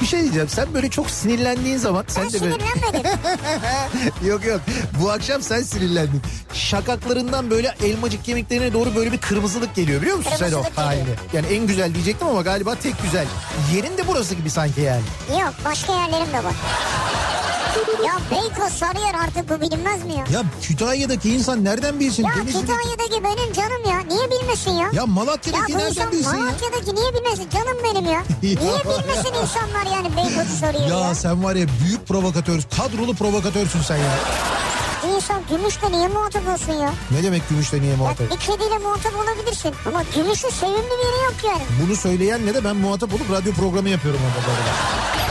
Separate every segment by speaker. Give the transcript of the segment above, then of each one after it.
Speaker 1: Bir şey diyeceğim. Sen böyle çok sinirlendiğin zaman sen
Speaker 2: Ben
Speaker 1: de böyle
Speaker 2: sinirlenmedim.
Speaker 1: yok yok. Bu akşam sen sinirlendin. Şakaklarından böyle elmacık kemiklerine doğru böyle bir kırmızılık geliyor biliyor musun sen o
Speaker 2: Kırmızılık
Speaker 1: halini?
Speaker 2: geliyor.
Speaker 1: Yani en güzel diyecektim ama galiba tek güzel. Yerin de burası gibi sanki yani.
Speaker 2: Yok başka yerlerim de var. Ya Beykoz sarıyor artık bu bilinmez mi ya?
Speaker 1: Ya Kütahya'daki insan nereden bilsin?
Speaker 2: Ya
Speaker 1: Denizli'deki-
Speaker 2: Kütahya'daki benim canım ya. Niye bilmesin ya?
Speaker 1: Ya
Speaker 2: Ya
Speaker 1: Malatya'daki
Speaker 2: bu insan
Speaker 1: nereden bilsin ya?
Speaker 2: Malatya'daki niye bilmesin? Canım benim ya. Niye bilmesin insanlar yani Beykoz'u soruyor ya?
Speaker 1: Ya sen var ya büyük provokatör, kadrolu provokatörsün sen ya.
Speaker 2: İnsan gümüşle niye muhatap olsun ya?
Speaker 1: Ne demek gümüşle niye
Speaker 2: Ya
Speaker 1: muhatap?
Speaker 2: bir kediyle muhatap olabilirsin. Ama gümüşün sevimli bir yeri yok yani.
Speaker 1: Bunu söyleyenle de ben muhatap olup radyo programı yapıyorum orada. bu arada.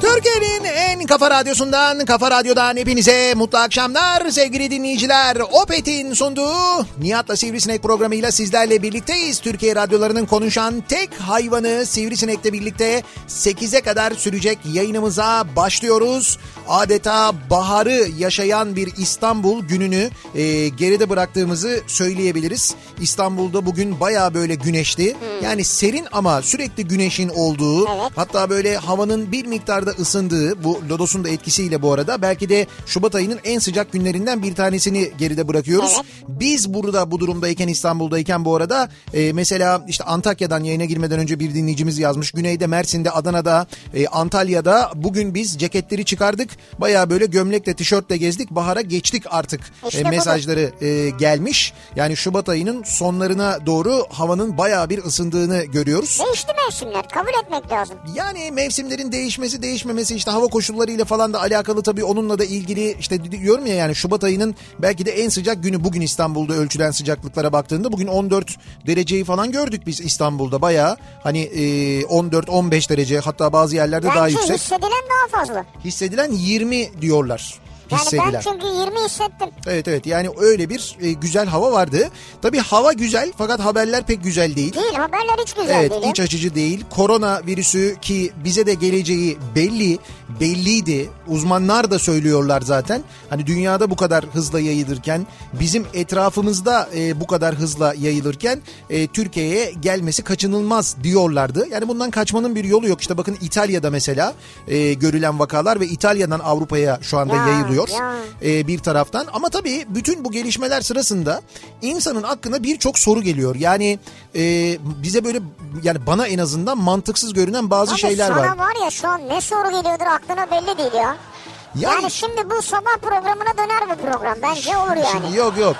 Speaker 1: Türkiye'nin en kafa radyosundan, kafa radyodan hepinize mutlu akşamlar sevgili dinleyiciler. Opet'in sunduğu Nihat'la Sivrisinek programıyla sizlerle birlikteyiz. Türkiye radyolarının konuşan tek hayvanı Sivrisinek'le birlikte 8'e kadar sürecek yayınımıza başlıyoruz. Adeta baharı yaşayan bir İstanbul gününü e, geride bıraktığımızı söyleyebiliriz. İstanbul'da bugün baya böyle güneşli. Yani serin ama sürekli güneşin olduğu hatta böyle havanın bir miktarda ısındığı bu lodosun da etkisiyle bu arada belki de Şubat ayının en sıcak günlerinden bir tanesini geride bırakıyoruz. Biz burada bu durumdayken İstanbul'dayken bu arada e, mesela işte Antakya'dan yayına girmeden önce bir dinleyicimiz yazmış. Güneyde Mersin'de Adana'da e, Antalya'da bugün biz ceketleri çıkardık. Baya böyle gömlekle tişörtle gezdik. Bahara geçtik artık
Speaker 2: İşte
Speaker 1: e,
Speaker 2: bu.
Speaker 1: mesajları e, gelmiş. Yani Şubat ayının sonlarına doğru havanın baya bir ısındığını görüyoruz.
Speaker 2: Değişti mevsimler. Kabul etmek lazım.
Speaker 1: Yani mevsimlerin değişmesi değişmemesi işte hava koşullarıyla falan da alakalı tabii onunla da ilgili işte diyorum ya yani Şubat ayının belki de en sıcak günü bugün İstanbul'da ölçülen sıcaklıklara baktığında bugün 14 dereceyi falan gördük biz İstanbul'da bayağı hani e, 14-15 derece hatta bazı yerlerde daha
Speaker 2: Bence
Speaker 1: yüksek
Speaker 2: hissedilen daha fazla.
Speaker 1: hissedilen 20 diyorlar.
Speaker 2: Yani
Speaker 1: Hissedilen.
Speaker 2: ben çünkü 20 hissettim.
Speaker 1: Evet evet yani öyle bir e, güzel hava vardı. Tabii hava güzel fakat haberler pek güzel değil.
Speaker 2: Değil haberler hiç güzel
Speaker 1: evet,
Speaker 2: değil.
Speaker 1: iç açıcı değil. Korona virüsü ki bize de geleceği belli, belliydi. Uzmanlar da söylüyorlar zaten. Hani dünyada bu kadar hızla yayılırken, bizim etrafımızda e, bu kadar hızla yayılırken e, Türkiye'ye gelmesi kaçınılmaz diyorlardı. Yani bundan kaçmanın bir yolu yok. İşte bakın İtalya'da mesela e, görülen vakalar ve İtalya'dan Avrupa'ya şu anda
Speaker 2: Ya,
Speaker 1: yayılıyor
Speaker 2: ya.
Speaker 1: e, bir taraftan. Ama tabii bütün bu gelişmeler sırasında insanın aklına birçok soru geliyor. Yani e, bize böyle yani bana en azından mantıksız görünen bazı
Speaker 2: Abi
Speaker 1: şeyler
Speaker 2: sana
Speaker 1: var.
Speaker 2: var ya şu an ne soru geliyordur aklına belli değil ya. Yani,
Speaker 1: Yani,
Speaker 2: şimdi bu sabah programına döner bu program. Bence olur yani.
Speaker 1: şimdi yok yok.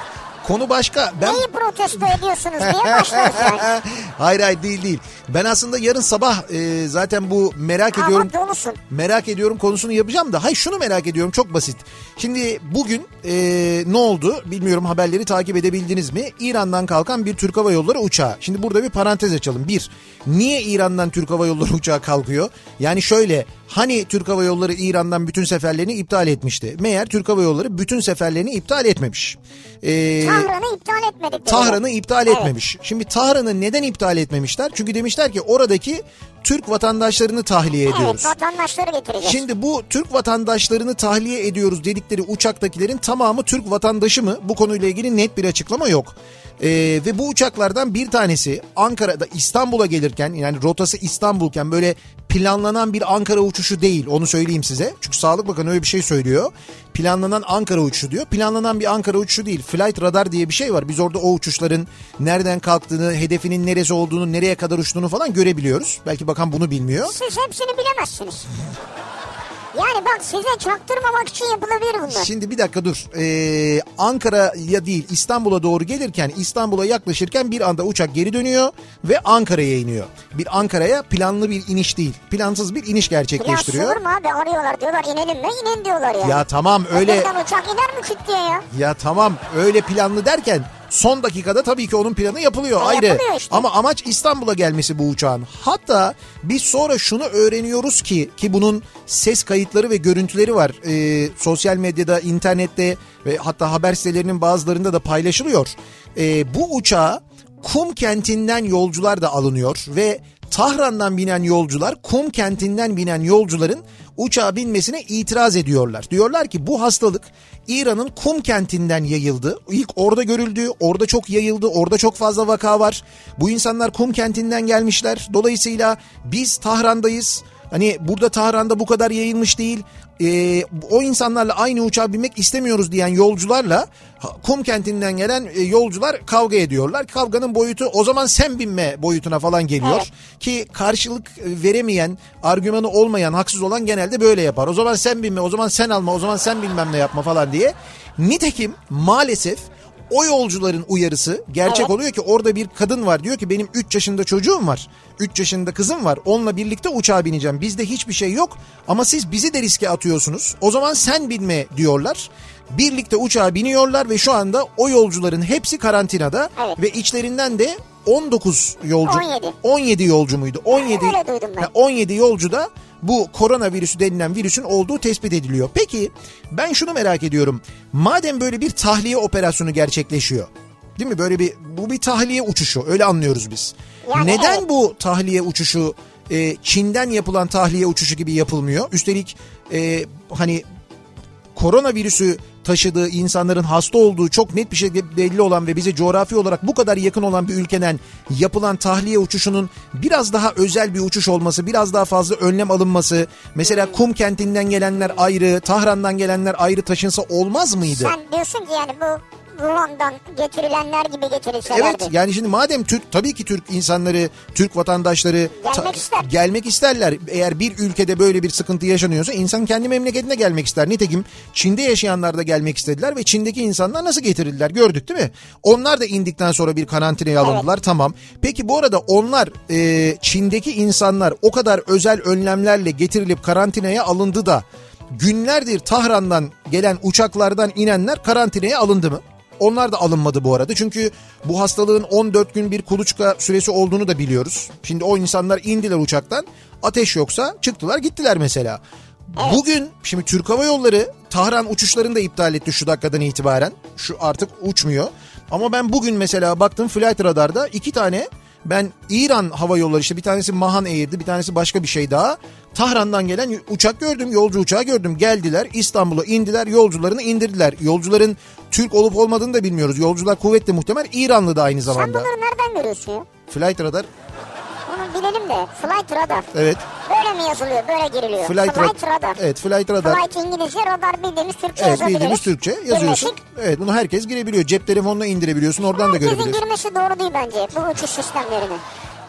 Speaker 1: Konu başka. Ben
Speaker 2: Neyi protesto ediyorsunuz diye başlarız yani.
Speaker 1: hayır hayır değil değil. Ben aslında yarın sabah e, zaten bu merak ediyorum.
Speaker 2: Ama dolusun.
Speaker 1: merak ediyorum konusunu yapacağım da hay şunu merak ediyorum çok basit. Şimdi bugün eee, ne oldu bilmiyorum haberleri takip edebildiniz mi? İran'dan kalkan bir Türk Hava Yolları uçağı. Şimdi burada bir parantez açalım. Bir, niye İran'dan Türk Hava Yolları uçağı kalkıyor? Yani şöyle hani Türk Hava Yolları İran'dan bütün seferlerini iptal etmişti. Meğer Türk Hava Yolları bütün seferlerini iptal etmemiş. Eee,
Speaker 2: Tahran'ı iptal etmedik. dedi.
Speaker 1: Ee, Tahran'ı iptal
Speaker 2: Evet.
Speaker 1: etmemiş. Şimdi Tahran'ı neden iptal etmemişler? Çünkü demişler ki oradaki Türk vatandaşlarını tahliye ediyoruz.
Speaker 2: Evet vatandaşları getireceğiz.
Speaker 1: Şimdi bu Türk vatandaşlarını tahliye ediyoruz dedikleri uçaktakilerin tamamı Türk vatandaşı mı? Bu konuyla ilgili net bir açıklama yok. Ee, ve bu uçaklardan bir tanesi Ankara'da İstanbul'a gelirken yani rotası İstanbul'ken böyle planlanan bir Ankara uçuşu değil onu söyleyeyim size. Çünkü Sağlık Bakanı öyle bir şey söylüyor. Planlanan Ankara uçuşu diyor. Planlanan bir Ankara uçuşu değil. Flight radar diye bir şey var. Biz orada o uçuşların nereden kalktığını, hedefinin neresi olduğunu, nereye kadar uçtuğunu falan görebiliyoruz. Belki bakan bunu bilmiyor.
Speaker 2: Siz hepsini bilemezsiniz. Yani bak size çaktırmamak için yapılabilir bunlar.
Speaker 1: Şimdi bir dakika dur. Ee, Ankara'ya değil İstanbul'a doğru gelirken İstanbul'a yaklaşırken bir anda uçak geri dönüyor ve Ankara'ya iniyor. Bir Ankara'ya planlı bir iniş değil. Plansız bir iniş
Speaker 2: Ya
Speaker 1: gerçekleştiriyor.
Speaker 2: sığır mı abi arıyorlar diyorlar inelim mi inin diyorlar ya.
Speaker 1: Ya tamam öyle
Speaker 2: Hakikaten uçak iner mi küt diye ya.
Speaker 1: ya tamam öyle planlı derken son dakikada tabii ki onun planı yapılıyor
Speaker 2: Ha,
Speaker 1: ayrı.
Speaker 2: yapılıyor işte.
Speaker 1: Ama amaç İstanbul'a gelmesi bu uçağın. Hatta biz sonra şunu öğreniyoruz ki ki bunun ses kayıtları ve görüntüleri var. Ee, sosyal medyada, internette ve hatta haber sitelerinin bazılarında da paylaşılıyor. Ee, bu uçağa Kum kentinden yolcular da alınıyor ve Tahran'dan binen yolcular Kum kentinden binen yolcuların uçağa binmesine itiraz ediyorlar. Diyorlar ki bu hastalık İran'ın Kum kentinden yayıldı. İlk orada görüldü, orada çok yayıldı, orada çok fazla vaka var. Bu insanlar Kum kentinden gelmişler. Dolayısıyla biz Tahran'dayız. Hani burada Tahran'da bu kadar yayılmış değil. Ee, o insanlarla aynı uçağa binmek istemiyoruz diyen yolcularla ha- kum kentinden gelen e, yolcular kavga ediyorlar. Kavganın boyutu o zaman sen binme boyutuna falan geliyor. Ki karşılık e, veremeyen, argümanı olmayan, haksız olan genelde böyle yapar. O zaman sen binme, o zaman sen alma, o zaman sen bilmem ne yapma falan diye. Nitekim maalesef o yolcuların uyarısı gerçek
Speaker 2: Evet.
Speaker 1: oluyor ki orada bir kadın var diyor ki benim 3 yaşında çocuğum var. 3 yaşında kızım var. Onunla birlikte uçağa bineceğim. Bizde hiçbir şey yok ama siz bizi de riske atıyorsunuz. O zaman sen binme diyorlar. Birlikte uçağa biniyorlar ve şu anda o yolcuların hepsi karantinada
Speaker 2: Evet.
Speaker 1: ve içlerinden de 19 yolcu
Speaker 2: 17.
Speaker 1: 17 yolcu muydu? 17
Speaker 2: öyle duydum ben.
Speaker 1: Ha, 17 yolcu da bu koronavirüsü denilen virüsün olduğu tespit ediliyor. Peki ben şunu merak ediyorum. Madem böyle bir tahliye operasyonu gerçekleşiyor. Değil mi? Böyle bir bu bir tahliye uçuşu öyle anlıyoruz biz.
Speaker 2: Yani
Speaker 1: Neden
Speaker 2: evet.
Speaker 1: bu tahliye uçuşu e, Çin'den yapılan tahliye uçuşu gibi yapılmıyor? Üstelik e, hani koronavirüsü taşıdığı insanların hasta olduğu çok net bir şekilde belli olan ve bize coğrafi olarak bu kadar yakın olan bir ülkeden yapılan tahliye uçuşunun biraz daha özel bir uçuş olması, biraz daha fazla önlem alınması, mesela Kum kentinden gelenler ayrı, Tahran'dan gelenler ayrı taşınsa olmaz mıydı?
Speaker 2: Sen diyorsun ki yani bu Wuhan'dan getirilenler gibi getirilselerdi.
Speaker 1: Evet yani şimdi madem Türk tabii ki Türk insanları, Türk vatandaşları
Speaker 2: Gelmek ister.
Speaker 1: gelmek isterler. Eğer bir ülkede böyle bir sıkıntı yaşanıyorsa insan kendi memleketine gelmek ister. Nitekim Çin'de yaşayanlar da gelmek istediler ve Çin'deki insanlar nasıl getirildiler gördük değil mi? Onlar da indikten sonra bir karantinaya alındılar tamam. Peki bu arada onlar e, Çin'deki insanlar o kadar özel önlemlerle getirilip karantinaya alındı da günlerdir Tahran'dan gelen uçaklardan inenler karantinaya alındı mı? Onlar da alınmadı bu arada. Çünkü bu hastalığın 14 gün bir kuluçka süresi olduğunu da biliyoruz. Şimdi o insanlar indiler uçaktan. Ateş yoksa çıktılar gittiler mesela. Bugün şimdi Türk Hava Yolları Tahran uçuşlarını da iptal etti şu dakikadan itibaren. Şu artık uçmuyor. Ama ben bugün mesela baktım Flight Radar'da iki tane ben İran hava yolları işte bir tanesi Mahan Air'di bir tanesi başka bir şey daha. Tahran'dan gelen uçak gördüm yolcu uçağı gördüm geldiler İstanbul'a indiler yolcularını indirdiler. Yolcuların Türk olup olmadığını da bilmiyoruz yolcular kuvvetle muhtemel İranlı da aynı
Speaker 2: Sen
Speaker 1: zamanda.
Speaker 2: bunları nereden görüyorsun ya?
Speaker 1: Flight Radar
Speaker 2: Onu bilelim de. Flight radar.
Speaker 1: evet
Speaker 2: Böyle mi yazılıyor? Böyle giriliyor.
Speaker 1: Flight,
Speaker 2: Flight,
Speaker 1: Ra-
Speaker 2: radar.
Speaker 1: Evet Flight Radar.
Speaker 2: Flight İngilizce, radar bildiğimiz Türkçe
Speaker 1: Evet
Speaker 2: yazabiliriz.
Speaker 1: bildiğimiz Türkçe yazıyorsun.
Speaker 2: Birleşik.
Speaker 1: Evet bunu herkes girebiliyor. Cep telefonuna indirebiliyorsun oradan da
Speaker 2: Herkesin
Speaker 1: görebiliyorsun.
Speaker 2: girmesi doğru değil bence bu uçuş sistemlerine.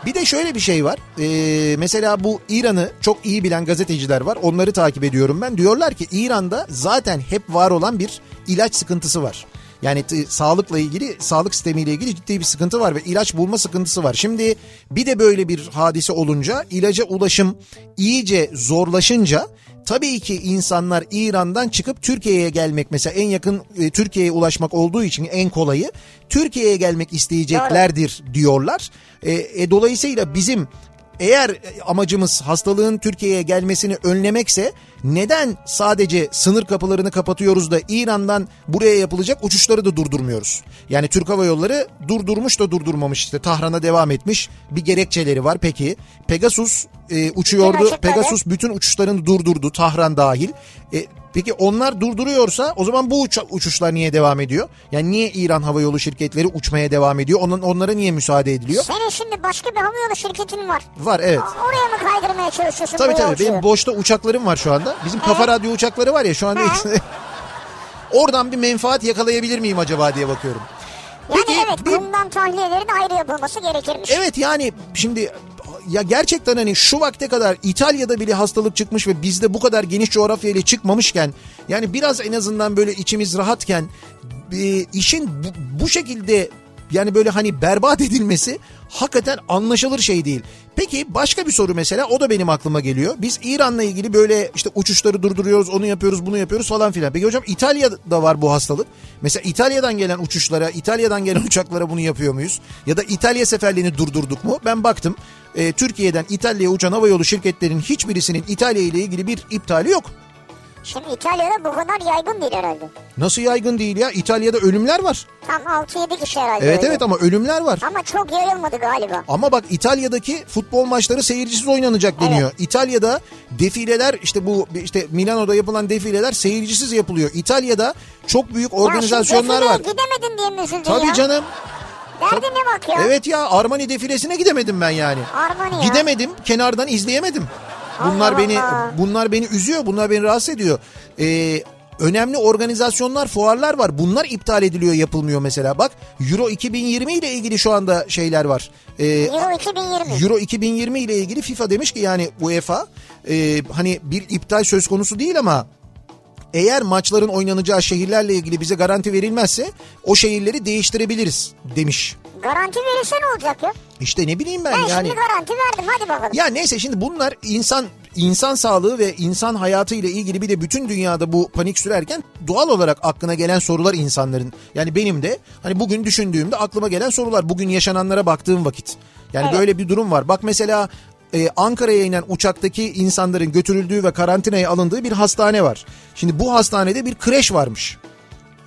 Speaker 1: Bir de şöyle bir şey var. Ee, mesela bu İran'ı çok iyi bilen gazeteciler var. Onları takip ediyorum ben. Diyorlar ki İran'da zaten hep var olan bir ilaç sıkıntısı var. Yani t- sağlıkla ilgili, sağlık sistemiyle ilgili ciddi bir sıkıntı var ve ilaç bulma sıkıntısı var. Şimdi bir de böyle bir hadise olunca ilaca ulaşım iyice zorlaşınca tabii ki insanlar İran'dan çıkıp Türkiye'ye gelmek mesela en yakın e, Türkiye'ye ulaşmak olduğu için en kolayı Türkiye'ye gelmek isteyecekler nedir diyorlar. E, e, dolayısıyla bizim eğer amacımız hastalığın Türkiye'ye gelmesini önlemekse neden sadece sınır kapılarını kapatıyoruz da İran'dan buraya yapılacak uçuşları da durdurmuyoruz? Yani Türk Hava Yolları durdurmuş da durdurmamış işte Tahran'a devam etmiş bir gerekçeleri var peki. Pegasus e, uçuyordu.
Speaker 2: açıkladı.
Speaker 1: Pegasus bütün uçuşlarını durdurdu Tahran dahil. E, peki onlar durduruyorsa o zaman bu uça- uçuşlar niye devam ediyor? Yani niye İran Hava Yolu şirketleri uçmaya devam ediyor? Onun, onlara niye müsaade ediliyor?
Speaker 2: Senin şimdi başka bir havayolu şirketin var.
Speaker 1: Var evet.
Speaker 2: O- Oraya mı kaydırmaya çalışıyorsun
Speaker 1: Tabii
Speaker 2: bu
Speaker 1: tabii
Speaker 2: yolcuyu?
Speaker 1: benim boşta uçaklarım var şu anda. Bizim kafa radyo uçakları var ya şu anda
Speaker 2: Hı.
Speaker 1: ikisi- Oradan bir menfaat yakalayabilir miyim acaba diye bakıyorum.
Speaker 2: Yani
Speaker 1: Peki,
Speaker 2: evet
Speaker 1: bir-
Speaker 2: bundan tahliyelerin ayrı yapılması gerekirmiş.
Speaker 1: Evet yani şimdi ya gerçekten hani şu vakte kadar İtalya'da bile hastalık çıkmış ve bizde bu kadar geniş coğrafyayla çıkmamışken yani biraz en azından böyle içimiz rahatken e, işin bu, bu şekilde yani böyle hani berbat edilmesi hakikaten anlaşılır şey değil. Peki başka bir soru mesela o da benim aklıma geliyor. Biz İran'la ilgili böyle işte uçuşları durduruyoruz, onu yapıyoruz, bunu yapıyoruz falan filan. Peki hocam İtalya'da var bu hastalık. Mesela İtalya'dan gelen uçuşlara, İtalya'dan gelen uçaklara bunu yapıyor muyuz? Ya da İtalya seferlerini durdurduk mu? Ben baktım. e, Türkiye'den İtalya'ya uçan havayolu şirketlerinin hiçbirisinin İtalya ile ilgili bir iptali yok.
Speaker 2: Şimdi İtalya'da bu kadar yaygın değil herhalde.
Speaker 1: Nasıl yaygın değil ya? İtalya'da ölümler var.
Speaker 2: Tam 6-7 kişi herhalde.
Speaker 1: Evet
Speaker 2: öyle.
Speaker 1: evet ama ölümler var.
Speaker 2: Ama çok yayılmadı galiba.
Speaker 1: Ama bak İtalya'daki futbol maçları seyircisiz oynanacak deniyor. İtalya'da defileler işte bu işte Milano'da yapılan defileler seyircisiz yapılıyor. İtalya'da çok büyük organizasyonlar
Speaker 2: ya
Speaker 1: var.
Speaker 2: şimdi defileye gidemedin diye mi üzüldün
Speaker 1: Tabii
Speaker 2: ya?
Speaker 1: canım.
Speaker 2: Derdi ne bak ya?
Speaker 1: Evet ya Armani defilesine gidemedim ben yani.
Speaker 2: Armani ya.
Speaker 1: Gidemedim, kenardan izleyemedim.
Speaker 2: Allah
Speaker 1: Bunlar beni
Speaker 2: Allah.
Speaker 1: bunlar beni üzüyor, bunlar beni rahatsız ediyor. Ee, önemli organizasyonlar, fuarlar var. Bunlar iptal ediliyor, yapılmıyor mesela. Bak Euro 2020 ile ilgili şu anda şeyler var. Ee,
Speaker 2: Euro 2020.
Speaker 1: Euro 2020 ile ilgili FIFA demiş ki yani UEFA e, hani bir iptal söz konusu değil ama eğer maçların oynanacağı şehirlerle ilgili bize garanti verilmezse o şehirleri değiştirebiliriz demiş.
Speaker 2: Garanti verirse ne olacak ya?
Speaker 1: İşte ne bileyim ben,
Speaker 2: Ben
Speaker 1: yani.
Speaker 2: şimdi garanti verdim hadi bakalım.
Speaker 1: Ya neyse şimdi bunlar insan insan sağlığı ve insan hayatı ile ilgili bir de bütün dünyada bu panik sürerken doğal olarak aklına gelen sorular insanların. Yani benim de hani bugün düşündüğümde aklıma gelen sorular bugün yaşananlara baktığım vakit. Yani
Speaker 2: Evet.
Speaker 1: böyle bir durum var. Bak mesela e, Ankara'ya inen uçaktaki insanların götürüldüğü ve karantinaya alındığı bir hastane var. Şimdi bu hastanede bir kreş varmış.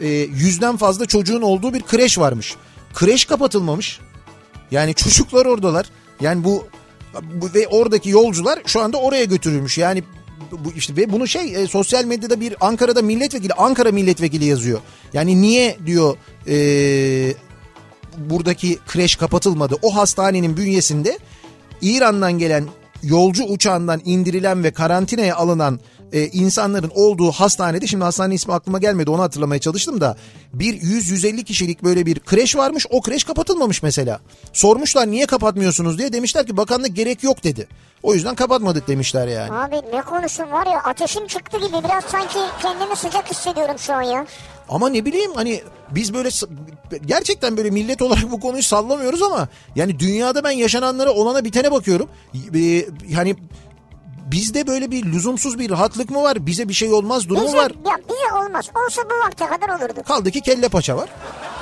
Speaker 1: E, yüzden fazla çocuğun olduğu bir kreş varmış. Kreş kapatılmamış. Yani çocuklar oradalar. Yani bu, bu ve oradaki yolcular şu anda oraya götürülmüş. Yani bu işte ve bunu şey e, sosyal medyada bir Ankara'da milletvekili Ankara milletvekili yazıyor. Yani niye diyor e, buradaki kreş kapatılmadı. O hastanenin bünyesinde İran'dan gelen yolcu uçağından indirilen ve karantinaya alınan e, insanların olduğu hastanede şimdi hastane ismi aklıma gelmedi onu hatırlamaya çalıştım da bir 100-150 kişilik böyle bir kreş varmış o kreş kapatılmamış mesela. Sormuşlar niye kapatmıyorsunuz diye demişler ki bakanlık gerek yok dedi. O yüzden kapatmadık demişler yani.
Speaker 2: Abi ne konuşun var ya ateşim çıktı gibi biraz sanki kendimi sıcak hissediyorum şu an ya.
Speaker 1: Ama ne bileyim hani biz böyle s- gerçekten böyle millet olarak bu konuyu sallamıyoruz ama yani dünyada ben yaşananlara olana bitene bakıyorum. Ee, yani bizde böyle bir lüzumsuz bir rahatlık mı var? Bize bir şey olmaz durumu
Speaker 2: Bize,
Speaker 1: var.
Speaker 2: ya bize olmaz. Olsa bu vakte kadar olurdu.
Speaker 1: Kaldı ki kelle paça var.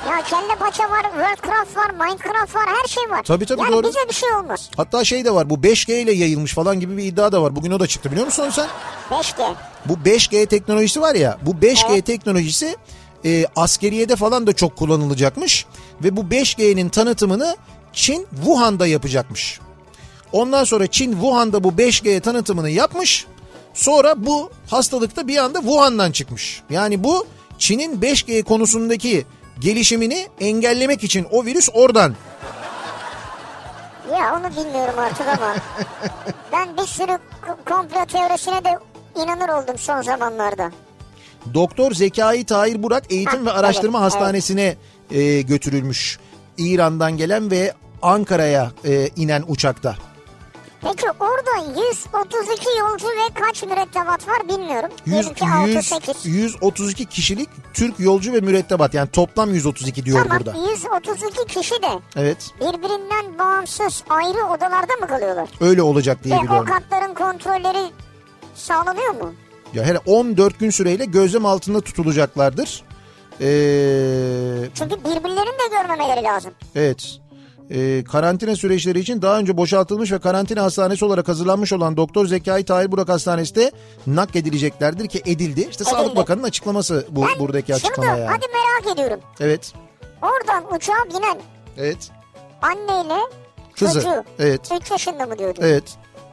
Speaker 2: Ya kelle paça var, Worldcraft var, Minecraft var, her şey var.
Speaker 1: Tabii, tabii,
Speaker 2: yani
Speaker 1: doğru.
Speaker 2: bize bir şey olmaz.
Speaker 1: Hatta şey de var bu 5G ile yayılmış falan gibi bir iddia da var. Bugün o da çıktı biliyor musun sen?
Speaker 2: 5G.
Speaker 1: Bu 5G teknolojisi var ya bu 5G
Speaker 2: Evet.
Speaker 1: teknolojisi e, askeriyede falan da çok kullanılacakmış. Ve bu 5G'nin tanıtımını Çin Wuhan'da yapacakmış. Ondan sonra Çin Wuhan'da bu 5G tanıtımını yapmış. Sonra bu hastalıkta bir anda Wuhan'dan çıkmış. Yani bu Çin'in 5G konusundaki gelişimini engellemek için o virüs oradan.
Speaker 2: Ya onu bilmiyorum artık ama. ben bir sürü k- komplo teorisine de inanır oldum son zamanlarda.
Speaker 1: Doktor Zekai Tahir Burak Eğitim
Speaker 2: Ha,
Speaker 1: ve Araştırma
Speaker 2: Ah, evet,
Speaker 1: Hastanesi'ne e, götürülmüş. İran'dan gelen ve Ankara'ya e, inen uçakta.
Speaker 2: Peki orada 132 yolcu ve kaç mürettebat var bilmiyorum.
Speaker 1: Yüz-
Speaker 2: Diyelim ki
Speaker 1: yüz-
Speaker 2: 6-8.
Speaker 1: 132 kişilik Türk yolcu ve mürettebat yani toplam 132 diyor
Speaker 2: Tamam
Speaker 1: burada.
Speaker 2: 132 kişi de
Speaker 1: Evet
Speaker 2: birbirinden bağımsız ayrı odalarda mı kalıyorlar?
Speaker 1: öyle olacak diye
Speaker 2: Ve E, o
Speaker 1: biliyorum.
Speaker 2: katların kontrolleri sağlanıyor mu?
Speaker 1: Ya hele 14 gün süreyle gözlem altında tutulacaklardır. E, Ee,
Speaker 2: Çünkü birbirlerini de görmemeleri lazım.
Speaker 1: evet. e, karantina süreçleri için daha önce boşaltılmış ve karantina hastanesi olarak hazırlanmış olan Doktor Zekai Tahir Burak Hastanesi de nakledileceklerdir ki edildi. İşte Sağlık
Speaker 2: Edildi.
Speaker 1: Bakanı'nın açıklaması bu
Speaker 2: Ben
Speaker 1: buradaki açıklama
Speaker 2: şunu da
Speaker 1: yani.
Speaker 2: hadi merak ediyorum.
Speaker 1: Evet.
Speaker 2: Oradan uçağa binen
Speaker 1: Evet.
Speaker 2: anneyle
Speaker 1: Kızı.
Speaker 2: çocuğu
Speaker 1: Evet.
Speaker 2: 3 yaşında mı diyordun?
Speaker 1: Evet.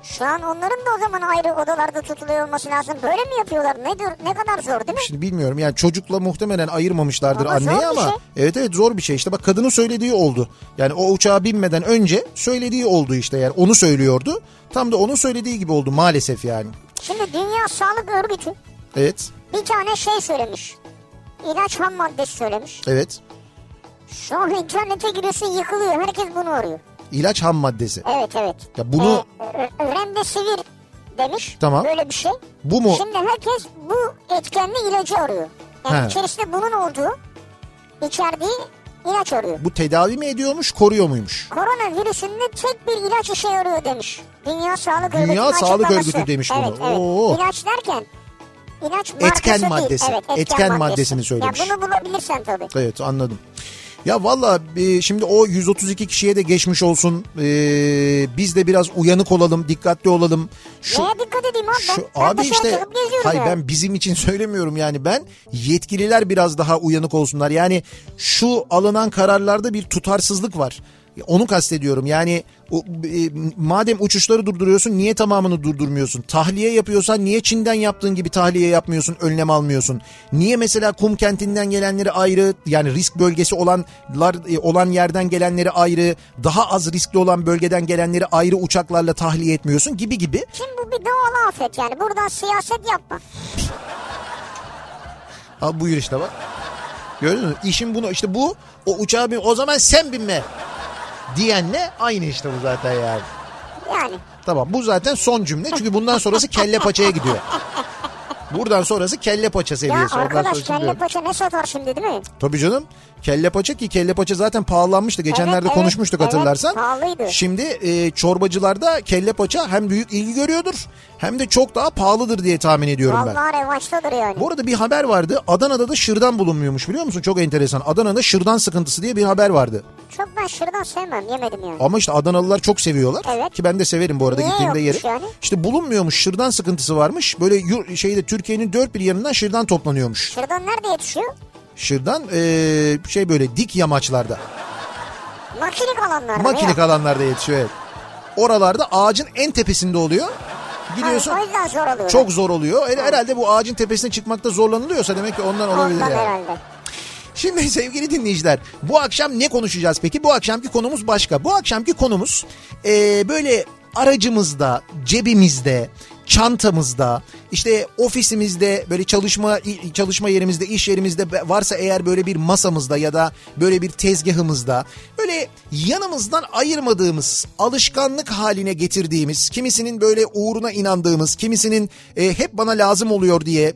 Speaker 2: Şu an onların da o zaman ayrı odalarda tutuluyor olması lazım. Böyle mi yapıyorlar? Ne, dur- ne kadar zor değil mi?
Speaker 1: Şimdi bilmiyorum yani çocukla muhtemelen ayırmamışlardır
Speaker 2: Ama
Speaker 1: anneyi
Speaker 2: zor bir
Speaker 1: ama evet evet zor bir şey işte bak kadının söylediği oldu. Yani o uçağa binmeden önce söylediği oldu işte yani onu söylüyordu. Tam da onun söylediği gibi oldu maalesef yani.
Speaker 2: Şimdi Dünya Sağlık Örgütü
Speaker 1: Evet
Speaker 2: bir tane şey söylemiş. İlaç ham maddesi söylemiş.
Speaker 1: evet
Speaker 2: Sonra internete giriyorsun yıkılıyor. Herkes bunu arıyor.
Speaker 1: ilaç ham maddesi.
Speaker 2: Evet evet.
Speaker 1: Ya bunu-
Speaker 2: Ee, Ö- Ö- Remdesivir demiş.
Speaker 1: Tamam.
Speaker 2: Böyle bir şey.
Speaker 1: Bu mu?
Speaker 2: Şimdi herkes bu etkenli ilacı arıyor. Yani
Speaker 1: He.
Speaker 2: içerisinde bunun olduğu içerdiği ilaç arıyor.
Speaker 1: Bu tedavi mi ediyormuş koruyor muymuş?
Speaker 2: Koronavirüsünde tek bir ilaç işe yarıyor demiş. Dünya Sağlık Örgütü'nün
Speaker 1: Dünya Sağlık
Speaker 2: açıklaması.
Speaker 1: Örgütü demiş bunu.
Speaker 2: evet, Evet.
Speaker 1: Oo.
Speaker 2: İlaç derken ilaç markası
Speaker 1: Etken
Speaker 2: değil.
Speaker 1: maddesi.
Speaker 2: Evet, etken,
Speaker 1: Etken
Speaker 2: maddesi.
Speaker 1: maddesini söylemiş.
Speaker 2: Ya bunu bulabilirsen tabii.
Speaker 1: Evet anladım. Ya valla e, şimdi o 132 kişiye de geçmiş olsun. E, biz de biraz uyanık olalım, dikkatli olalım. Şu,
Speaker 2: Neye dikkat edeyim abi ben?
Speaker 1: Şu
Speaker 2: Ben
Speaker 1: abi
Speaker 2: dışarı
Speaker 1: işte
Speaker 2: çıkıp geziyorum
Speaker 1: hayır
Speaker 2: yani.
Speaker 1: ben bizim için söylemiyorum yani ben yetkililer biraz daha uyanık olsunlar. Yani şu alınan kararlarda bir tutarsızlık var. Onu kastediyorum yani o, e, madem uçuşları durduruyorsun niye tamamını durdurmuyorsun? Tahliye yapıyorsan niye Çin'den yaptığın gibi tahliye yapmıyorsun, önlem almıyorsun? Niye mesela kum kentinden gelenleri ayrı yani risk bölgesi olanlar e, olan yerden gelenleri ayrı, daha az riskli olan bölgeden gelenleri ayrı uçaklarla tahliye etmiyorsun gibi gibi.
Speaker 2: Şimdi bu bir doğal afet yani. Buradan siyaset yapma.
Speaker 1: Ha buyur işte bak. Gördün mü? İşin bunu işte bu o uçağa bin o zaman sen binme diyenle aynı işte bu zaten yani.
Speaker 2: Yani.
Speaker 1: Tamam bu zaten son cümle çünkü bundan sonrası kelle paçaya gidiyor. Buradan sonrası kelle paça
Speaker 2: Ya
Speaker 1: seviyesi. Ondan
Speaker 2: arkadaş
Speaker 1: sonrası
Speaker 2: kelle
Speaker 1: bilmiyorum.
Speaker 2: paça ne satar şimdi değil mi?
Speaker 1: Tabii canım. Kelle paça ki kelle paça zaten pahalanmıştı. Geçenlerde
Speaker 2: Evet, evet,
Speaker 1: konuşmuştuk
Speaker 2: evet,
Speaker 1: hatırlarsan.
Speaker 2: pahalıydı.
Speaker 1: Şimdi e, çorbacılarda kelle paça hem büyük ilgi görüyordur hem de çok daha pahalıdır diye tahmin ediyorum ben.
Speaker 2: Vallahi revaçtadır yani.
Speaker 1: Bu arada bir haber vardı. Adana'da da şırdan bulunmuyormuş biliyor musun? Çok enteresan. Adana'da şırdan sıkıntısı diye bir haber vardı.
Speaker 2: Çok ben şırdan sevmem yemedim yani.
Speaker 1: Ama işte Adanalılar çok seviyorlar.
Speaker 2: Evet.
Speaker 1: Ki ben de severim bu arada
Speaker 2: Niye
Speaker 1: gittiğimde yerim.
Speaker 2: yokmuş yani?
Speaker 1: İşte bulunmuyormuş şırdan sıkıntısı varmış. Böyle yur- şeyde Türkiye'nin dört bir yanından şırdan toplanıyormuş.
Speaker 2: Şırdan nerede yetişiyor?
Speaker 1: Şırdan eee, şey böyle dik yamaçlarda.
Speaker 2: Makilik alanlarda.
Speaker 1: Makilik
Speaker 2: ya.
Speaker 1: alanlarda yetişiyor evet. Oralarda ağacın en tepesinde oluyor. Gidiyorsun
Speaker 2: Ha, o yüzden zor oluyor.
Speaker 1: çok zor oluyor. Her- Herhalde bu ağacın tepesine çıkmakta zorlanılıyorsa demek ki ondan olabilir
Speaker 2: Ondan
Speaker 1: yani.
Speaker 2: herhalde.
Speaker 1: Şimdi sevgili dinleyiciler bu akşam ne konuşacağız peki? Bu akşamki konumuz başka. Bu akşamki konumuz eee, böyle aracımızda, cebimizde, çantamızda, işte ofisimizde, böyle çalışma i- çalışma yerimizde, iş yerimizde be- varsa eğer böyle bir masamızda ya da böyle bir tezgahımızda böyle yanımızdan ayırmadığımız, alışkanlık haline getirdiğimiz, kimisinin böyle uğruna inandığımız, kimisinin eee, hep bana lazım oluyor diye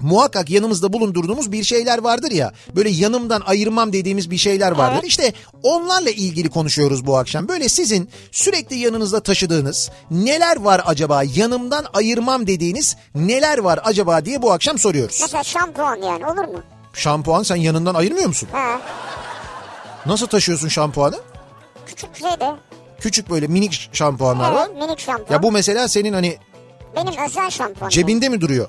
Speaker 1: muhakkak yanımızda bulundurduğumuz bir şeyler vardır ya. Böyle yanımdan ayırmam dediğimiz bir şeyler vardır.
Speaker 2: Evet.
Speaker 1: İşte onlarla ilgili konuşuyoruz bu akşam. Böyle sizin sürekli yanınızda taşıdığınız neler var acaba? Yanımdan ayırmam dediğiniz neler var acaba diye bu akşam soruyoruz.
Speaker 2: Mesela şampuan yani olur mu?
Speaker 1: Şampuan sen yanından ayırmıyor musun?
Speaker 2: Ha.
Speaker 1: Nasıl taşıyorsun şampuanı?
Speaker 2: Küçük şey de.
Speaker 1: Küçük böyle minik şampuanlar var.
Speaker 2: Evet minik şampuan.
Speaker 1: Ya bu mesela senin hani
Speaker 2: Benim özel şampuanım.
Speaker 1: cebinde mi duruyor?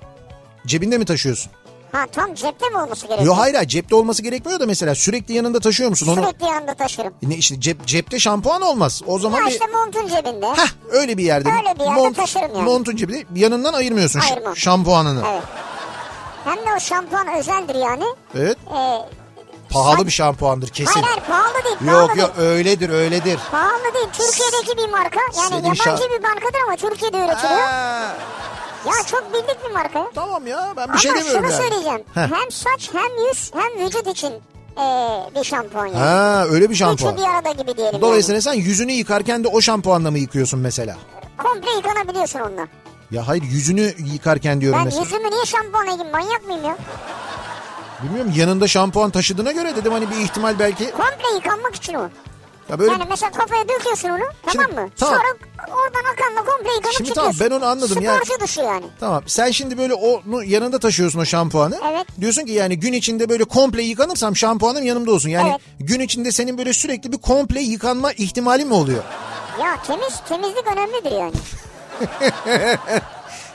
Speaker 1: Cebinde mi taşıyorsun?
Speaker 2: Ha tam cepte mi olması gerekiyor?
Speaker 1: Yok hayır hayır, cepte olması gerekmiyor da mesela sürekli yanında taşıyor musun onu?
Speaker 2: Sürekli yanımda taşırım.
Speaker 1: Ne işte cep, cepte şampuan olmaz. O zaman
Speaker 2: Ya
Speaker 1: bir
Speaker 2: işte montun cebinde.
Speaker 1: Heh, öyle bir yerde.
Speaker 2: Öyle bir yerde taşırım yani.
Speaker 1: Montun cebinde yanından ayırmıyorsun ş-
Speaker 2: Ayırmam.
Speaker 1: şampuanını. Evet.
Speaker 2: Evet. Hem de o şampuan özeldir yani. Ee,
Speaker 1: Pahalı
Speaker 2: Sen-
Speaker 1: bir şampuandır kesin.
Speaker 2: hayır hayır pahalı değil. Pahalı
Speaker 1: Yok
Speaker 2: değil.
Speaker 1: yok öyledir öyledir.
Speaker 2: Pahalı değil. Türkiye'deki bir marka. Yani
Speaker 1: Senin
Speaker 2: yabancı
Speaker 1: şa-
Speaker 2: bir markadır ama Türkiye'de üretiliyor.
Speaker 1: Ha,
Speaker 2: Ya çok bildik bir marka. ya.
Speaker 1: tamam ya ben bir
Speaker 2: Ama
Speaker 1: şey demiyorum
Speaker 2: şunu
Speaker 1: yani.
Speaker 2: söyleyeceğim.
Speaker 1: Heh.
Speaker 2: Hem saç hem yüz hem vücut için ee, bir şampuan yani.
Speaker 1: Ha öyle bir
Speaker 2: Üçü
Speaker 1: şampuan.
Speaker 2: bir arada gibi diyelim.
Speaker 1: Dolayısıyla sen yüzünü yıkarken de o şampuanla mı yıkıyorsun mesela?
Speaker 2: yani. Komple yıkanabiliyorsun onunla.
Speaker 1: Ya hayır yüzünü yıkarken diyorum
Speaker 2: Ben
Speaker 1: mesela.
Speaker 2: yüzümü niye şampuanla yıkayayım manyak mıyım ya?
Speaker 1: Bilmiyorum yanında şampuan taşıdığına göre dedim hani bir ihtimal belki.
Speaker 2: Komple yıkanmak için o.
Speaker 1: Ya böyle
Speaker 2: Yani mesela kafaya döküyorsun onu tamam
Speaker 1: Şimdi-
Speaker 2: mı?
Speaker 1: tamam.
Speaker 2: Sonra oradan akanla komple yıkanıp
Speaker 1: Şimdi tamam,
Speaker 2: çıkıyorsun.
Speaker 1: ben onu anladım ya.
Speaker 2: Sporcu duşu yani.
Speaker 1: Tamam sen şimdi böyle onu yanında taşıyorsun o şampuanı.
Speaker 2: Evet.
Speaker 1: Diyorsun ki yani gün içinde böyle komple yıkanırsam şampuanım yanımda olsun. Yani
Speaker 2: Evet.
Speaker 1: gün içinde senin böyle sürekli bir komple yıkanma ihtimali mi oluyor?
Speaker 2: Ya temiz, temizlik önemlidir yani.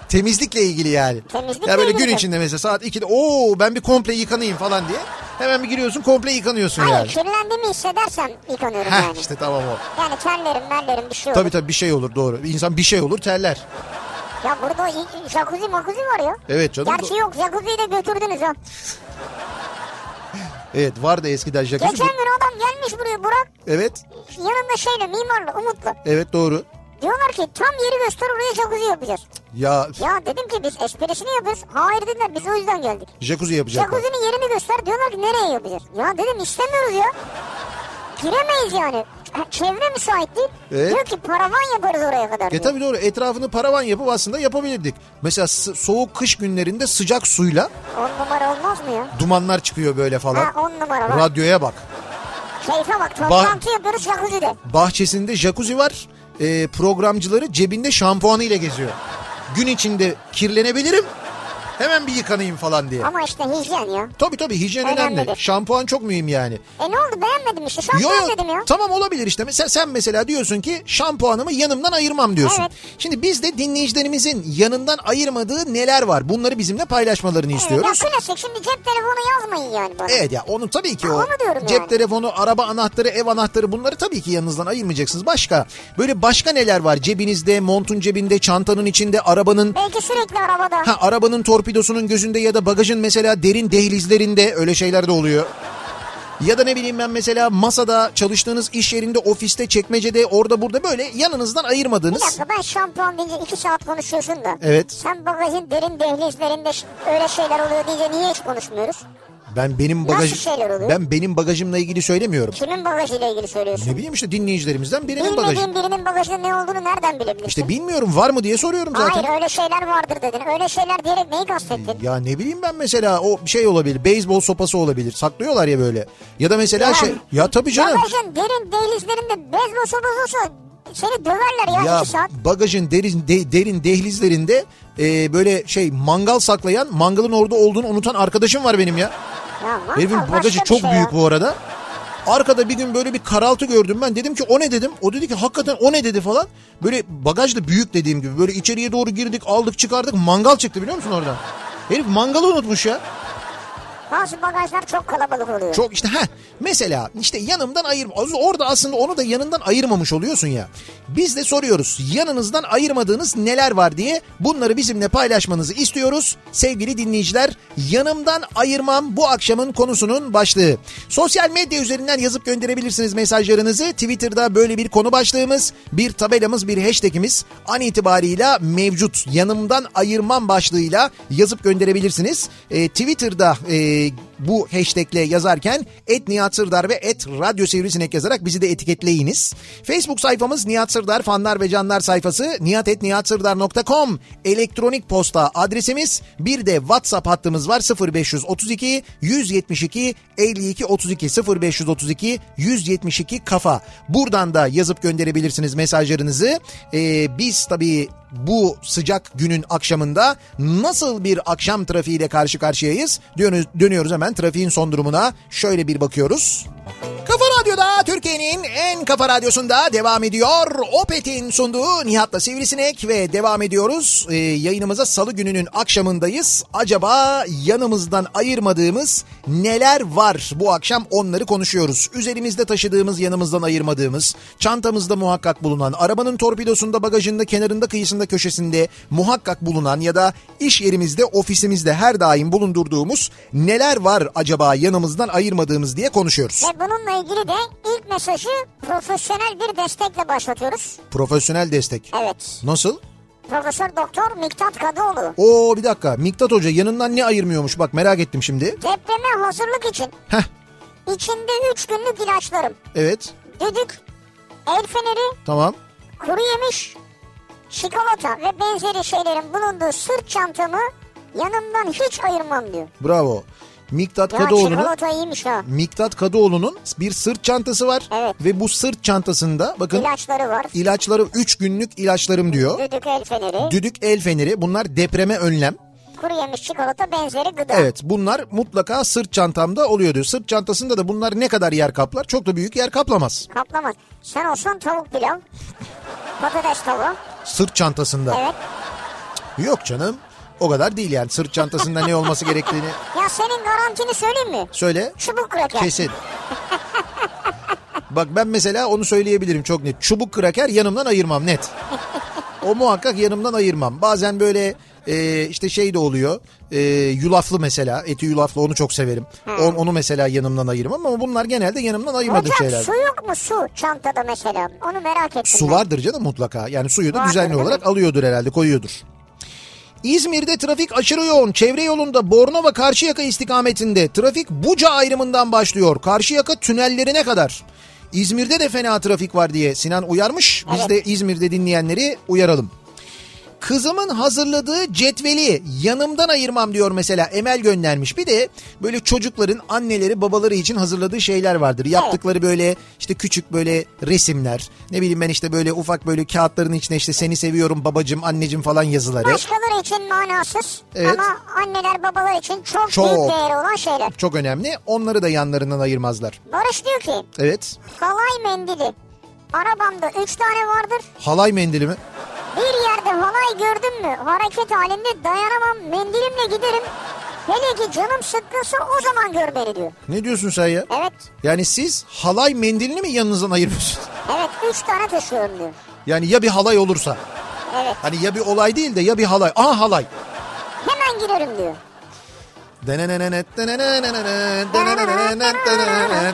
Speaker 1: Temizlikle ilgili yani.
Speaker 2: Temizlikle
Speaker 1: ya böyle gün
Speaker 2: ilgili.
Speaker 1: içinde mesela saat 2'de ooo ben bir komple yıkanayım falan diye. Hemen bir giriyorsun komple yıkanıyorsun
Speaker 2: Hayır
Speaker 1: yani.
Speaker 2: kirlendiğimi hissedersem yıkanıyorum
Speaker 1: Heh
Speaker 2: yani.
Speaker 1: işte tamam o.
Speaker 2: Yani terlerim, merlerim bir şey olur.
Speaker 1: Tabii tabii bir şey olur doğru. İnsan bir şey olur terler.
Speaker 2: Ya burada i- i- jacuzzi makuzi var ya.
Speaker 1: Evet canım.
Speaker 2: Gerçi yok jacuzziyi de götürdünüz ha.
Speaker 1: Evet vardı eskiden jacuzzi.
Speaker 2: Geçen gün adam gelmiş buraya Burak.
Speaker 1: Evet.
Speaker 2: Yanında şeyle mimarla Umut'la.
Speaker 1: Evet doğru.
Speaker 2: Diyorlar ki tam yeri göster oraya jacuzzi yapacağız.
Speaker 1: Ya
Speaker 2: Ya dedim ki biz esprisini yapıyoruz. Hayır dediler biz o yüzden geldik.
Speaker 1: jacuzzi yapacaklar.
Speaker 2: Jacuzzi'nin yerini göster diyorlar ki nereye yapacağız? Ya dedim istemiyoruz ya. Giremeyiz yani. Ha, Çevre müsait değil.
Speaker 1: Evet.
Speaker 2: Diyor ki paravan yaparız oraya kadar.
Speaker 1: E
Speaker 2: diyor.
Speaker 1: tabii doğru etrafını paravan yapıp aslında yapabilirdik. Mesela sı- soğuk kış günlerinde sıcak suyla
Speaker 2: On numara olmaz mı ya?
Speaker 1: dumanlar çıkıyor böyle falan.
Speaker 2: Ha, on numara bak.
Speaker 1: Radyoya bak.
Speaker 2: Keyfe bak toplantı yapıyoruz jacuzzi'de.
Speaker 1: Bahçesinde jacuzzi var. E, programcıları cebinde şampuanıyla geziyor. Gün içinde kirlenebilirim. Hemen bir yıkanayım falan diye.
Speaker 2: Ama işte hijyen ya.
Speaker 1: Tabii tabii hijyen
Speaker 2: Önemlidir.
Speaker 1: önemli. Şampuan çok mühim yani.
Speaker 2: E ne oldu beğenmedim işte
Speaker 1: Yo,
Speaker 2: şampuan
Speaker 1: yo,
Speaker 2: dedim ya.
Speaker 1: Tamam olabilir işte. Mesela sen mesela diyorsun ki şampuanımı yanımdan ayırmam diyorsun.
Speaker 2: Evet.
Speaker 1: Şimdi biz de dinleyicilerimizin yanından ayırmadığı neler var? Bunları bizimle paylaşmalarını
Speaker 2: Evet, ya
Speaker 1: istiyoruz. E?
Speaker 2: klasik şimdi cep telefonu yazmayın yani bana.
Speaker 1: Evet ya onu tabii ki
Speaker 2: Ha,
Speaker 1: o
Speaker 2: onu diyorum
Speaker 1: cep
Speaker 2: yani.
Speaker 1: telefonu, araba anahtarı, ev anahtarı bunları tabii ki yanınızdan ayırmayacaksınız. Başka böyle başka neler var? Cebinizde, montun cebinde, çantanın içinde, arabanın
Speaker 2: Belki sürekli arabada.
Speaker 1: ha arabanın torpidosunun gözünde ya da bagajın mesela derin dehlizlerinde öyle şeyler de oluyor. Ya da ne bileyim ben mesela masada çalıştığınız iş yerinde ofiste çekmecede orada burada böyle yanınızdan
Speaker 2: Bir
Speaker 1: ayırmadığınız.
Speaker 2: dakika ben şampuan deyince iki saat konuşuyorsun da.
Speaker 1: Evet.
Speaker 2: Sen bagajın derin dehlizlerinde ş- öyle şeyler oluyor deyince niye hiç konuşmuyoruz?
Speaker 1: Ben benim
Speaker 2: Nasıl
Speaker 1: bagaj
Speaker 2: şeyler oluyor?
Speaker 1: ben benim bagajımla ilgili söylemiyorum.
Speaker 2: Kimin bagajıyla ilgili söylüyorsun?
Speaker 1: Ne bileyim işte dinleyicilerimizden birinin bagajı.
Speaker 2: Bilmediğin birinin bagajının ne olduğunu nereden bilebilirsin?
Speaker 1: İşte bilmiyorum var mı diye soruyorum zaten. Ee,
Speaker 2: Hayır öyle şeyler vardır dedin. Öyle şeyler diyerek neyi kastettin?
Speaker 1: Ya ne bileyim ben mesela o şey olabilir. Beyzbol sopası olabilir. Saklıyorlar ya böyle. Ya da mesela
Speaker 2: Ya.
Speaker 1: şey ya tabii canım.
Speaker 2: Bagajın derin dehlizlerinde bezbol sopası olsa seni döverler ya,
Speaker 1: Ya
Speaker 2: iki saat.
Speaker 1: bagajın derin de- derin dehlizlerinde e, böyle şey mangal saklayan mangalın orada olduğunu unutan arkadaşım var benim ya.
Speaker 2: Ya vallahi
Speaker 1: Herifin
Speaker 2: başka
Speaker 1: bagajı
Speaker 2: bir
Speaker 1: çok
Speaker 2: şey ya.
Speaker 1: büyük bu arada. Arkada bir gün böyle bir karaltı gördüm ben. Dedim ki o ne dedim. O dedi ki hakikaten o ne dedi falan. Böyle bagaj da büyük dediğim gibi. Böyle içeriye doğru girdik aldık çıkardık mangal çıktı biliyor musun oradan? Herif mangalı unutmuş ya.
Speaker 2: Bazı bagajlar çok kalabalık oluyor.
Speaker 1: Çok işte ha mesela işte yanımdan ayırma. Orada aslında onu da yanından ayırmamış oluyorsun ya. Biz de soruyoruz yanınızdan ayırmadığınız neler var diye bunları bizimle paylaşmanızı istiyoruz. Sevgili dinleyiciler yanımdan ayırmam bu akşamın konusunun başlığı. Sosyal medya üzerinden yazıp gönderebilirsiniz mesajlarınızı. Twitter'da böyle bir konu başlığımız, bir tabelamız, bir hashtagimiz an itibarıyla mevcut. Yanımdan ayırmam başlığıyla yazıp gönderebilirsiniz. Ee, Twitter'da e, bu hashtagle yazarken et Nihat Sırdar ve et Radyo Sivrisinek yazarak bizi de etiketleyiniz. Facebook sayfamız Nihat Sırdar fanlar ve canlar sayfası nihatetnihatsırdar.com elektronik posta adresimiz bir de WhatsApp hattımız var 0532 172 52 32 0532 172 kafa. Buradan da yazıp gönderebilirsiniz mesajlarınızı. Ee, biz tabii bu sıcak günün akşamında nasıl bir akşam trafiğiyle karşı karşıyayız? Dönüyoruz, dönüyoruz hemen trafiğin son durumuna şöyle bir bakıyoruz. Kafa Radyo'da Türkiye'nin en kafa radyosunda devam ediyor. Opet'in sunduğu Nihat'la Sivrisinek ve devam ediyoruz. Ee, yayınımıza salı gününün akşamındayız. Acaba yanımızdan ayırmadığımız neler var? Bu akşam onları konuşuyoruz. Üzerimizde taşıdığımız, yanımızdan ayırmadığımız, çantamızda muhakkak bulunan, arabanın torpidosunda, bagajında, kenarında, kıyısında, köşesinde muhakkak bulunan ya da iş yerimizde, ofisimizde her daim bulundurduğumuz neler var acaba yanımızdan ayırmadığımız diye konuşuyoruz.
Speaker 2: Ve bununla ilgili de ilk mesajı profesyonel bir destekle başlatıyoruz.
Speaker 1: Profesyonel destek.
Speaker 2: Evet.
Speaker 1: Nasıl?
Speaker 2: Profesör Doktor Miktat Kadıoğlu.
Speaker 1: Oo bir dakika. Miktat Hoca yanından ne ayırmıyormuş? Bak merak ettim şimdi.
Speaker 2: Depreme hazırlık için
Speaker 1: Heh.
Speaker 2: içinde 3 günlük ilaçlarım.
Speaker 1: Evet.
Speaker 2: Düdük, el feneri,
Speaker 1: Tamam.
Speaker 2: kuru yemiş, çikolata ve benzeri şeylerin bulunduğu sırt çantamı yanımdan hiç ayırmam diyor.
Speaker 1: Bravo. Miktat
Speaker 2: Ya
Speaker 1: Kadıoğlu'nun
Speaker 2: çikolata iyiymiş ha.
Speaker 1: Miktat Kadıoğlu'nun bir sırt çantası var
Speaker 2: Evet.
Speaker 1: ve bu sırt çantasında bakın
Speaker 2: İlaçları var.
Speaker 1: ilaçlarım 3 günlük ilaçlarım diyor.
Speaker 2: Düdük el feneri.
Speaker 1: Düdük el feneri bunlar depreme önlem.
Speaker 2: kuru yemiş çikolata benzeri gıda.
Speaker 1: Evet bunlar mutlaka sırt çantamda oluyordu. Sırt çantasında da bunlar ne kadar yer kaplar? Çok da büyük yer kaplamaz.
Speaker 2: Kaplamaz. Sen olsan tavuk pilav. Patates tavuğu.
Speaker 1: Sırt çantasında.
Speaker 2: Evet.
Speaker 1: Yok canım. O kadar değil yani. Sırt çantasında ne olması gerektiğini
Speaker 2: Ya senin garantini söyleyeyim mi?
Speaker 1: söyle.
Speaker 2: Çubuk kraker.
Speaker 1: Kesin. Bak ben mesela onu söyleyebilirim çok net. Çubuk kraker yanımdan ayırmam net. O muhakkak yanımdan ayırmam. Bazen böyle e, işte şey de oluyor. E, yulaflı mesela. Eti yulaflı onu çok severim. On- onu mesela yanımdan ayırmam ama bunlar genelde yanımdan ayırmadığım
Speaker 2: Hocam
Speaker 1: şeyler.
Speaker 2: su yok mu su çantada mesela? Onu merak ettim.
Speaker 1: Su
Speaker 2: ben.
Speaker 1: vardır canım mutlaka. Yani suyu da
Speaker 2: Vardır,
Speaker 1: düzenli
Speaker 2: değil mi?
Speaker 1: olarak alıyordur herhalde koyuyordur. İzmir'de trafik aşırı yoğun. Çevre yolunda Bornova Karşıyaka istikametinde trafik Buca ayrımından başlıyor. Karşıyaka tünellerine kadar. İzmir'de de fena trafik var diye Sinan uyarmış. Biz
Speaker 2: Evet.
Speaker 1: de İzmir'de dinleyenleri uyaralım. Kızımın hazırladığı cetveli yanımdan ayırmam diyor mesela Emel göndermiş. Bir de böyle çocukların anneleri babaları için hazırladığı şeyler vardır. Yaptıkları böyle işte küçük böyle resimler. Ne bileyim ben işte böyle ufak böyle kağıtların içine işte seni seviyorum babacım anneciğim falan yazıları.
Speaker 2: Başkaları için manasız
Speaker 1: Evet.
Speaker 2: ama anneler babalar için çok,
Speaker 1: Çok.
Speaker 2: büyük değeri olan şeyler.
Speaker 1: Çok önemli. Onları da yanlarından ayırmazlar.
Speaker 2: Barış diyor ki
Speaker 1: Evet.
Speaker 2: halay mendili arabamda 3 tane vardır.
Speaker 1: Halay mendili mi?
Speaker 2: Bir yerde halay gördüm mü hareket halinde dayanamam mendilimle giderim. Hele ki canım sıkkınsa o zaman gör beni diyor.
Speaker 1: Ne diyorsun sen ya?
Speaker 2: Evet.
Speaker 1: Yani siz halay mendilini mi yanınızdan ayırıyorsunuz?
Speaker 2: Evet 3 tane taşıyorum diyor.
Speaker 1: Yani ya bir halay olursa.
Speaker 2: Evet.
Speaker 1: Hani ya bir olay değil de ya bir halay. Aha halay.
Speaker 2: Hemen giderim diyor.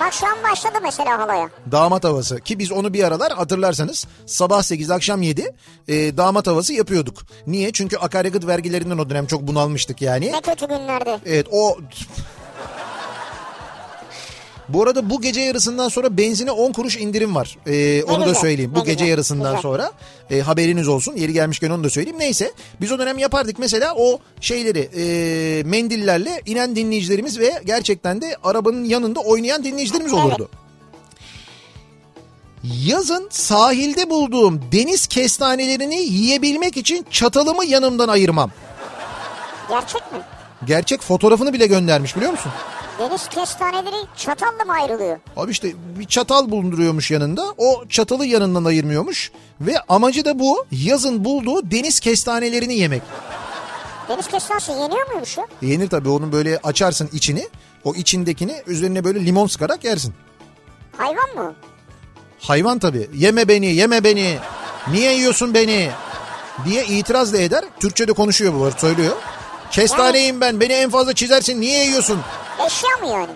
Speaker 2: Bak şu an başladı mesela halaya.
Speaker 1: Damat havası ki biz onu bir aralar hatırlarsanız sabah 8 akşam 7 e, damat havası yapıyorduk. Niye? Çünkü akaryakıt vergilerinden o dönem çok bunalmıştık yani.
Speaker 2: Ne kötü günlerde.
Speaker 1: Evet o... Bu arada bu gece yarısından sonra benzine 10 kuruş indirim var. Ee, onu da
Speaker 2: güzel,
Speaker 1: söyleyeyim. Bu
Speaker 2: ne
Speaker 1: gece
Speaker 2: güzel,
Speaker 1: yarısından
Speaker 2: güzel.
Speaker 1: sonra e, haberiniz olsun. Yeri gelmişken onu da söyleyeyim. Neyse biz o dönem yapardık. Mesela o şeyleri e, mendillerle inen dinleyicilerimiz ve gerçekten de arabanın yanında oynayan dinleyicilerimiz olurdu. Yazın sahilde bulduğum deniz kestanelerini yiyebilmek için çatalımı yanımdan ayırmam.
Speaker 2: Gerçek mi?
Speaker 1: Gerçek fotoğrafını bile göndermiş biliyor musun?
Speaker 2: Deniz kestaneleri çatalla mı ayrılıyor?
Speaker 1: Abi işte bir çatal bulunduruyormuş yanında. O çatalı yanından ayırmıyormuş. Ve amacı da bu. Yazın bulduğu deniz kestanelerini yemek.
Speaker 2: Deniz kestanesi yeniyor muymuş ya?
Speaker 1: Yenir tabii onun böyle açarsın içini. O içindekini üzerine böyle limon sıkarak yersin.
Speaker 2: Hayvan mı?
Speaker 1: Hayvan tabii. Yeme beni, yeme beni. Niye yiyorsun beni? Diye itiraz da eder. Türkçe de konuşuyor bu arada söylüyor. Kestaneyim ben. Beni en fazla çizersin. Niye yiyorsun?
Speaker 2: Eşya mı yani?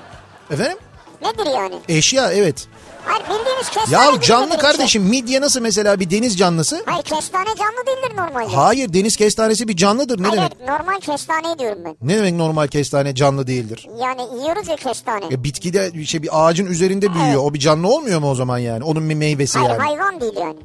Speaker 1: Efendim?
Speaker 2: Nedir yani?
Speaker 1: Eşya evet.
Speaker 2: Hayır bildiğimiz kestane
Speaker 1: Ya
Speaker 2: gibi
Speaker 1: canlı
Speaker 2: midir içi?
Speaker 1: kardeşim midye nasıl mesela bir deniz canlısı?
Speaker 2: Hayır kestane canlı değildir normalde.
Speaker 1: Hayır deniz kestanesi bir canlıdır ne
Speaker 2: Hayır
Speaker 1: demek?
Speaker 2: normal kestane diyorum ben.
Speaker 1: Ne demek normal kestane canlı değildir?
Speaker 2: Yani yiyoruz ya kestane.
Speaker 1: Ya bitkide bir şey bir ağacın üzerinde büyüyor.
Speaker 2: Evet.
Speaker 1: O bir canlı olmuyor mu o zaman yani? Onun bir meyvesi
Speaker 2: Hayır
Speaker 1: yani.
Speaker 2: hayvan değil yani.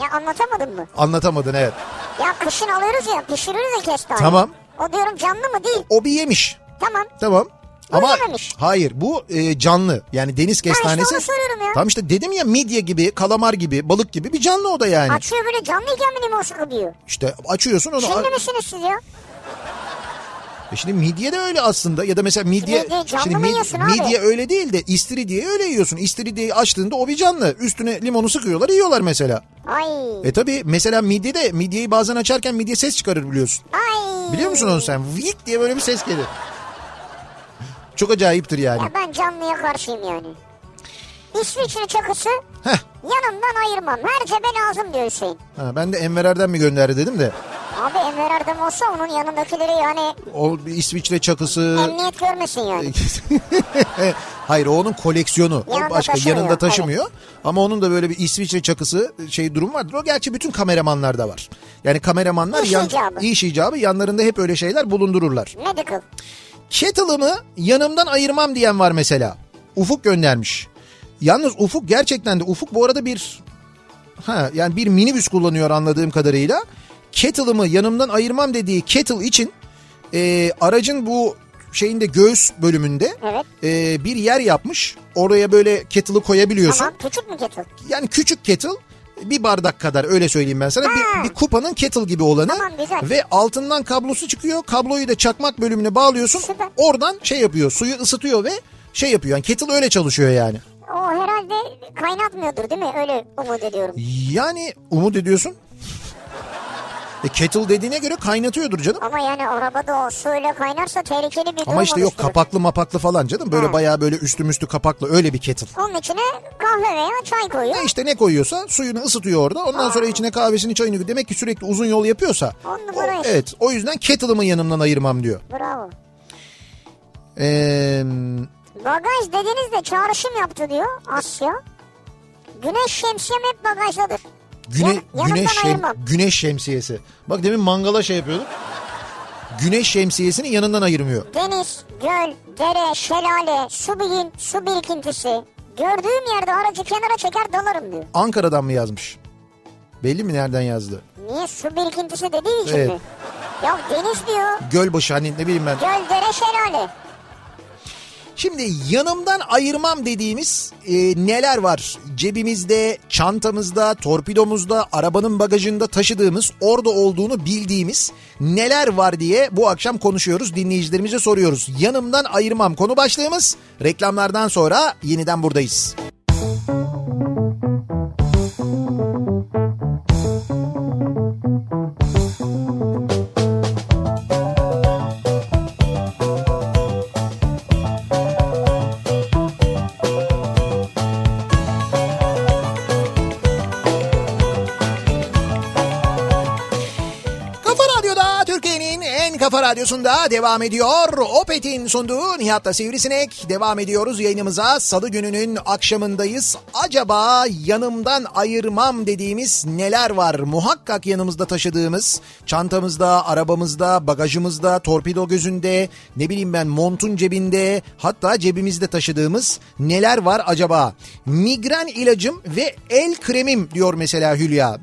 Speaker 2: Ya anlatamadın mı?
Speaker 1: Anlatamadın evet.
Speaker 2: Ya kışın alıyoruz ya pişiririz ya kestane.
Speaker 1: Tamam.
Speaker 2: O diyorum canlı mı değil.
Speaker 1: O bir yemiş.
Speaker 2: Tamam.
Speaker 1: Tamam. Ama
Speaker 2: yememiş.
Speaker 1: hayır bu e, canlı yani deniz kestanesi.
Speaker 2: onu soruyorum ya.
Speaker 1: Tamam işte dedim ya midye gibi, kalamar gibi, balık gibi bir canlı o da yani.
Speaker 2: Açıyor böyle canlıyken mi limon sıkı diyor.
Speaker 1: işte açıyorsun onu.
Speaker 2: Şimdi misiniz siz ya?
Speaker 1: E Şimdi midye de öyle aslında ya da mesela midye
Speaker 2: Midye canlı
Speaker 1: şimdi
Speaker 2: mı yiyorsun abi?
Speaker 1: midye öyle değil de istiridyeyi öyle yiyorsun. İstiridyeyi açtığında o bir canlı. Üstüne limonu sıkıyorlar, yiyorlar mesela.
Speaker 2: Ay.
Speaker 1: E tabi mesela midye de midyeyi bazen açarken midye ses çıkarır biliyorsun.
Speaker 2: Ay.
Speaker 1: Biliyor musun onu sen? Vik diye böyle bir ses gelir. Çok acayiptir yani.
Speaker 2: Ya ben canlıya karşıyım yani. İsviçre çakısı
Speaker 1: Heh.
Speaker 2: yanımdan ayırmam. Her cebe lazım diyor Hüseyin.
Speaker 1: Ha, ben de Enver Erdem mi gönderdi dedim de.
Speaker 2: Abi Enver Erdem olsa onun yanındakileri yani
Speaker 1: O bir İsviçre çakısı.
Speaker 2: emniyet görmesin yani.
Speaker 1: Hayır o onun koleksiyonu. O
Speaker 2: Yanında
Speaker 1: başka
Speaker 2: taşımıyor,
Speaker 1: yanında taşımıyor. Ama onun da böyle bir İsviçre çakısı şey durum vardır. O gerçi bütün kameramanlarda var. Yani kameramanlar
Speaker 2: İş icabı.
Speaker 1: iş icabı yanlarında hep öyle şeyler bulundururlar.
Speaker 2: Medical.
Speaker 1: Kettle'ımı yanımdan ayırmam diyen var mesela. Ufuk göndermiş. Yalnız Ufuk gerçekten de Ufuk bu arada bir ha yani bir minibüs kullanıyor anladığım kadarıyla. Kettle'ımı yanımdan ayırmam dediği kettle için e, aracın bu şeyinde göğüs bölümünde
Speaker 2: Evet.
Speaker 1: e, bir yer yapmış. Oraya böyle kettle'ı koyabiliyorsun.
Speaker 2: Tamam küçük mü kettle?
Speaker 1: Yani küçük kettle bir bardak kadar öyle söyleyeyim ben sana. Bir,
Speaker 2: Ha.
Speaker 1: bir kupanın kettle gibi olanı
Speaker 2: Hmm. Tamam, güzel.
Speaker 1: ve altından kablosu çıkıyor. Kabloyu da çakmak bölümüne bağlıyorsun.
Speaker 2: Süper.
Speaker 1: Oradan şey yapıyor suyu ısıtıyor ve şey yapıyor. Yani kettle öyle çalışıyor yani.
Speaker 2: O herhalde kaynatmıyordur değil mi? Öyle umut ediyorum.
Speaker 1: Yani umut ediyorsun. E, kettle dediğine göre kaynatıyordur canım.
Speaker 2: Ama yani arabada o suyla kaynarsa tehlikeli bir durum
Speaker 1: Ama işte yok
Speaker 2: oluşturur.
Speaker 1: kapaklı mapaklı falan canım. Böyle
Speaker 2: Ha.
Speaker 1: bayağı böyle üstü müstü kapaklı öyle bir kettle.
Speaker 2: Onun içine kahve veya çay
Speaker 1: E
Speaker 2: koyuyor.
Speaker 1: işte ne koyuyorsa suyunu ısıtıyor orada. Ondan sonra içine kahvesini çayını demek ki sürekli uzun yol yapıyorsa.
Speaker 2: On
Speaker 1: O,
Speaker 2: numara iş.
Speaker 1: evet o yüzden kettle'ımı yanımdan ayırmam diyor.
Speaker 2: Bravo.
Speaker 1: Ee,
Speaker 2: Bagaj dediniz de çağrışım yaptı diyor Asya. Güneş şemsiyem hep bagajdadır.
Speaker 1: güne,
Speaker 2: Yan-
Speaker 1: güneş,
Speaker 2: yanından
Speaker 1: şem-
Speaker 2: ayırmam.
Speaker 1: güneş şemsiyesi. Bak demin mangala şey yapıyorduk. Güneş şemsiyesini yanından ayırmıyor.
Speaker 2: Deniz, göl, dere, şelale, su birin, su birikintisi. Gördüğüm yerde aracı kenara çeker dalarım diyor.
Speaker 1: Ankara'dan mı yazmış? Belli mi nereden yazdı?
Speaker 2: Niye su birikintisi dediği için
Speaker 1: Evet.
Speaker 2: mi? Ya deniz diyor,
Speaker 1: Gölbaşı hani ne bileyim ben.
Speaker 2: göl, dere, şelale.
Speaker 1: Şimdi yanımdan ayırmam dediğimiz e, neler var? Cebimizde, çantamızda, torpidomuzda, arabanın bagajında taşıdığımız, orada olduğunu bildiğimiz neler var diye bu akşam konuşuyoruz. Dinleyicilerimize soruyoruz. Yanımdan ayırmam konu başlığımız. Reklamlardan sonra yeniden buradayız. Kafa Radyo'da Türkiye'nin en kafa radyosunda devam ediyor. Opet'in sunduğu Nihat'la Sivrisinek. Devam ediyoruz yayınımıza. Salı gününün akşamındayız. Acaba yanımdan ayırmam dediğimiz neler var? Muhakkak yanımızda taşıdığımız, çantamızda, arabamızda, bagajımızda, torpido gözünde, ne bileyim ben montun cebinde, hatta cebimizde taşıdığımız neler var acaba? Migren ilacım ve el kremim diyor mesela Hülya.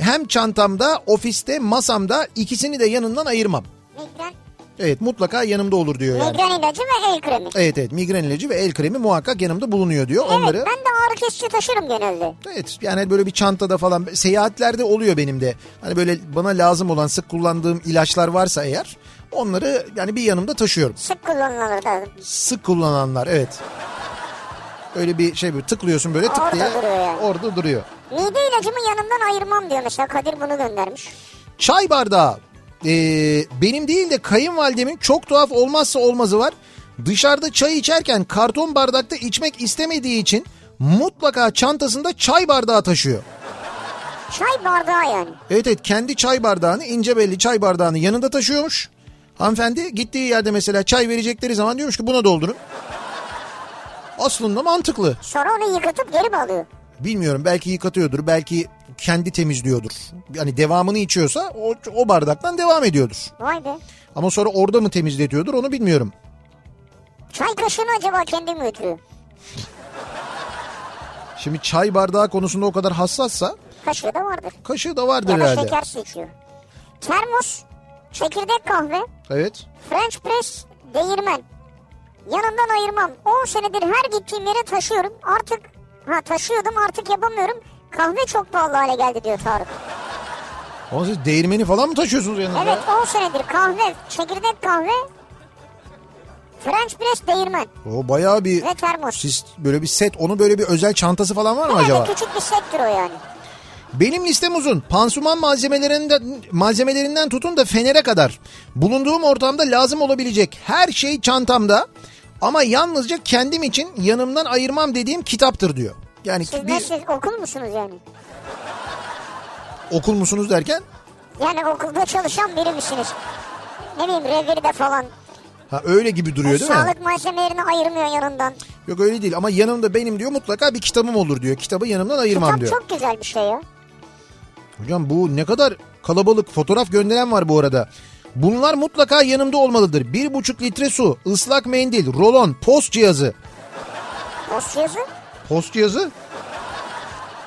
Speaker 1: Hem çantamda, ofiste, masamda ikisini de yanından ayırmam.
Speaker 2: Migren,
Speaker 1: Evet mutlaka yanımda olur diyor yani.
Speaker 2: migren ilacı ve el kremi.
Speaker 1: Evet evet migren ilacı ve el kremi muhakkak yanımda bulunuyor diyor onları.
Speaker 2: Evet ben de ağrı kesici taşırım genelde.
Speaker 1: Evet yani böyle bir çantada falan seyahatlerde oluyor benim de. Hani böyle bana lazım olan sık kullandığım ilaçlar varsa eğer onları yani bir yanımda taşıyorum.
Speaker 2: Sık kullanılır da
Speaker 1: Sık kullananlar evet. Öyle bir şey böyle tıklıyorsun böyle tık
Speaker 2: Orada
Speaker 1: diye
Speaker 2: duruyor yani.
Speaker 1: orada duruyor.
Speaker 2: Mide ilacımı yanımdan ayırmam diyor mesela Kadir bunu göndermiş.
Speaker 1: Çay bardağı. Ee, benim değil de kayınvalidemin çok tuhaf olmazsa olmazı var. Dışarıda çay içerken karton bardakta içmek istemediği için mutlaka çantasında çay bardağı taşıyor.
Speaker 2: Çay bardağı yani.
Speaker 1: Evet evet kendi çay bardağını ince belli çay bardağını yanında taşıyormuş. Hanımefendi gittiği yerde mesela çay verecekleri zaman diyormuş ki buna doldurun. Aslında mantıklı.
Speaker 2: Sonra onu yıkatıp geri mi alıyor?
Speaker 1: Bilmiyorum belki yıkatıyordur belki kendi temizliyordur. Yani devamını içiyorsa o, o bardaktan devam ediyordur.
Speaker 2: Vay be.
Speaker 1: Ama sonra orada mı temizletiyordur onu bilmiyorum.
Speaker 2: Çay kaşığını acaba kendi mi götürüyor?
Speaker 1: Şimdi çay bardağı konusunda o kadar hassassa
Speaker 2: Kaşığı da vardır.
Speaker 1: kaşığı da vardır
Speaker 2: Ya da
Speaker 1: herhalde.
Speaker 2: şeker su içiyor. Termos, çekirdek kahve,
Speaker 1: Evet.
Speaker 2: French press, değirmen. Yanımdan ayırmam. 10 senedir her gittiğim yere taşıyorum. Artık ha taşıyordum artık yapamıyorum. Kahve çok pahalı hale geldi diyor Tarık.
Speaker 1: Ama siz değirmeni falan mı taşıyorsunuz yanınızda?
Speaker 2: Evet 10 senedir kahve, çekirdek kahve, French press değirmen
Speaker 1: O bayağı bir
Speaker 2: ve termos.
Speaker 1: siz böyle bir set onu böyle bir özel çantası falan var mı
Speaker 2: Herhalde
Speaker 1: acaba?
Speaker 2: küçük bir settir o yani.
Speaker 1: Benim listem uzun. Pansuman malzemelerinden, malzemelerinden tutun da fenere kadar. Bulunduğum ortamda lazım olabilecek her şey çantamda. Ama yalnızca kendim için yanımdan ayırmam dediğim kitaptır diyor. Yani
Speaker 2: Siz
Speaker 1: bir
Speaker 2: nasıl okul musunuz yani?
Speaker 1: okul musunuz derken
Speaker 2: Yani okulda çalışan biri misiniz? Ne bileyim revirde falan.
Speaker 1: ha öyle gibi duruyor değil mi?
Speaker 2: Sağlık malzemelerini ayırmıyor yanından.
Speaker 1: Yok öyle değil ama yanımda benim diyor mutlaka bir kitabım olur diyor. Kitabı yanımdan ayırmam
Speaker 2: Kitap
Speaker 1: diyor.
Speaker 2: çok güzel bir şey ya.
Speaker 1: Hocam bu ne kadar kalabalık fotoğraf gönderen var bu arada. Bunlar mutlaka yanımda olmalıdır. Bir buçuk litre su, ıslak mendil, rolon, post cihazı.
Speaker 2: Post yazı.
Speaker 1: Post cihazı?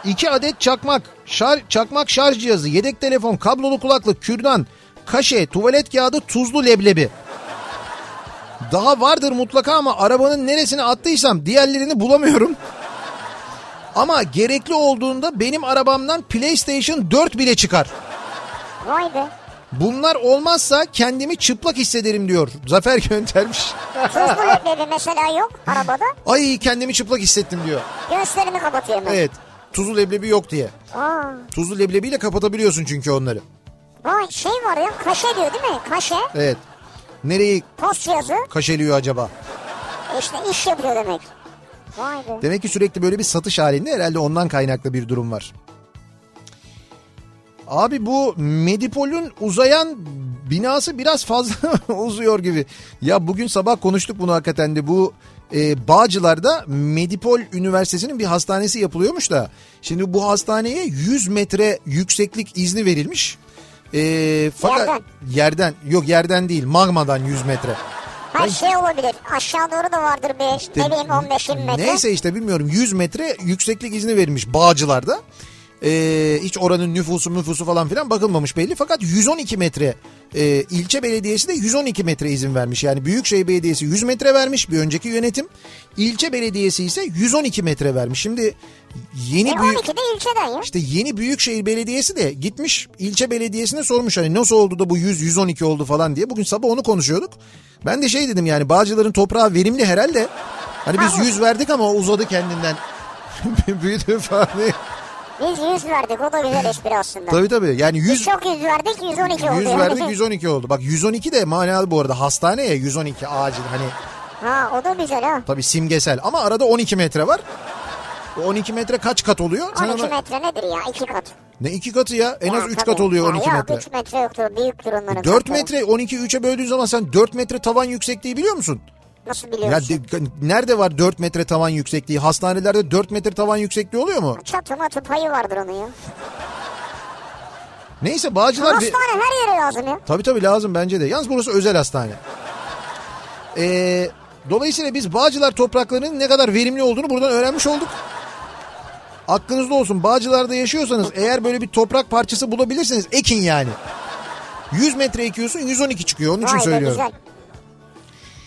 Speaker 1: İki adet çakmak, şar, çakmak şarj cihazı, yedek telefon, kablolu kulaklık, kürdan, kaşe, tuvalet kağıdı, tuzlu leblebi. Daha vardır mutlaka ama arabanın neresine attıysam diğerlerini bulamıyorum. Ama gerekli olduğunda benim arabamdan PlayStation 4 bile çıkar.
Speaker 2: Vay be.
Speaker 1: Bunlar olmazsa kendimi çıplak hissederim diyor. Zafer göndermiş.
Speaker 2: Tuzlu leblebi mesela yok arabada.
Speaker 1: Ay kendimi çıplak hissettim diyor.
Speaker 2: Göğüslerini kapatıyor hemen.
Speaker 1: Evet. Tuzlu leblebi yok diye.
Speaker 2: Aa,
Speaker 1: Tuzlu leblebiyle kapatabiliyorsun çünkü onları.
Speaker 2: vay şey var ya kaşe diyor değil mi? Kaşe.
Speaker 1: Evet. Nereyi
Speaker 2: Post cihazı.
Speaker 1: kaşeliyor acaba?
Speaker 2: işte iş yapıyor demek. Vay be.
Speaker 1: Demek ki sürekli böyle bir satış halinde herhalde ondan kaynaklı bir durum var. Abi bu Medipol'ün uzayan binası biraz fazla uzuyor gibi. Ya bugün sabah konuştuk bunu hakikaten de bu e, Bağcılar'da Medipol Üniversitesi'nin bir hastanesi yapılıyormuş da. Şimdi bu hastaneye 100 metre yükseklik izni verilmiş. E, fakat
Speaker 2: Yerden.
Speaker 1: yerden yok yerden değil magmadan 100 metre.
Speaker 2: Her şey olabilir. Aşağı doğru da vardır bir ne bileyim 15-20 metre.
Speaker 1: Neyse işte bilmiyorum 100 metre yükseklik izni verilmiş Bağcılar'da. Ee, hiç oranın nüfusu nüfusu falan filan bakılmamış belli. Fakat 112 metre e, ilçe belediyesi de 112 metre izin vermiş. Yani Büyükşehir Belediyesi 100 metre vermiş bir önceki yönetim. İlçe belediyesi ise 112 metre vermiş. Şimdi yeni
Speaker 2: E,
Speaker 1: büyük...
Speaker 2: 12 de ilçeden ya.
Speaker 1: İşte yeni Büyükşehir Belediyesi de gitmiş ilçe belediyesine sormuş hani nasıl oldu da bu 100 112 oldu falan diye. Bugün sabah onu konuşuyorduk. Ben de şey dedim yani Bağcılar'ın toprağı verimli herhalde. Hani
Speaker 2: Ha,
Speaker 1: biz 100 verdik ama o uzadı kendinden. Büyüdü falan. diye.
Speaker 2: Biz 100 verdik o da güzel espri aslında.
Speaker 1: tabii tabii. Yani 100
Speaker 2: Çok 100 verdik 112 oldu.
Speaker 1: 100
Speaker 2: yani.
Speaker 1: verdik 112 oldu. Bak 112 de manalı bu arada hastane ya 112 acil hani
Speaker 2: Ha o da güzel ha.
Speaker 1: tabii simgesel ama arada 12 metre var. O 12 metre kaç kat oluyor? Sen
Speaker 2: 12
Speaker 1: ona-
Speaker 2: metre nedir ya? 2 kat.
Speaker 1: Ne iki katı ya? En az
Speaker 2: Ya
Speaker 1: 3
Speaker 2: tabii.
Speaker 1: kat oluyor
Speaker 2: Ha,
Speaker 1: 12
Speaker 2: yok,
Speaker 1: metre.
Speaker 2: Yok 3 metre yoktur. Büyüktür onların.
Speaker 1: 4
Speaker 2: katları.
Speaker 1: metre 12 3'e böldüğün zaman sen 4 metre tavan yüksekliği biliyor musun?
Speaker 2: Nasıl
Speaker 1: Ya
Speaker 2: biliyorsun?
Speaker 1: de- hani nerede var 4 metre tavan yüksekliği? Hastanelerde 4 metre tavan yüksekliği oluyor mu?
Speaker 2: Çatı matı payı vardır onun ya.
Speaker 1: Neyse Bağcılar... bir-
Speaker 2: Hastane her yere lazım ya.
Speaker 1: Tabii tabii lazım bence de. Yalnız burası özel hastane. Ee, dolayısıyla biz Bağcılar topraklarının ne kadar verimli olduğunu buradan öğrenmiş olduk. Aklınızda olsun Bağcılar'da yaşıyorsanız eğer böyle bir toprak parçası bulabilirseniz ekin yani. 100 metre ekiyorsun 112 çıkıyor onun için
Speaker 2: Vay be
Speaker 1: söylüyorum.
Speaker 2: güzel.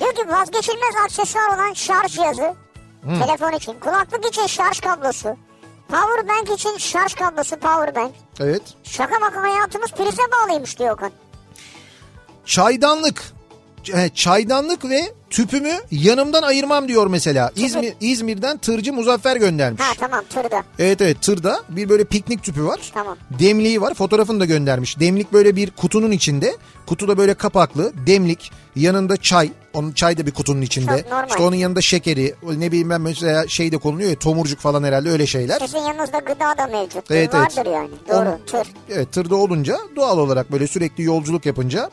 Speaker 2: Diyor ki vazgeçilmez aksesuar olan şarj cihazı.
Speaker 1: Hmm.
Speaker 2: Telefon için. Kulaklık için şarj kablosu. Power bank için şarj kablosu power bank.
Speaker 1: Evet.
Speaker 2: Şaka maka hayatımız prize bağlıymış diyor Okan.
Speaker 1: çaydanlık e, çaydanlık ve tüpümü yanımdan ayırmam diyor mesela. İzmir, İzmir'den tırcı Muzaffer göndermiş.
Speaker 2: Ha tamam tırda.
Speaker 1: Evet evet tırda bir böyle piknik tüpü var.
Speaker 2: Tamam.
Speaker 1: Demliği var fotoğrafını da göndermiş. Demlik böyle bir kutunun içinde. Kutu da böyle kapaklı. Demlik yanında çay. Onun çay da bir kutunun içinde.
Speaker 2: Çok normal.
Speaker 1: İşte onun yanında şekeri. Ne bileyim ben mesela şey de konuluyor ya tomurcuk falan herhalde öyle şeyler.
Speaker 2: Sizin yanınızda gıda da mevcut.
Speaker 1: Evet, evet.
Speaker 2: Vardır yani. Doğru
Speaker 1: Onun-
Speaker 2: tır.
Speaker 1: Evet tırda olunca doğal olarak böyle sürekli yolculuk yapınca.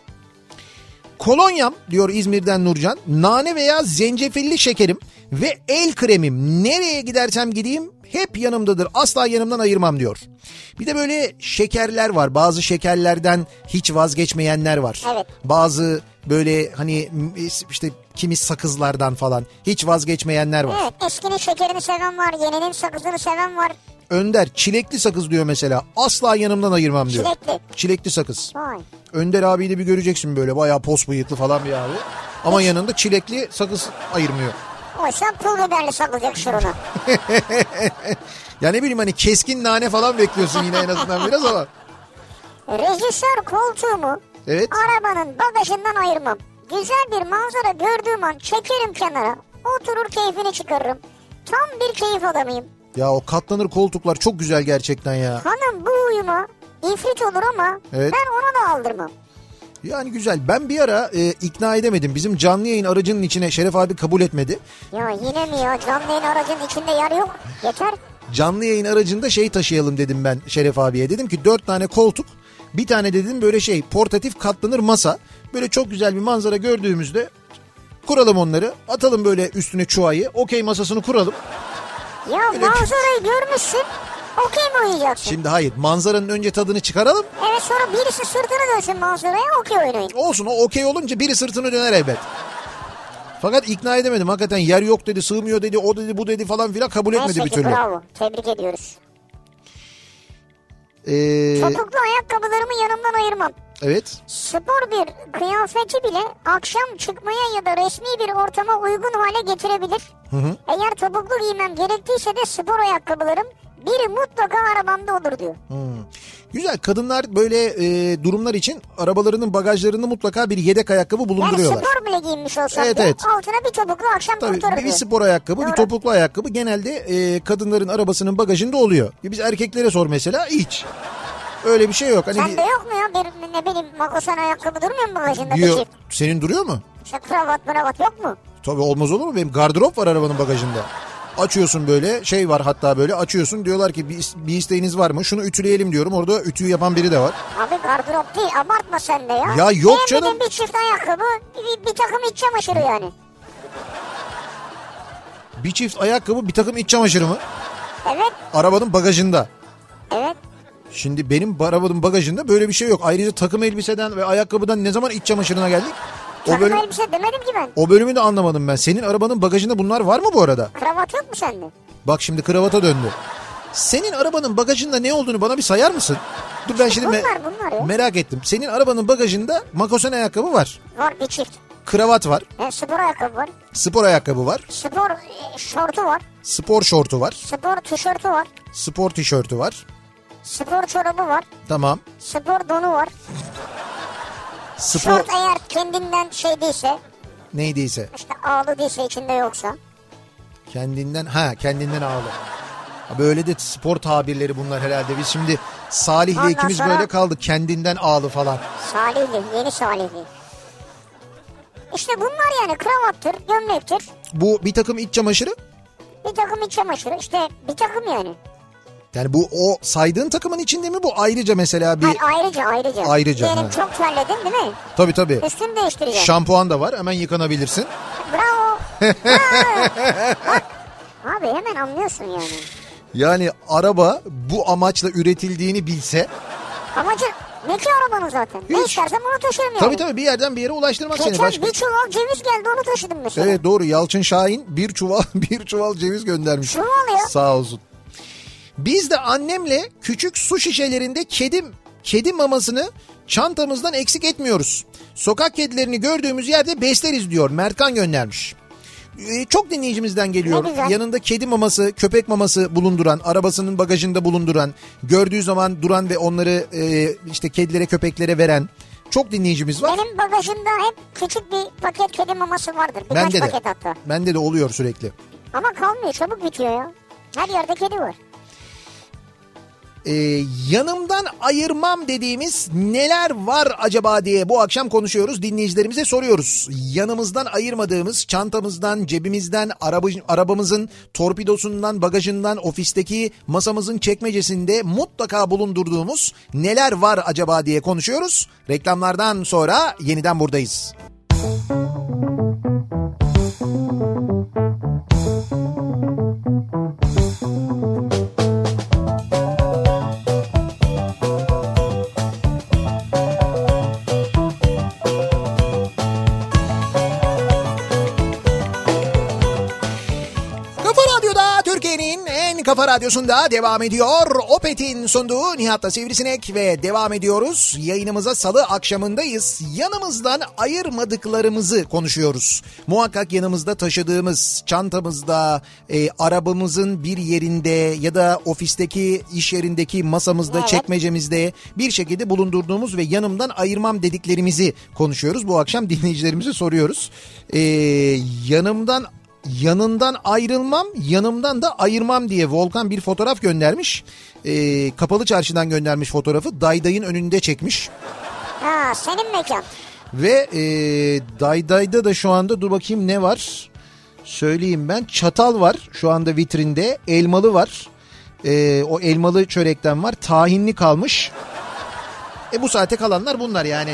Speaker 1: Kolonyam diyor İzmir'den Nurcan. Nane veya zencefilli şekerim ve el kremim nereye gidersem gideyim hep yanımdadır. Asla yanımdan ayırmam diyor. Bir de böyle şekerler var. Bazı şekerlerden hiç vazgeçmeyenler var.
Speaker 2: Evet.
Speaker 1: Bazı böyle hani işte kimi sakızlardan falan hiç vazgeçmeyenler var.
Speaker 2: Evet eskinin şekerini seven var. Yeninin sakızını seven var.
Speaker 1: Önder çilekli sakız diyor mesela. Asla yanımdan ayırmam diyor.
Speaker 2: Çilekli.
Speaker 1: Çilekli sakız.
Speaker 2: Vay.
Speaker 1: Önder abiyi de bir göreceksin böyle bayağı pos bıyıklı falan bir abi. Ama yanında çilekli sakız ayırmıyor.
Speaker 2: Oysa pul biberli sakız yakışır ona.
Speaker 1: Ya ne bileyim hani keskin nane falan bekliyorsun yine en azından biraz ama.
Speaker 2: Rejisör koltuğumu
Speaker 1: Evet.
Speaker 2: arabanın bagajından ayırmam. Güzel bir manzara gördüğüm an çekerim kenara. Oturur keyfini çıkarırım. Tam bir keyif adamıyım.
Speaker 1: Ya o katlanır koltuklar çok güzel gerçekten ya.
Speaker 2: Hanım bu uyuma ifrit olur ama
Speaker 1: Evet.
Speaker 2: ben ona da aldırmam.
Speaker 1: Yani güzel. Ben bir ara e, ikna edemedim. Bizim canlı yayın aracının içine Şeref abi kabul etmedi.
Speaker 2: Ya yine mi ya canlı yayın aracın içinde yer yok. Yeter.
Speaker 1: Canlı yayın aracında şey taşıyalım dedim ben Şeref abiye. Dedim ki dört tane koltuk bir tane dedim böyle şey portatif katlanır masa. Böyle çok güzel bir manzara gördüğümüzde kuralım onları. Atalım böyle üstüne çuayı. Okey masasını kuralım.
Speaker 2: Ya manzarayı görmüşsün. Okey mi oynayacaksın?
Speaker 1: şey. Şimdi hayır manzaranın önce tadını çıkaralım.
Speaker 2: Evet sonra birisi sırtını dönsün manzaraya okey oynayın.
Speaker 1: Olsun o okey olunca biri sırtını döner elbet. Fakat ikna edemedim. Hakikaten yer yok dedi, sığmıyor dedi, o dedi, bu dedi falan filan kabul etmedi
Speaker 2: Neyse
Speaker 1: bir
Speaker 2: ki
Speaker 1: türlü.
Speaker 2: bravo. Tebrik ediyoruz.
Speaker 1: Ee,
Speaker 2: Topuklu ayakkabılarımı yanımdan ayırmam.
Speaker 1: Evet.
Speaker 2: Spor bir kıyafeti bile akşam çıkmaya ya da resmi bir ortama uygun hale getirebilir. Eğer topuklu giymem gerektiyse de spor ayakkabılarım biri mutlaka arabamda olur diyor.
Speaker 1: Hmm. Güzel kadınlar böyle e, durumlar için arabalarının bagajlarında mutlaka bir yedek ayakkabı
Speaker 2: Yani
Speaker 1: bulunduruyorlar.
Speaker 2: spor bile giyinmiş olsam
Speaker 1: Evet,
Speaker 2: bile
Speaker 1: evet.
Speaker 2: altına bir topuklu akşam
Speaker 1: Tabii
Speaker 2: kurtarır
Speaker 1: bir, bir
Speaker 2: diyor.
Speaker 1: spor ayakkabı, bir
Speaker 2: Doğru.
Speaker 1: topuklu ayakkabı genelde e, kadınların arabasının bagajında oluyor. Biz erkeklere sor mesela hiç. Öyle bir şey yok. Hani bir-
Speaker 2: Sende yok mu ya bir ne bileyim makosan ayakkabı durmuyor mu bagajında
Speaker 1: Yo-
Speaker 2: peki?
Speaker 1: Senin duruyor mu?
Speaker 2: İşte kravat mravat yok mu?
Speaker 1: Tabii olmaz olur mu? Benim gardırop var arabanın bagajında. Açıyorsun böyle şey var hatta böyle açıyorsun diyorlar ki bir, is- bir isteğiniz var mı? Şunu ütüleyelim diyorum. Orada ütüyü yapan biri de var.
Speaker 2: Abi gardırop değil abartma sen de ya.
Speaker 1: Ya yok
Speaker 2: Beğenmediğin
Speaker 1: canım.
Speaker 2: bir çift ayakkabı bir, bir takım iç çamaşırı yani.
Speaker 1: Bir çift ayakkabı bir takım iç çamaşırı mı?
Speaker 2: Evet
Speaker 1: Arabanın bagajında.
Speaker 2: evet.
Speaker 1: Şimdi benim arabanın bagajında böyle bir şey yok. Ayrıca takım elbiseden ve ayakkabıdan ne zaman iç çamaşırına geldik? O,
Speaker 2: Takım
Speaker 1: bölüm,
Speaker 2: elbise şey demedim ki ben.
Speaker 1: o bölümü de anlamadım ben. Senin arabanın bagajında bunlar var mı bu arada?
Speaker 2: Kravat yok mu sende?
Speaker 1: Bak şimdi kravata döndü. Senin arabanın bagajında ne olduğunu bana bir sayar mısın? Dur ben şimdi me-
Speaker 2: bunlar, bunlar ya.
Speaker 1: merak ettim. Senin arabanın bagajında makosen ayakkabı var.
Speaker 2: Var bir çift.
Speaker 1: Kravat var.
Speaker 2: E, spor ayakkabı var.
Speaker 1: Spor ayakkabı var.
Speaker 2: Spor e, şortu var.
Speaker 1: Spor şortu var.
Speaker 2: Spor tişörtü var.
Speaker 1: Spor tişörtü var.
Speaker 2: Spor çorabı var.
Speaker 1: Tamam.
Speaker 2: Spor donu var.
Speaker 1: Spor
Speaker 2: Şort eğer kendinden şey değilse
Speaker 1: neydiyse.
Speaker 2: işte ağlı değilse içinde yoksa.
Speaker 1: Kendinden ha kendinden ağlı. Ha, Böyle de spor tabirleri bunlar herhalde. Biz şimdi Salih'le
Speaker 2: Ondan
Speaker 1: ikimiz
Speaker 2: sonra-
Speaker 1: böyle kaldık. Kendinden ağlı falan.
Speaker 2: Salihli, yeni Salihli. İşte bunlar yani kravattır, gömlektir.
Speaker 1: Bu bir takım iç çamaşırı.
Speaker 2: Bir takım iç çamaşırı. İşte bir takım yani.
Speaker 1: Yani bu o saydığın takımın içinde mi bu ayrıca mesela bir
Speaker 2: Hayır, ayrıca ayrıca.
Speaker 1: Ayrıca,
Speaker 2: Diyelim
Speaker 1: ha.
Speaker 2: çok terledin değil mi?
Speaker 1: tabii tabii.
Speaker 2: Üstünü değiştireceksin.
Speaker 1: Şampuan da var. Hemen yıkanabilirsin.
Speaker 2: Bravo. Bak. Abi hemen anlıyorsun yani.
Speaker 1: Yani araba bu amaçla üretildiğini bilse
Speaker 2: Amacı ne ki arabanın zaten? Ne
Speaker 1: Hiç.
Speaker 2: istersen onu taşırım yani.
Speaker 1: tabii tabii bir yerden bir yere ulaştırmak seni.
Speaker 2: Geçen
Speaker 1: Başka...
Speaker 2: bir çuval ceviz geldi onu taşıdım mesela.
Speaker 1: Evet doğru Yalçın Şahin bir çuval bir çuval ceviz göndermiş.
Speaker 2: Çuval ya.
Speaker 1: Sağ olsun. Biz de annemle küçük su şişelerinde kedim kedi mamasını çantamızdan eksik etmiyoruz. Sokak kedilerini gördüğümüz yerde besleriz diyor Mertkan göndermiş. Ee, çok dinleyicimizden geliyor.
Speaker 2: Ne güzel.
Speaker 1: Yanında kedi maması, köpek maması bulunduran, arabasının bagajında bulunduran, gördüğü zaman duran ve onları e, işte kedilere, köpeklere veren çok dinleyicimiz var.
Speaker 2: Benim bagajımda hep küçük bir paket kedi maması vardır. Birkaç
Speaker 1: Bende de.
Speaker 2: paket hatta.
Speaker 1: Bende de oluyor sürekli.
Speaker 2: Ama kalmıyor çabuk bitiyor ya. Her yerde kedi var.
Speaker 1: Ee, yanımdan ayırmam dediğimiz neler var acaba diye bu akşam konuşuyoruz. Dinleyicilerimize soruyoruz. Yanımızdan ayırmadığımız çantamızdan, cebimizden, araba, arabamızın torpidosundan, bagajından, ofisteki masamızın çekmecesinde mutlaka bulundurduğumuz neler var acaba diye konuşuyoruz. Reklamlardan sonra yeniden buradayız. Kafa Radyo'da Türkiye'nin en kafa radyosunda devam ediyor. Opet'in sunduğu Nihat'la Sivrisinek ve devam ediyoruz. Yayınımıza salı akşamındayız. Yanımızdan ayırmadıklarımızı konuşuyoruz. Muhakkak yanımızda taşıdığımız, çantamızda, e, arabamızın bir yerinde ya da ofisteki, iş yerindeki masamızda,
Speaker 2: Evet.
Speaker 1: çekmecemizde bir şekilde bulundurduğumuz ve yanımdan ayırmam dediklerimizi konuşuyoruz. Bu akşam dinleyicilerimize soruyoruz. E, yanımdan yanından ayrılmam yanımdan da ayırmam diye Volkan bir fotoğraf göndermiş. Ee, kapalı çarşıdan göndermiş fotoğrafı Dayday'ın önünde çekmiş.
Speaker 2: Ha senin mekan.
Speaker 1: Ve ee, Dayday'da da şu anda dur bakayım ne var? Söyleyeyim ben çatal var şu anda vitrinde elmalı var. Ee, o elmalı çörekten var tahinli kalmış. E bu saate kalanlar bunlar yani.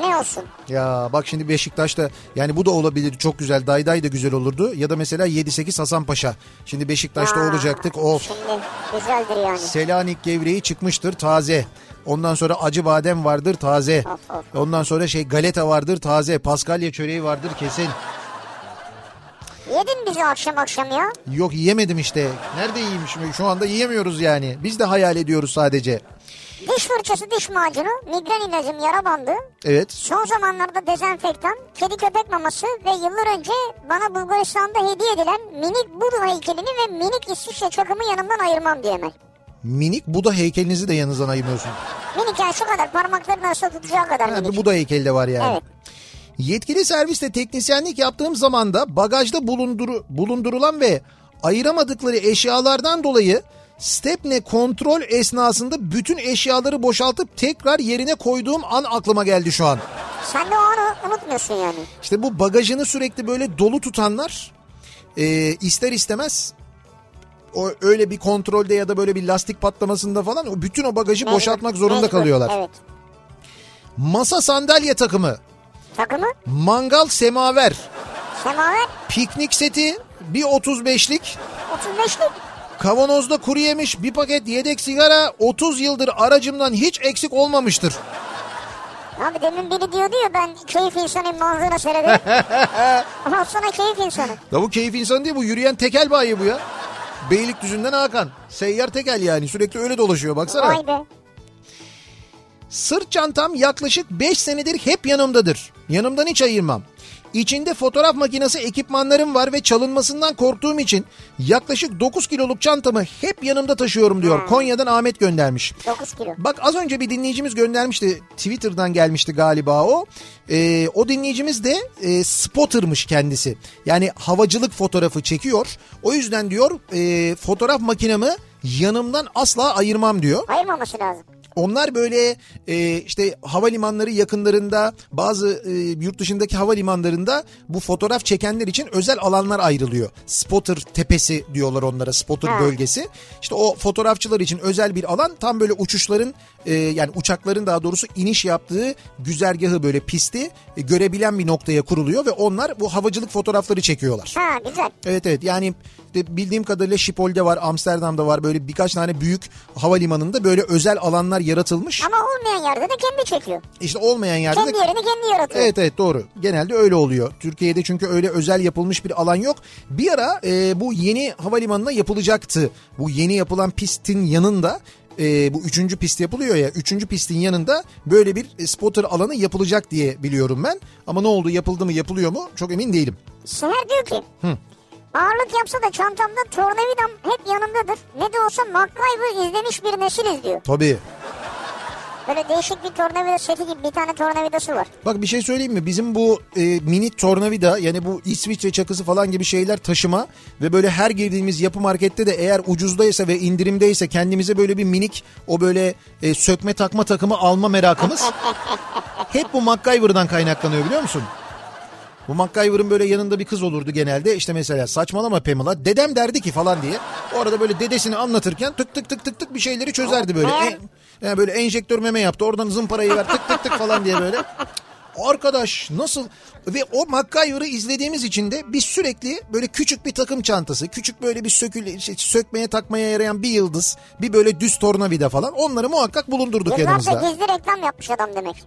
Speaker 2: Ne olsun?
Speaker 1: Ya bak şimdi Beşiktaş'ta yani bu da olabilir çok güzel. Dayday da güzel olurdu. Ya da mesela 7-8 Hasan Paşa. Şimdi Beşiktaş'ta
Speaker 2: Aa,
Speaker 1: olacaktık. Of.
Speaker 2: Şimdi güzeldir yani.
Speaker 1: Selanik gevreği çıkmıştır taze. Ondan sonra acı badem vardır taze.
Speaker 2: Of, of.
Speaker 1: Ondan sonra şey galeta vardır taze. Paskalya çöreği vardır kesin.
Speaker 2: Yedin bizi akşam akşam ya.
Speaker 1: Yok yiyemedim işte. Nerede yiyeyim şimdi? Şu anda yiyemiyoruz yani. Biz de hayal ediyoruz sadece.
Speaker 2: Diş fırçası, diş macunu, migren ilacım, yara bandı.
Speaker 1: Evet.
Speaker 2: Son zamanlarda dezenfektan, kedi köpek maması ve yıllar önce bana Bulgaristan'da hediye edilen minik Budu heykelini ve minik İsviçre çakımı yanımdan ayırmam diye hemen.
Speaker 1: Minik Buda heykelinizi de yanınızdan ayırmıyorsunuz.
Speaker 2: Minik yani şu kadar parmaklarını arasında tutacağı kadar
Speaker 1: Ha, bir
Speaker 2: minik.
Speaker 1: Buda heykeli de var yani.
Speaker 2: Evet.
Speaker 1: Yetkili serviste teknisyenlik yaptığım zaman da bagajda bulunduru, bulundurulan ve ayıramadıkları eşyalardan dolayı stepne kontrol esnasında bütün eşyaları boşaltıp tekrar yerine koyduğum an aklıma geldi şu an.
Speaker 2: Sen de o anı unutmuyorsun yani.
Speaker 1: İşte bu bagajını sürekli böyle dolu tutanlar e, ister istemez o öyle bir kontrolde ya da böyle bir lastik patlamasında falan o bütün o bagajı
Speaker 2: Mecbur,
Speaker 1: boşaltmak zorunda
Speaker 2: mecbur,
Speaker 1: kalıyorlar.
Speaker 2: Evet.
Speaker 1: Masa sandalye takımı,
Speaker 2: Takımı
Speaker 1: mangal semaver,
Speaker 2: semaver
Speaker 1: piknik seti, bir 35'lik,
Speaker 2: 35'lik.
Speaker 1: kavanozda kuru yemiş, bir paket yedek sigara 30 yıldır aracımdan hiç eksik olmamıştır.
Speaker 2: Abi demin biri diyordu ya ben keyif insanıyım manzara seyrederim. Ama sonra keyif insanı.
Speaker 1: Ya bu keyif insanı değil bu yürüyen tekel bayi bu ya. Beylikdüzü'nden Hakan. Seyyar tekel yani sürekli öyle dolaşıyor baksana.
Speaker 2: Vay be.
Speaker 1: Sırt çantam yaklaşık 5 senedir hep yanımdadır. Yanımdan hiç ayırmam. İçinde fotoğraf makinesi ekipmanlarım var ve çalınmasından korktuğum için yaklaşık 9 kiloluk çantamı hep yanımda taşıyorum diyor. Konya'dan Ahmet göndermiş.
Speaker 2: 9 kilo.
Speaker 1: Bak az önce bir dinleyicimiz göndermişti. Twitter'dan gelmişti galiba o. Ee, o dinleyicimiz de e, spotter'mış kendisi. Yani havacılık fotoğrafı çekiyor. O yüzden diyor e, fotoğraf makinemi yanımdan asla ayırmam diyor.
Speaker 2: Ayırmaması lazım.
Speaker 1: Onlar böyle e, işte havalimanları yakınlarında bazı e, yurt dışındaki havalimanlarında bu fotoğraf çekenler için özel alanlar ayrılıyor. Spotter tepesi diyorlar onlara spotter
Speaker 2: Ha.
Speaker 1: bölgesi. İşte o fotoğrafçılar için özel bir alan tam böyle uçuşların e, yani uçakların daha doğrusu iniş yaptığı güzergahı böyle pisti e, görebilen bir noktaya kuruluyor ve onlar bu havacılık fotoğrafları çekiyorlar.
Speaker 2: Ha güzel.
Speaker 1: Evet evet yani de bildiğim kadarıyla Şipol'de var Amsterdam'da var böyle birkaç tane büyük havalimanında böyle özel alanlar yaratılmış.
Speaker 2: Ama olmayan yerde de kendi çekiyor.
Speaker 1: İşte olmayan yerde de...
Speaker 2: Kendi yerini kendi yaratıyor.
Speaker 1: Evet evet doğru genelde öyle oluyor. Türkiye'de çünkü öyle özel yapılmış bir alan yok. Bir ara e, bu yeni havalimanına yapılacaktı. Bu yeni yapılan pistin yanında e, bu üçüncü pist yapılıyor ya üçüncü pistin yanında böyle bir e, spotter alanı yapılacak diye biliyorum ben. Ama ne oldu yapıldı mı yapılıyor mu çok emin değilim.
Speaker 2: Seher diyor ki ağırlık yapsa da çantamda tornavidam hep yanımdadır. Ne de olsa MacGyver izlemiş bir nesiliz diyor.
Speaker 1: Tabii.
Speaker 2: Böyle değişik bir tornavida seti gibi bir tane tornavidası var.
Speaker 1: Bak bir şey söyleyeyim mi? Bizim bu e, mini tornavida yani bu İsviçre çakısı falan gibi şeyler taşıma ve böyle her girdiğimiz yapı markette de eğer ucuzdaysa ve indirimdeyse kendimize böyle bir minik o böyle e, sökme takma takımı alma merakımız hep bu MacGyver'dan kaynaklanıyor biliyor musun? Bu MacGyver'ın böyle yanında bir kız olurdu genelde. İşte mesela saçmalama Pamela dedem derdi ki falan diye. O arada böyle dedesini anlatırken tık tık tık tık tık bir şeyleri çözerdi böyle.
Speaker 2: Eğer-
Speaker 1: E, yani böyle enjektör meme yaptı oradan zımparayı ver tık tık tık falan diye böyle. Arkadaş nasıl ve o MacGyver'ı izlediğimiz için de biz sürekli böyle küçük bir takım çantası, küçük böyle bir sökül, şey, sökmeye takmaya yarayan bir yıldız, bir böyle düz tornavida falan onları muhakkak bulundurduk yanımızda.
Speaker 2: Yıllarca gizli reklam yapmış adam demek.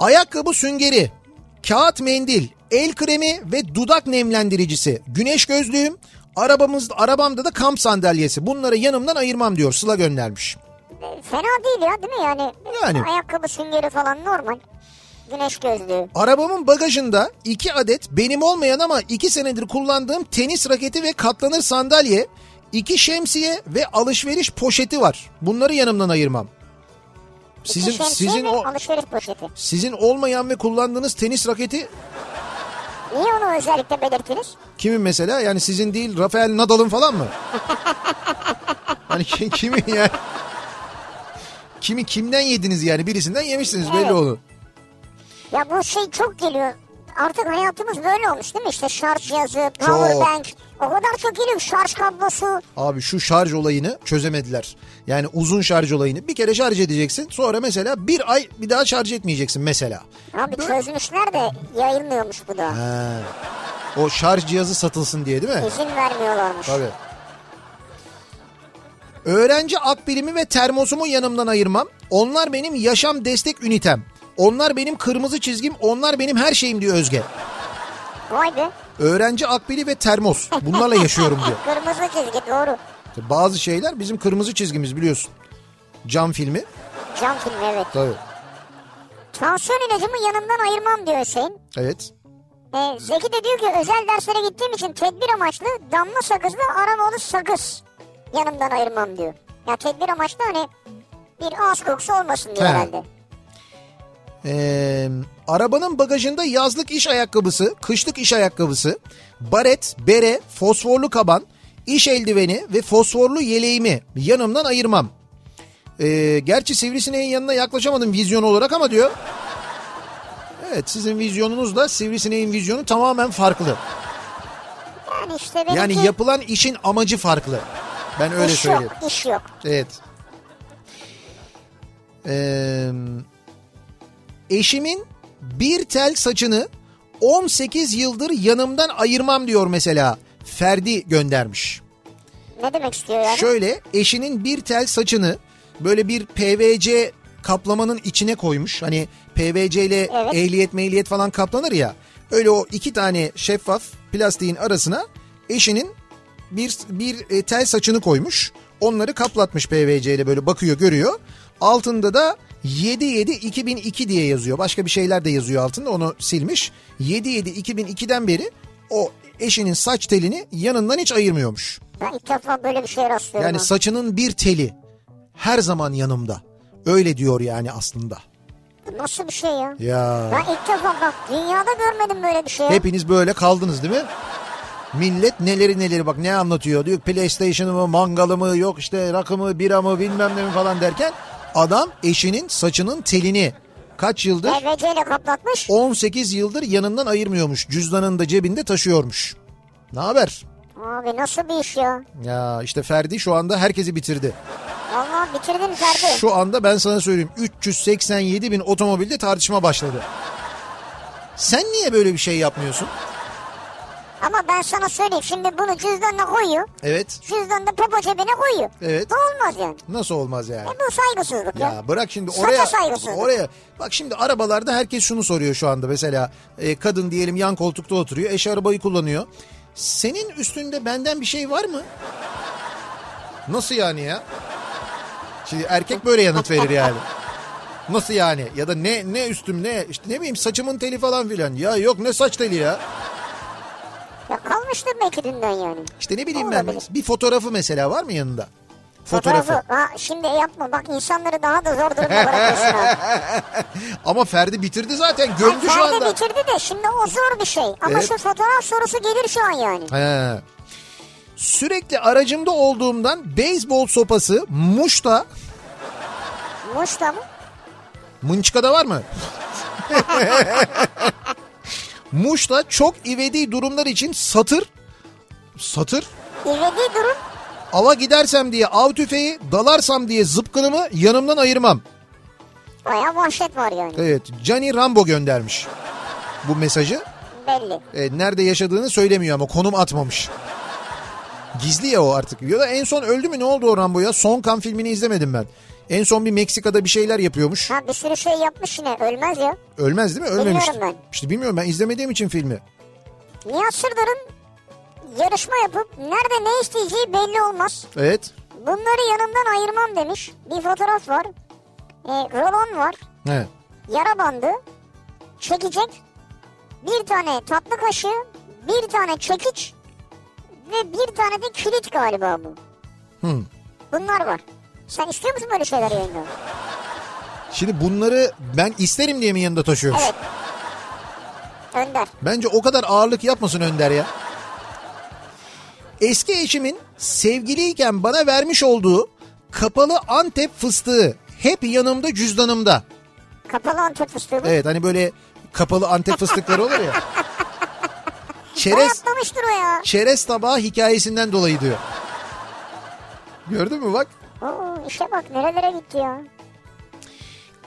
Speaker 1: Ayakkabı süngeri, kağıt mendil, el kremi ve dudak nemlendiricisi, güneş gözlüğüm, arabamız, arabamda da kamp sandalyesi. Bunları yanımdan ayırmam diyor Sıla göndermiş.
Speaker 2: E, Fena değil ya değil mi yani?
Speaker 1: Yani.
Speaker 2: Ayakkabı süngeri falan normal. Güneş gözlüğü.
Speaker 1: Arabamın bagajında iki adet benim olmayan ama iki senedir kullandığım tenis raketi ve katlanır sandalye, iki şemsiye ve alışveriş poşeti var. Bunları yanımdan ayırmam. Sizin
Speaker 2: İki şemsiye
Speaker 1: sizin
Speaker 2: ve
Speaker 1: o
Speaker 2: alışveriş poşeti.
Speaker 1: sizin olmayan ve kullandığınız tenis raketi
Speaker 2: Niye onu özellikle belirttiniz?
Speaker 1: Kimin mesela? Yani sizin değil Rafael Nadal'ın falan mı? hani ki- kimin ya? Kimi kimden yediniz yani? Birisinden yemişsiniz belli
Speaker 2: Evet.
Speaker 1: oldu.
Speaker 2: Ya bu şey çok geliyor. Artık hayatımız böyle olmuş değil mi? İşte şarj cihazı, power bank. O kadar çok geliyor. Şarj kablosu.
Speaker 1: Abi şu şarj olayını çözemediler. Yani uzun şarj olayını. Bir kere şarj edeceksin. Sonra mesela bir ay bir daha şarj etmeyeceksin mesela.
Speaker 2: Abi
Speaker 1: Böyle-
Speaker 2: çözmüşler de yayılmıyormuş bu da.
Speaker 1: Ha. O şarj cihazı satılsın diye değil mi?
Speaker 2: İzin vermiyorlarmış.
Speaker 1: Tabii. Öğrenci akbilimi ve termosumu yanımdan ayırmam. Onlar benim yaşam destek ünitem. Onlar benim kırmızı çizgim, onlar benim her şeyim diyor Özge.
Speaker 2: Vay be.
Speaker 1: Öğrenci akbili ve termos. Bunlarla yaşıyorum diyor.
Speaker 2: Kırmızı çizgi doğru.
Speaker 1: Bazı şeyler bizim kırmızı çizgimiz biliyorsun. Cam filmi.
Speaker 2: Cam filmi evet.
Speaker 1: Tabii.
Speaker 2: Tansiyon ilacımı yanımdan ayırmam diyor Hüseyin.
Speaker 1: Evet.
Speaker 2: Ee, Zeki de diyor ki özel derslere gittiğim için tedbir amaçlı damla sakızla aromalı sakız yanımdan ayırmam diyor. Ya tedbir amaçlı hani bir ağız kokusu olmasın diyor
Speaker 1: He.
Speaker 2: herhalde.
Speaker 1: Ee, arabanın bagajında yazlık iş ayakkabısı, kışlık iş ayakkabısı, baret, bere, fosforlu kaban, iş eldiveni ve fosforlu yeleğimi yanımdan ayırmam. Ee, gerçi sivrisineğin yanına yaklaşamadım vizyon olarak ama diyor. Evet sizin vizyonunuzla sivrisineğin vizyonu tamamen farklı.
Speaker 2: Yani işte benimki
Speaker 1: Yani yapılan işin amacı farklı. Ben öyle
Speaker 2: iş
Speaker 1: söyleyeyim.
Speaker 2: yok, iş yok.
Speaker 1: Evet. Ee, eşimin bir tel saçını 18 yıldır yanımdan ayırmam diyor mesela. Ferdi göndermiş.
Speaker 2: Ne demek istiyor yani?
Speaker 1: Şöyle eşinin bir tel saçını böyle bir PVC kaplamanın içine koymuş. Hani PVC ile
Speaker 2: Evet.
Speaker 1: ehliyet mehliyet falan kaplanır ya. Öyle o iki tane şeffaf plastiğin arasına eşinin bir, bir e, tel saçını koymuş. Onları kaplatmış PVC ile böyle bakıyor görüyor. Altında da 77 2002 diye yazıyor. Başka bir şeyler de yazıyor altında onu silmiş. 77 2002'den beri o eşinin saç telini yanından hiç ayırmıyormuş.
Speaker 2: Ben ilk defa böyle bir şeye rastlıyorum.
Speaker 1: Yani
Speaker 2: ha.
Speaker 1: saçının bir teli her zaman yanımda. Öyle diyor yani aslında.
Speaker 2: Bu Nasıl bir şey ya?
Speaker 1: Ya
Speaker 2: Ben ilk defa bak dünyada görmedim böyle bir şey. ya.
Speaker 1: hepiniz böyle kaldınız değil mi? Millet neleri neleri bak ne anlatıyor diyor PlayStation'ımı mangalımı yok işte rakımı biramı bilmem ne mi falan derken adam eşinin saçının telini kaç yıldır
Speaker 2: PVC ile kaplatmış.
Speaker 1: 18 yıldır yanından ayırmıyormuş cüzdanında cebinde taşıyormuş. Ne haber?
Speaker 2: Abi nasıl bir iş ya?
Speaker 1: Ya işte Ferdi şu anda herkesi bitirdi.
Speaker 2: Vallahi bitirdin Ferdi.
Speaker 1: Şu anda ben sana söyleyeyim 387 bin otomobilde tartışma başladı. Sen niye böyle bir şey yapmıyorsun?
Speaker 2: Ama ben sana söyleyeyim şimdi bunu cüzdanına koyuyor.
Speaker 1: Evet.
Speaker 2: Cüzdanını popo cebine koyuyor.
Speaker 1: Evet.
Speaker 2: Bu olmaz yani.
Speaker 1: Nasıl olmaz yani?
Speaker 2: E bu saygısızlık ya.
Speaker 1: Ya bırak şimdi
Speaker 2: Saça
Speaker 1: oraya
Speaker 2: saygısızlık.
Speaker 1: oraya bak şimdi arabalarda herkes şunu soruyor şu anda mesela e, kadın diyelim yan koltukta oturuyor eş arabayı kullanıyor. Senin üstünde benden bir şey var mı? Nasıl yani ya? Şimdi erkek böyle yanıt verir yani. Nasıl yani? Ya da ne ne üstüm ne işte ne bileyim saçımın teli falan filan. Ya yok ne saç teli ya.
Speaker 2: Ya kalmıştır belki dünden yani.
Speaker 1: İşte ne bileyim ben
Speaker 2: Olabilir.
Speaker 1: bir fotoğrafı mesela var mı yanında? Fotoğrafı.
Speaker 2: Fotoğrafı. Ha, şimdi yapma bak insanları daha da zor durumda bırakıyorsun ha.
Speaker 1: Ama Ferdi bitirdi zaten
Speaker 2: Ay,
Speaker 1: gömdü şu
Speaker 2: Ferdi
Speaker 1: anda.
Speaker 2: bitirdi de şimdi o zor bir şey. Ama
Speaker 1: Evet.
Speaker 2: şu fotoğraf sorusu gelir şu an yani.
Speaker 1: He. Sürekli aracımda olduğumdan beyzbol sopası muşta
Speaker 2: Muş'ta mı?
Speaker 1: mınçkada var mı? muşta çok ivedi durumlar için satır satır
Speaker 2: İvedi durum
Speaker 1: ava gidersem diye av tüfeği dalarsam diye zıpkınımı yanımdan ayırmam.
Speaker 2: baya vahşet var yani.
Speaker 1: Evet Cani Rambo göndermiş bu mesajı.
Speaker 2: Belli.
Speaker 1: E, nerede yaşadığını söylemiyor ama konum atmamış. Gizli ya o artık. Ya da en son öldü mü ne oldu o Rambo ya? Son kan filmini izlemedim ben. En son bir Meksika'da bir şeyler yapıyormuş.
Speaker 2: Ha bir sürü şey yapmış yine ölmez ya.
Speaker 1: Ölmez değil mi? Ölmemişti.
Speaker 2: Bilmiyorum
Speaker 1: İşte bilmiyorum ben izlemediğim için filmi.
Speaker 2: Nihat Sırdar'ın yarışma yapıp nerede ne isteyeceği belli olmaz.
Speaker 1: Evet.
Speaker 2: Bunları yanımdan ayırmam demiş. Bir fotoğraf var. E, rolon var.
Speaker 1: He.
Speaker 2: Yara bandı. Çekecek. Bir tane tatlı kaşığı. Bir tane çekiç. Ve bir tane de kilit galiba bu.
Speaker 1: Hı.
Speaker 2: Bunlar var. Sen istiyor musun böyle şeyler yayında?
Speaker 1: Şimdi bunları ben isterim diye mi yanında taşıyoruz?
Speaker 2: Evet. Önder.
Speaker 1: Bence o kadar ağırlık yapmasın Önder ya. Eski eşimin sevgiliyken bana vermiş olduğu kapalı Antep fıstığı hep yanımda cüzdanımda.
Speaker 2: Kapalı antep fıstığı bu.
Speaker 1: Evet hani böyle kapalı antep fıstıkları olur ya.
Speaker 2: Ne
Speaker 1: Çerez,
Speaker 2: yapmamıştır o ya?
Speaker 1: çerez tabağı hikayesinden dolayı diyor. Gördün mü bak.
Speaker 2: Oo, işe bak nerelere gitti ya.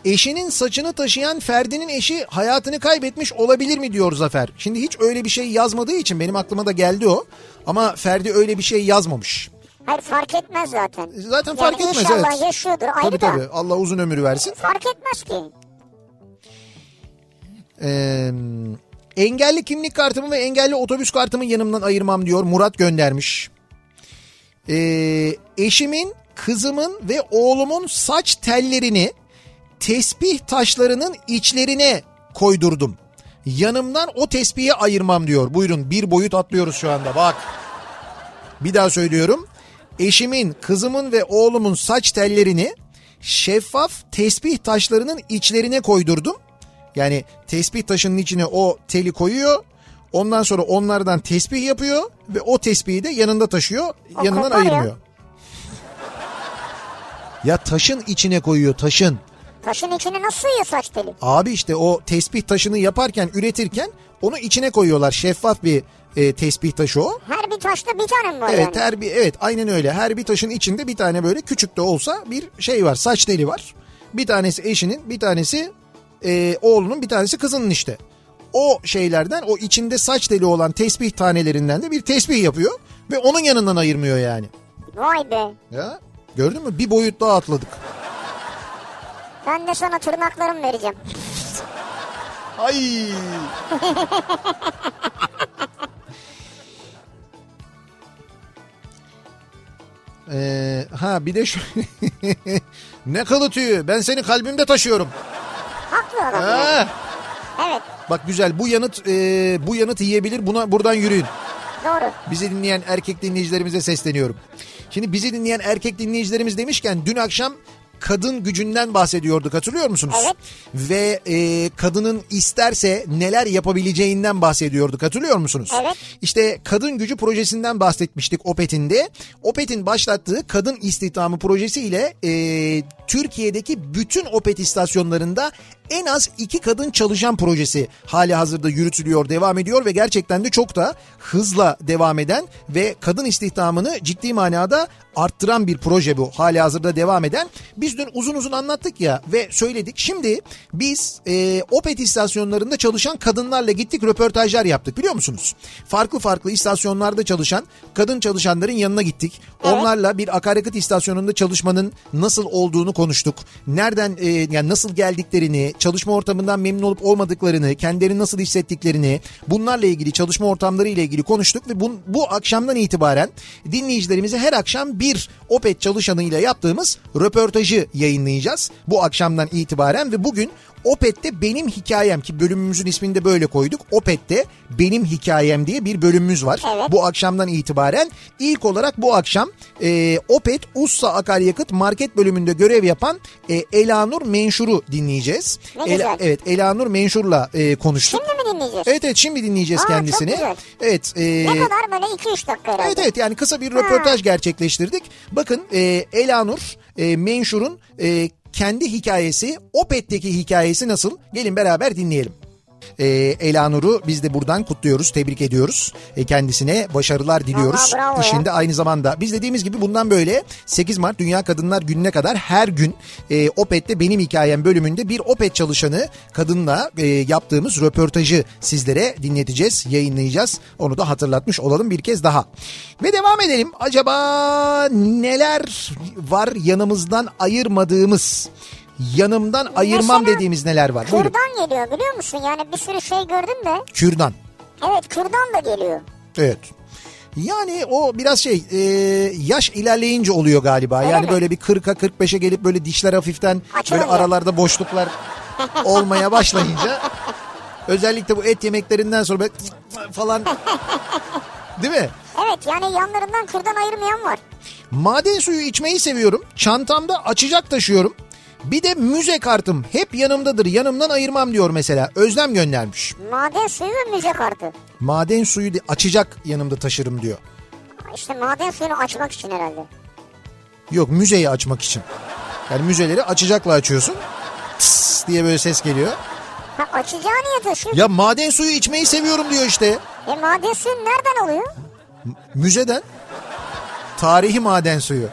Speaker 1: Eşinin saçını taşıyan Ferdi'nin eşi hayatını kaybetmiş olabilir mi diyor Zafer. Şimdi hiç öyle bir şey yazmadığı için benim aklıma da geldi o. Ama Ferdi öyle bir şey yazmamış.
Speaker 2: Hayır fark etmez zaten.
Speaker 1: Zaten fark etmez,
Speaker 2: inşallah
Speaker 1: evet.
Speaker 2: yaşıyordur ayrı
Speaker 1: Tabii
Speaker 2: da.
Speaker 1: tabii Allah uzun ömür versin.
Speaker 2: Fark etmez ki.
Speaker 1: Ee, engelli kimlik kartımı ve engelli otobüs kartımı yanımdan ayırmam diyor. Murat göndermiş. Ee, eşimin kızımın ve oğlumun saç tellerini tesbih taşlarının içlerine koydurdum. Yanımdan o tesbihi ayırmam diyor. Buyurun bir boyut atlıyoruz şu anda bak. Bir daha söylüyorum. Eşimin, kızımın ve oğlumun saç tellerini şeffaf tesbih taşlarının içlerine koydurdum. Yani tesbih taşının içine o teli koyuyor. Ondan sonra onlardan tesbih yapıyor ve o tesbihi de yanında taşıyor,
Speaker 2: O
Speaker 1: yanından
Speaker 2: kopar ya.
Speaker 1: ayırmıyor. Ya taşın içine koyuyor taşın.
Speaker 2: Taşın içine nasıl sığıyor saç teli?
Speaker 1: Abi işte o tesbih taşını yaparken üretirken onu içine koyuyorlar. Şeffaf bir e, tesbih taşı o.
Speaker 2: Her bir taşta bir tane mi var
Speaker 1: Evet
Speaker 2: yani?
Speaker 1: her bir evet aynen öyle. Her bir taşın içinde bir tane böyle küçük de olsa bir şey var. Saç teli var. Bir tanesi eşinin, bir tanesi e, oğlunun, bir tanesi kızının işte. O şeylerden o içinde saç teli olan tesbih tanelerinden de bir tesbih yapıyor ve onun yanından ayırmıyor yani.
Speaker 2: Vay be.
Speaker 1: Ya gördün mü? Bir boyut daha atladık.
Speaker 2: Ben de sana tırnaklarımı vereceğim.
Speaker 1: Ay. Ee, ha bir de şu ne kalı tüyü ben seni kalbimde taşıyorum.
Speaker 2: Haklı adam. ya.
Speaker 1: Ha.
Speaker 2: Evet
Speaker 1: Bak güzel bu yanıt e, bu yanıt yiyebilir buna buradan yürüyün.
Speaker 2: doğru.
Speaker 1: Bizi dinleyen erkek dinleyicilerimize sesleniyorum. Şimdi bizi dinleyen erkek dinleyicilerimiz demişken dün akşam kadın gücünden bahsediyorduk hatırlıyor musunuz?
Speaker 2: Evet.
Speaker 1: Ve e, kadının isterse neler yapabileceğinden bahsediyorduk hatırlıyor musunuz?
Speaker 2: Evet.
Speaker 1: İşte kadın gücü projesinden bahsetmiştik Opet'in de. Opet'in başlattığı kadın istihdamı projesiyle e, Türkiye'deki bütün Opet istasyonlarında en az iki kadın çalışan projesi hali hazırda yürütülüyor, devam ediyor ve gerçekten de çok da hızla devam eden ve kadın istihdamını ciddi manada arttıran bir proje bu hali hazırda devam eden. Biz dün uzun uzun anlattık ya ve söyledik. Şimdi biz e, Opet istasyonlarında çalışan kadınlarla gittik röportajlar yaptık biliyor musunuz? Farklı farklı istasyonlarda çalışan kadın çalışanların yanına gittik. Onlarla bir akaryakıt istasyonunda çalışmanın nasıl olduğunu konuştuk. Nereden e, yani nasıl geldiklerini, çalışma ortamından memnun olup olmadıklarını, kendilerini nasıl hissettiklerini, bunlarla ilgili çalışma ortamları ile ilgili konuştuk ve bu, bu akşamdan itibaren dinleyicilerimize her akşam bir Opet çalışanıyla yaptığımız röportajı yayınlayacağız bu akşamdan itibaren ve bugün Opet'te benim hikayem ki bölümümüzün ismini de böyle koyduk. Opet'te benim hikayem diye bir bölümümüz var.
Speaker 2: Evet.
Speaker 1: Bu akşamdan itibaren ilk olarak bu akşam e, Opet Ussa Akaryakıt Market bölümünde görev yapan e, Elanur Menşur'u dinleyeceğiz.
Speaker 2: Ne güzel.
Speaker 1: evet Elanur Menşur'la e, konuştuk.
Speaker 2: Şimdi mi dinleyeceğiz?
Speaker 1: Evet evet şimdi dinleyeceğiz
Speaker 2: Aa, çok
Speaker 1: kendisini.
Speaker 2: güzel.
Speaker 1: Evet. e,
Speaker 2: Ne kadar böyle 2-3 dakika herhalde.
Speaker 1: Evet evet yani kısa bir röportaj gerçekleştirdik. Bakın e, Elanur e, Menşur'un e, kendi hikayesi Opet'teki hikayesi nasıl? Gelin beraber dinleyelim. E, Elanur'u biz de buradan kutluyoruz, tebrik ediyoruz. E, kendisine başarılar diliyoruz.
Speaker 2: Vallahi bravo ya.
Speaker 1: İşinde aynı zamanda biz dediğimiz gibi bundan böyle 8 Mart Dünya Kadınlar Günü'ne kadar her gün e, Opet'te Benim Hikayem bölümünde bir Opet çalışanı kadınla e, yaptığımız röportajı sizlere dinleteceğiz, yayınlayacağız. Onu da hatırlatmış olalım bir kez daha. Ve devam edelim. Acaba neler var yanımızdan ayırmadığımız, yanımdan ayırmam
Speaker 2: Mesela
Speaker 1: dediğimiz neler var? Buyurun.
Speaker 2: Kürdan geliyor biliyor musun? Yani bir sürü şey gördüm de.
Speaker 1: Kürdan.
Speaker 2: Evet kürdan da geliyor.
Speaker 1: Evet. Yani o biraz şey e, yaş ilerleyince oluyor galiba.
Speaker 2: Öyle
Speaker 1: yani
Speaker 2: mi?
Speaker 1: böyle bir 40'a 45'e gelip böyle dişler hafiften
Speaker 2: Açılınca.
Speaker 1: böyle aralarda boşluklar olmaya başlayınca özellikle bu et yemeklerinden sonra böyle falan değil mi?
Speaker 2: Evet yani yanlarından kürdan ayırmayan var.
Speaker 1: Maden suyu içmeyi seviyorum. Çantamda açacak taşıyorum. Bir de müze kartım hep yanımdadır. Yanımdan ayırmam diyor mesela. Özlem göndermiş.
Speaker 2: Maden suyu ve müze kartı.
Speaker 1: Maden suyu de- açacak yanımda taşırım diyor.
Speaker 2: İşte maden suyunu açmak için herhalde.
Speaker 1: Yok müzeyi açmak için. Yani müzeleri açacakla açıyorsun. Tıs diye böyle ses geliyor.
Speaker 2: Ha açacağı niye taşıyor?
Speaker 1: Ya maden suyu içmeyi seviyorum diyor işte.
Speaker 2: E maden suyu nereden alıyor?
Speaker 1: Müzeden. Tarihi maden suyu.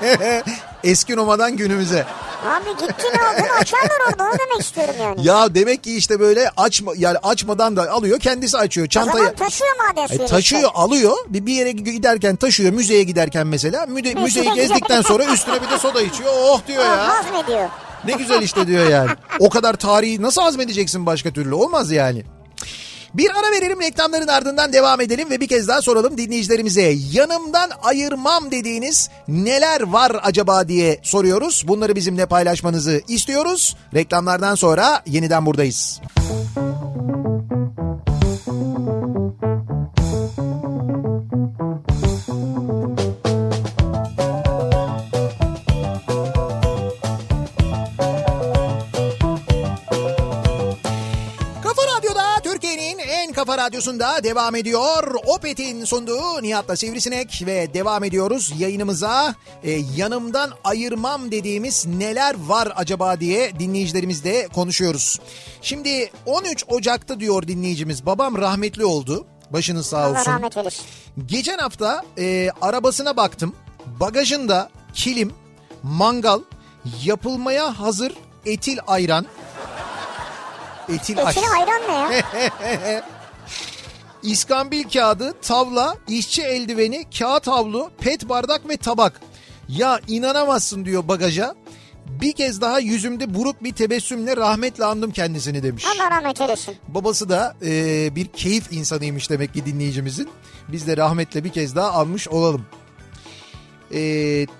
Speaker 1: Eski Roma'dan günümüze.
Speaker 2: Abi gittin aldın açarlar orada onu demek istiyorum yani.
Speaker 1: Ya demek ki işte böyle açma yani açmadan da alıyor kendisi açıyor
Speaker 2: o
Speaker 1: çantayı.
Speaker 2: zaman taşıyor maden
Speaker 1: E,
Speaker 2: suyunu
Speaker 1: taşıyor
Speaker 2: işte.
Speaker 1: alıyor bir, bir yere giderken taşıyor müzeye giderken mesela müde, müzeyi gezdikten sonra üstüne bir de soda içiyor oh diyor
Speaker 2: Ha,
Speaker 1: ya
Speaker 2: hazmediyor.
Speaker 1: ne güzel işte diyor yani o kadar tarihi nasıl hazmedeceksin başka türlü olmaz yani. Bir ara verelim reklamların ardından devam edelim ve bir kez daha soralım dinleyicilerimize. Yanımdan ayırmam dediğiniz neler var acaba diye soruyoruz. Bunları bizimle paylaşmanızı istiyoruz. Reklamlardan sonra yeniden buradayız. Kafa Radyo'da Türkiye'nin en kafa radyosunda devam ediyor. Opet'in sunduğu Nihat'la Sivrisinek ve devam ediyoruz yayınımıza. Ee, yanımdan ayırmam dediğimiz neler var acaba diye dinleyicilerimizle konuşuyoruz. Şimdi 13 Ocak'ta diyor dinleyicimiz babam rahmetli oldu. Başınız sağ
Speaker 2: Allah
Speaker 1: olsun.
Speaker 2: rahmet eylesin.
Speaker 1: Geçen hafta e, arabasına baktım. Bagajında kilim, mangal, yapılmaya hazır etil ayran. Etil, aş.
Speaker 2: Eşine ayran ne ya?
Speaker 1: İskambil kağıdı, tavla, işçi eldiveni, kağıt havlu, pet bardak ve tabak. Ya inanamazsın diyor bagaja. Bir kez daha yüzümde buruk bir tebessümle rahmetle andım kendisini demiş.
Speaker 2: Allah rahmet eylesin.
Speaker 1: Babası da e, bir keyif insanıymış demek ki dinleyicimizin. Biz de rahmetle bir kez daha almış olalım. E,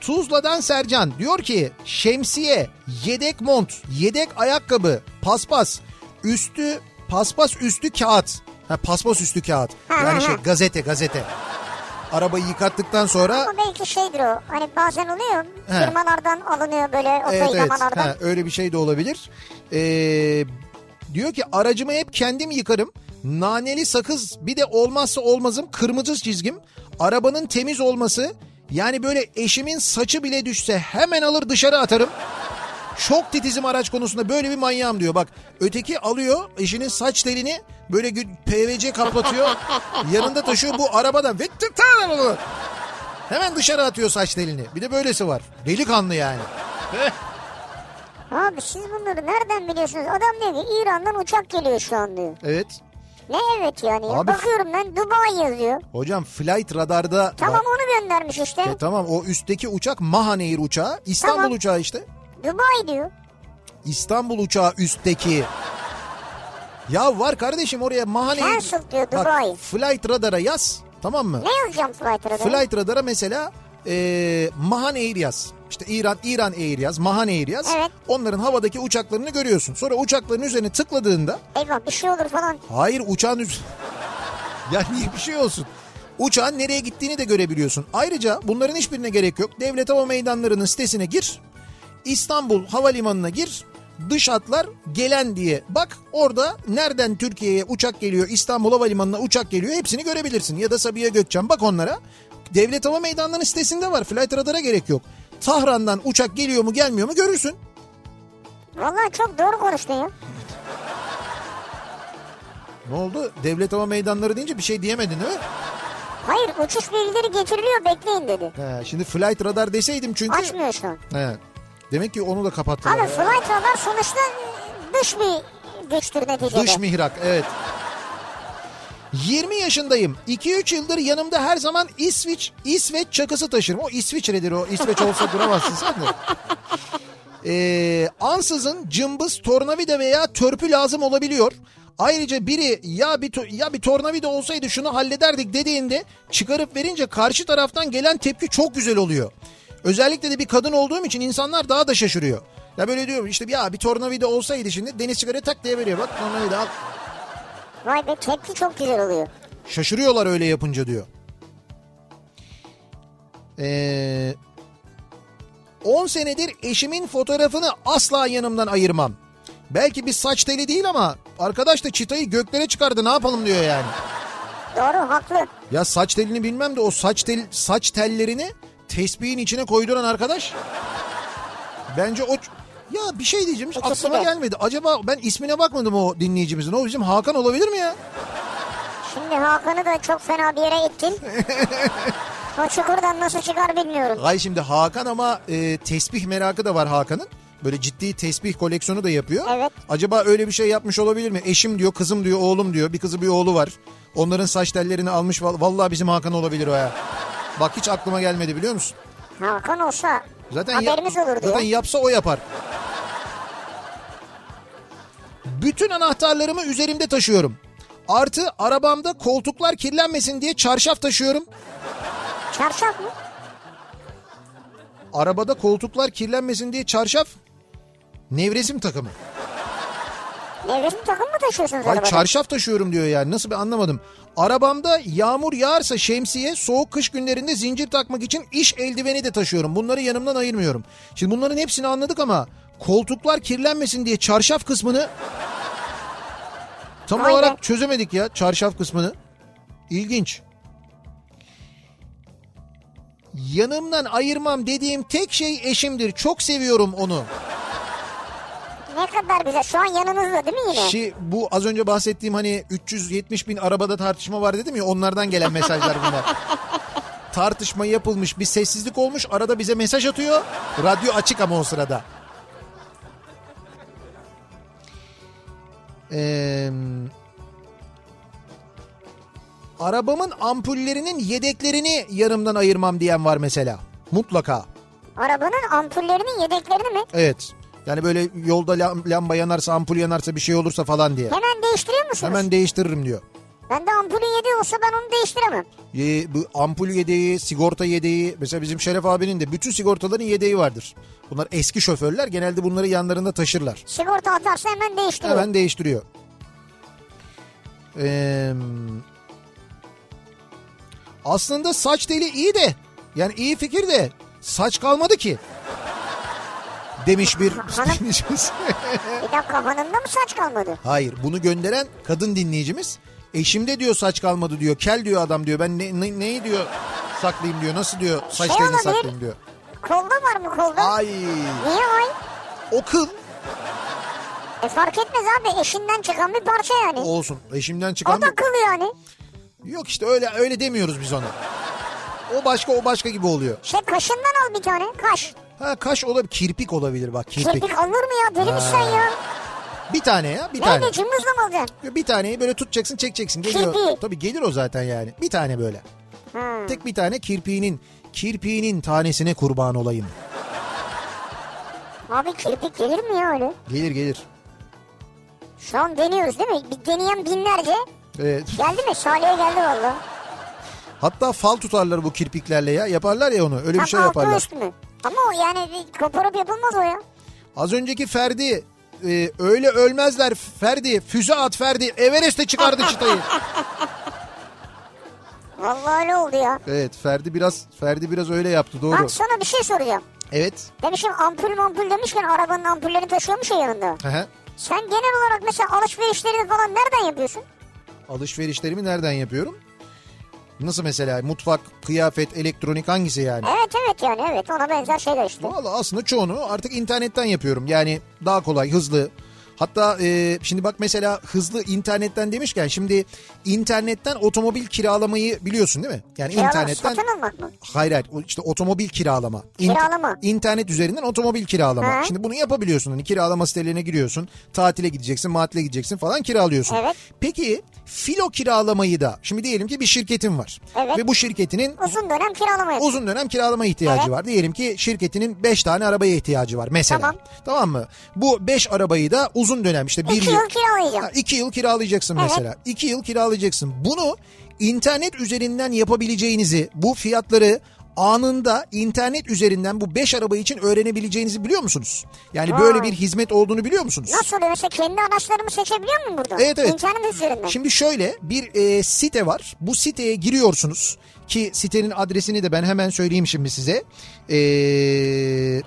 Speaker 1: Tuzla'dan Sercan diyor ki şemsiye, yedek mont, yedek ayakkabı, paspas, üstü paspas üstü kağıt. Ha, paspas üstü kağıt. Yani şey gazete gazete. Arabayı yıkattıktan sonra
Speaker 2: Ama belki şeydir o. Hani bazen oluyor.
Speaker 1: He.
Speaker 2: Firmalardan alınıyor böyle otoylamalardan.
Speaker 1: Ha, öyle bir şey de olabilir. Ee, diyor ki aracımı hep kendim yıkarım. Naneli sakız bir de olmazsa olmazım kırmızı çizgim. Arabanın temiz olması yani böyle eşimin saçı bile düşse hemen alır dışarı atarım. Çok titizim araç konusunda böyle bir manyağım diyor. Bak öteki alıyor eşinin saç telini böyle gü- PVC kaplatıyor. yanında taşıyor bu arabadan. Ve tı- tı- Hemen dışarı atıyor saç telini. Bir de böylesi var. Delikanlı yani.
Speaker 2: Abi siz bunları nereden biliyorsunuz? Adam diyor ki İran'dan uçak geliyor şu an diyor.
Speaker 1: Evet.
Speaker 2: Ne evet yani. ya?
Speaker 1: Abi-
Speaker 2: Bakıyorum ben Dubai yazıyor.
Speaker 1: Hocam flight radarda
Speaker 2: Tamam
Speaker 1: var.
Speaker 2: onu göndermiş işte.
Speaker 1: E, tamam o üstteki uçak Mahaneir uçağı. İstanbul
Speaker 2: Tamam.
Speaker 1: uçağı işte.
Speaker 2: Dubai diyor.
Speaker 1: İstanbul uçağı üstteki. Ya var kardeşim oraya Mahaneir.
Speaker 2: Cancel diyor
Speaker 1: Bak,
Speaker 2: Dubai.
Speaker 1: flight radara yaz. Tamam mı?
Speaker 2: şey Ne yazacağım flight radar?
Speaker 1: Flight radara mesela e, Mahaneir yaz. İşte İran İran Air yaz, Mahaneir yaz.
Speaker 2: Evet.
Speaker 1: Onların havadaki uçaklarını görüyorsun. Sonra uçakların üzerine tıkladığında
Speaker 2: Eyvah bir şey olur falan.
Speaker 1: Hayır uçağın üst... ya niye bir şey olsun? Uçağın nereye gittiğini de görebiliyorsun. Ayrıca bunların hiçbirine gerek yok. Devlet Hava Meydanları'nın sitesine gir. İstanbul Havalimanı'na gir. Dış hatlar gelen diye bak orada nereden Türkiye'ye uçak geliyor İstanbul Havalimanı'na uçak geliyor hepsini görebilirsin. Ya da Sabiha Gökçen bak onlara. Devlet Hava Meydanları'nın sitesinde var flight radara gerek yok. Tahran'dan uçak geliyor mu gelmiyor mu görürsün.
Speaker 2: Vallahi çok doğru konuştun ya.
Speaker 1: Ne oldu? Devlet Hava Meydanları deyince bir şey diyemedin değil mi?
Speaker 2: Hayır uçuş bilgileri getiriliyor bekleyin dedi.
Speaker 1: He, şimdi flight radar deseydim çünkü...
Speaker 2: Açmıyor şu an.
Speaker 1: He. Demek ki onu da kapattılar.
Speaker 2: Abi flight radar sonuçta dış bir güçtür neticede.
Speaker 1: Dış mihrak evet. 20 yaşındayım. 2-3 yıldır yanımda her zaman İsviç, İsveç çakısı taşırım. O İsviçre'dir o. İsveç olsa duramazsın sen de. Ee, ansızın cımbız, tornavida veya törpü lazım olabiliyor. Ayrıca biri ya bir to- ya bir tornavida olsaydı şunu hallederdik dediğinde çıkarıp verince karşı taraftan gelen tepki çok güzel oluyor. Özellikle de bir kadın olduğum için insanlar daha da şaşırıyor. Ya böyle diyorum işte ya bir tornavida olsaydı şimdi deniz sigara tak diye veriyor. Bak tornavida al.
Speaker 2: Vay be tepki çok güzel oluyor.
Speaker 1: Şaşırıyorlar öyle yapınca diyor. Ee, 10 senedir eşimin fotoğrafını asla yanımdan ayırmam. Belki bir saç teli değil ama arkadaş da çıtayı göklere çıkardı ne yapalım diyor yani.
Speaker 2: Doğru haklı.
Speaker 1: Ya saç telini bilmem de o saç tel saç tellerini tespihin içine koyduran arkadaş. Bence o ç- ya bir şey diyeceğim hiç
Speaker 2: İkisi
Speaker 1: aklıma
Speaker 2: de.
Speaker 1: gelmedi. Acaba ben ismine bakmadım o dinleyicimizin. O bizim Hakan olabilir mi ya?
Speaker 2: Şimdi Hakan'ı da çok fena bir yere ettin. o çukurdan nasıl çıkar bilmiyorum.
Speaker 1: Ay şimdi Hakan ama e, tesbih merakı da var Hakan'ın. Böyle ciddi tesbih koleksiyonu da yapıyor.
Speaker 2: Evet.
Speaker 1: Acaba öyle bir şey yapmış olabilir mi? Eşim diyor, kızım diyor, oğlum diyor. Bir kızı bir oğlu var. Onların saç tellerini almış. Val- Vallahi bizim Hakan olabilir o ya. Bak hiç aklıma gelmedi biliyor musun?
Speaker 2: Hakan olsa
Speaker 1: Zaten ya-
Speaker 2: haberimiz olurdu
Speaker 1: Zaten
Speaker 2: ya.
Speaker 1: yapsa o yapar. Bütün anahtarlarımı üzerimde taşıyorum. Artı arabamda koltuklar kirlenmesin diye çarşaf taşıyorum.
Speaker 2: Çarşaf mı?
Speaker 1: Arabada koltuklar kirlenmesin diye çarşaf nevresim takımı.
Speaker 2: Nevresim takım mı taşıyorsunuz
Speaker 1: Hayır
Speaker 2: arabada?
Speaker 1: çarşaf taşıyorum diyor yani nasıl ben anlamadım. Arabamda yağmur yağarsa şemsiye soğuk kış günlerinde zincir takmak için iş eldiveni de taşıyorum. Bunları yanımdan ayırmıyorum. Şimdi bunların hepsini anladık ama koltuklar kirlenmesin diye çarşaf kısmını tam
Speaker 2: Vay be.
Speaker 1: olarak çözemedik ya çarşaf kısmını. İlginç. Yanımdan ayırmam dediğim tek şey eşimdir. Çok seviyorum onu.
Speaker 2: Ne kadar güzel. Şu an yanınızda değil mi yine?
Speaker 1: Şi, bu az önce bahsettiğim hani 370 bin arabada tartışma var dedim ya onlardan gelen mesajlar bunlar. tartışma yapılmış bir sessizlik olmuş arada bize mesaj atıyor. Radyo açık ama o sırada. Eee, arabamın ampullerinin yedeklerini yarımdan ayırmam diyen var mesela. Mutlaka.
Speaker 2: Arabanın ampullerinin yedeklerini mi?
Speaker 1: Evet. Yani böyle yolda lam- lamba yanarsa ampul yanarsa bir şey olursa falan diye.
Speaker 2: Hemen değiştiriyor musunuz?
Speaker 1: Hemen değiştiririm diyor.
Speaker 2: Ben de ampulün yedeği olsa ben onu değiştiremem.
Speaker 1: Ye- bu ampul yedeği, sigorta yedeği mesela bizim Şeref abinin de bütün sigortaların yedeği vardır. Bunlar eski şoförler genelde bunları yanlarında taşırlar.
Speaker 2: Sigorta atarsa hemen değiştiriyor.
Speaker 1: Hemen değiştiriyor. Ee, aslında saç teli iyi de yani iyi fikir de saç kalmadı ki. Demiş bir
Speaker 2: Hanım-
Speaker 1: dinleyicimiz.
Speaker 2: Bir dakika hanımda mı saç kalmadı?
Speaker 1: Hayır bunu gönderen kadın dinleyicimiz eşimde diyor saç kalmadı diyor. Kel diyor adam diyor. Ben ne, ne- neyi diyor saklayayım diyor. Nasıl diyor saç
Speaker 2: Şey
Speaker 1: telini
Speaker 2: olabilir.
Speaker 1: saklayayım diyor.
Speaker 2: Kolda var mı kolda?
Speaker 1: Ay
Speaker 2: Niye ay?
Speaker 1: o kıl
Speaker 2: E fark etmez abi eşinden çıkan bir parça yani. O,
Speaker 1: olsun. Eşimden çıkan
Speaker 2: da kıl yani.
Speaker 1: bir- Yok işte öyle öyle demiyoruz biz ona. O başka o başka gibi oluyor.
Speaker 2: Şey kaşından al bir tane kaş.
Speaker 1: Ha kaş olabilir, kirpik olabilir bak kirpik.
Speaker 2: Kirpik olur mu ya deli misin sen ya?
Speaker 1: Bir tane ya, bir tane.
Speaker 2: Neyle cımbızla mı alacaksın?
Speaker 1: Bir taneyi böyle tutacaksın, çekeceksin. Geliyor.
Speaker 2: Kirpik.
Speaker 1: Tabii gelir o zaten yani. Bir tane böyle.
Speaker 2: Ha.
Speaker 1: Tek bir tane kirpiğinin kirpiğinin tanesine kurban olayım.
Speaker 2: Abi kirpik gelir mi ya öyle?
Speaker 1: Gelir gelir.
Speaker 2: Şu an deniyoruz değil mi? Bir deneyen binlerce.
Speaker 1: Evet.
Speaker 2: Geldi mi? Salih'e geldi valla.
Speaker 1: Hatta fal tutarlar bu kirpiklerle ya. Yaparlar ya onu. Öyle bir
Speaker 2: Tam
Speaker 1: şey
Speaker 2: altı
Speaker 1: yaparlar.
Speaker 2: üst mü? Ama o yani bir koparıp yapılmaz o ya.
Speaker 1: Az önceki Ferdi e, öyle ölmezler Ferdi. Füze at Ferdi. Everest'e çıkardı çıtayı.
Speaker 2: Vallahi öyle oldu ya.
Speaker 1: evet Ferdi biraz Ferdi biraz öyle yaptı doğru.
Speaker 2: Bak sana bir şey soracağım.
Speaker 1: Evet.
Speaker 2: Demişim şey ampul mampul demişken arabanın ampullerini taşıyormuş ya yanında.
Speaker 1: Hı hı.
Speaker 2: Sen genel olarak mesela alışverişlerini falan nereden yapıyorsun?
Speaker 1: Alışverişlerimi nereden yapıyorum? Nasıl mesela mutfak, kıyafet, elektronik hangisi yani?
Speaker 2: Evet evet yani evet ona benzer şeyler işte.
Speaker 1: Valla aslında çoğunu artık internetten yapıyorum. Yani daha kolay, hızlı. Hatta e, şimdi bak mesela hızlı internetten demişken şimdi internetten otomobil kiralamayı biliyorsun değil mi? Yani
Speaker 2: Kiralama,
Speaker 1: internetten
Speaker 2: Satın almak mı?
Speaker 1: Hayır hayır O işte otomobil kiralama.
Speaker 2: Kiralama.
Speaker 1: İnternet üzerinden otomobil kiralama.
Speaker 2: Ha.
Speaker 1: Şimdi bunu yapabiliyorsun. Hani kiralama sitelerine giriyorsun. Tatile gideceksin, matile gideceksin falan kiralıyorsun.
Speaker 2: Evet.
Speaker 1: Peki filo kiralamayı da şimdi diyelim ki bir şirketin var.
Speaker 2: Evet.
Speaker 1: Ve bu şirketinin
Speaker 2: Uzun dönem kiralama yapıyorsun.
Speaker 1: uzun dönem kiralama ihtiyacı
Speaker 2: Evet.
Speaker 1: var. Diyelim ki şirketinin 5 tane arabaya ihtiyacı var mesela.
Speaker 2: Tamam.
Speaker 1: Tamam mı? Bu 5 arabayı da uzun dönem işte 1
Speaker 2: İki yıl kiralayacağım.
Speaker 1: Ha, iki yıl kiralayacaksın
Speaker 2: Evet.
Speaker 1: mesela. İki yıl kiralayacaksın. Bunu internet üzerinden yapabileceğinizi, bu fiyatları anında internet üzerinden bu 5 araba için öğrenebileceğinizi biliyor musunuz? Yani
Speaker 2: Vay.
Speaker 1: böyle bir hizmet olduğunu biliyor musunuz?
Speaker 2: Nasıl oluyor mesela kendi araçlarımı seçebiliyor muyum burada?
Speaker 1: Evet, evet.
Speaker 2: İnternet üzerinden.
Speaker 1: Şimdi şöyle bir e, site var. Bu siteye giriyorsunuz ki sitenin adresini de ben hemen söyleyeyim şimdi size. E, Eee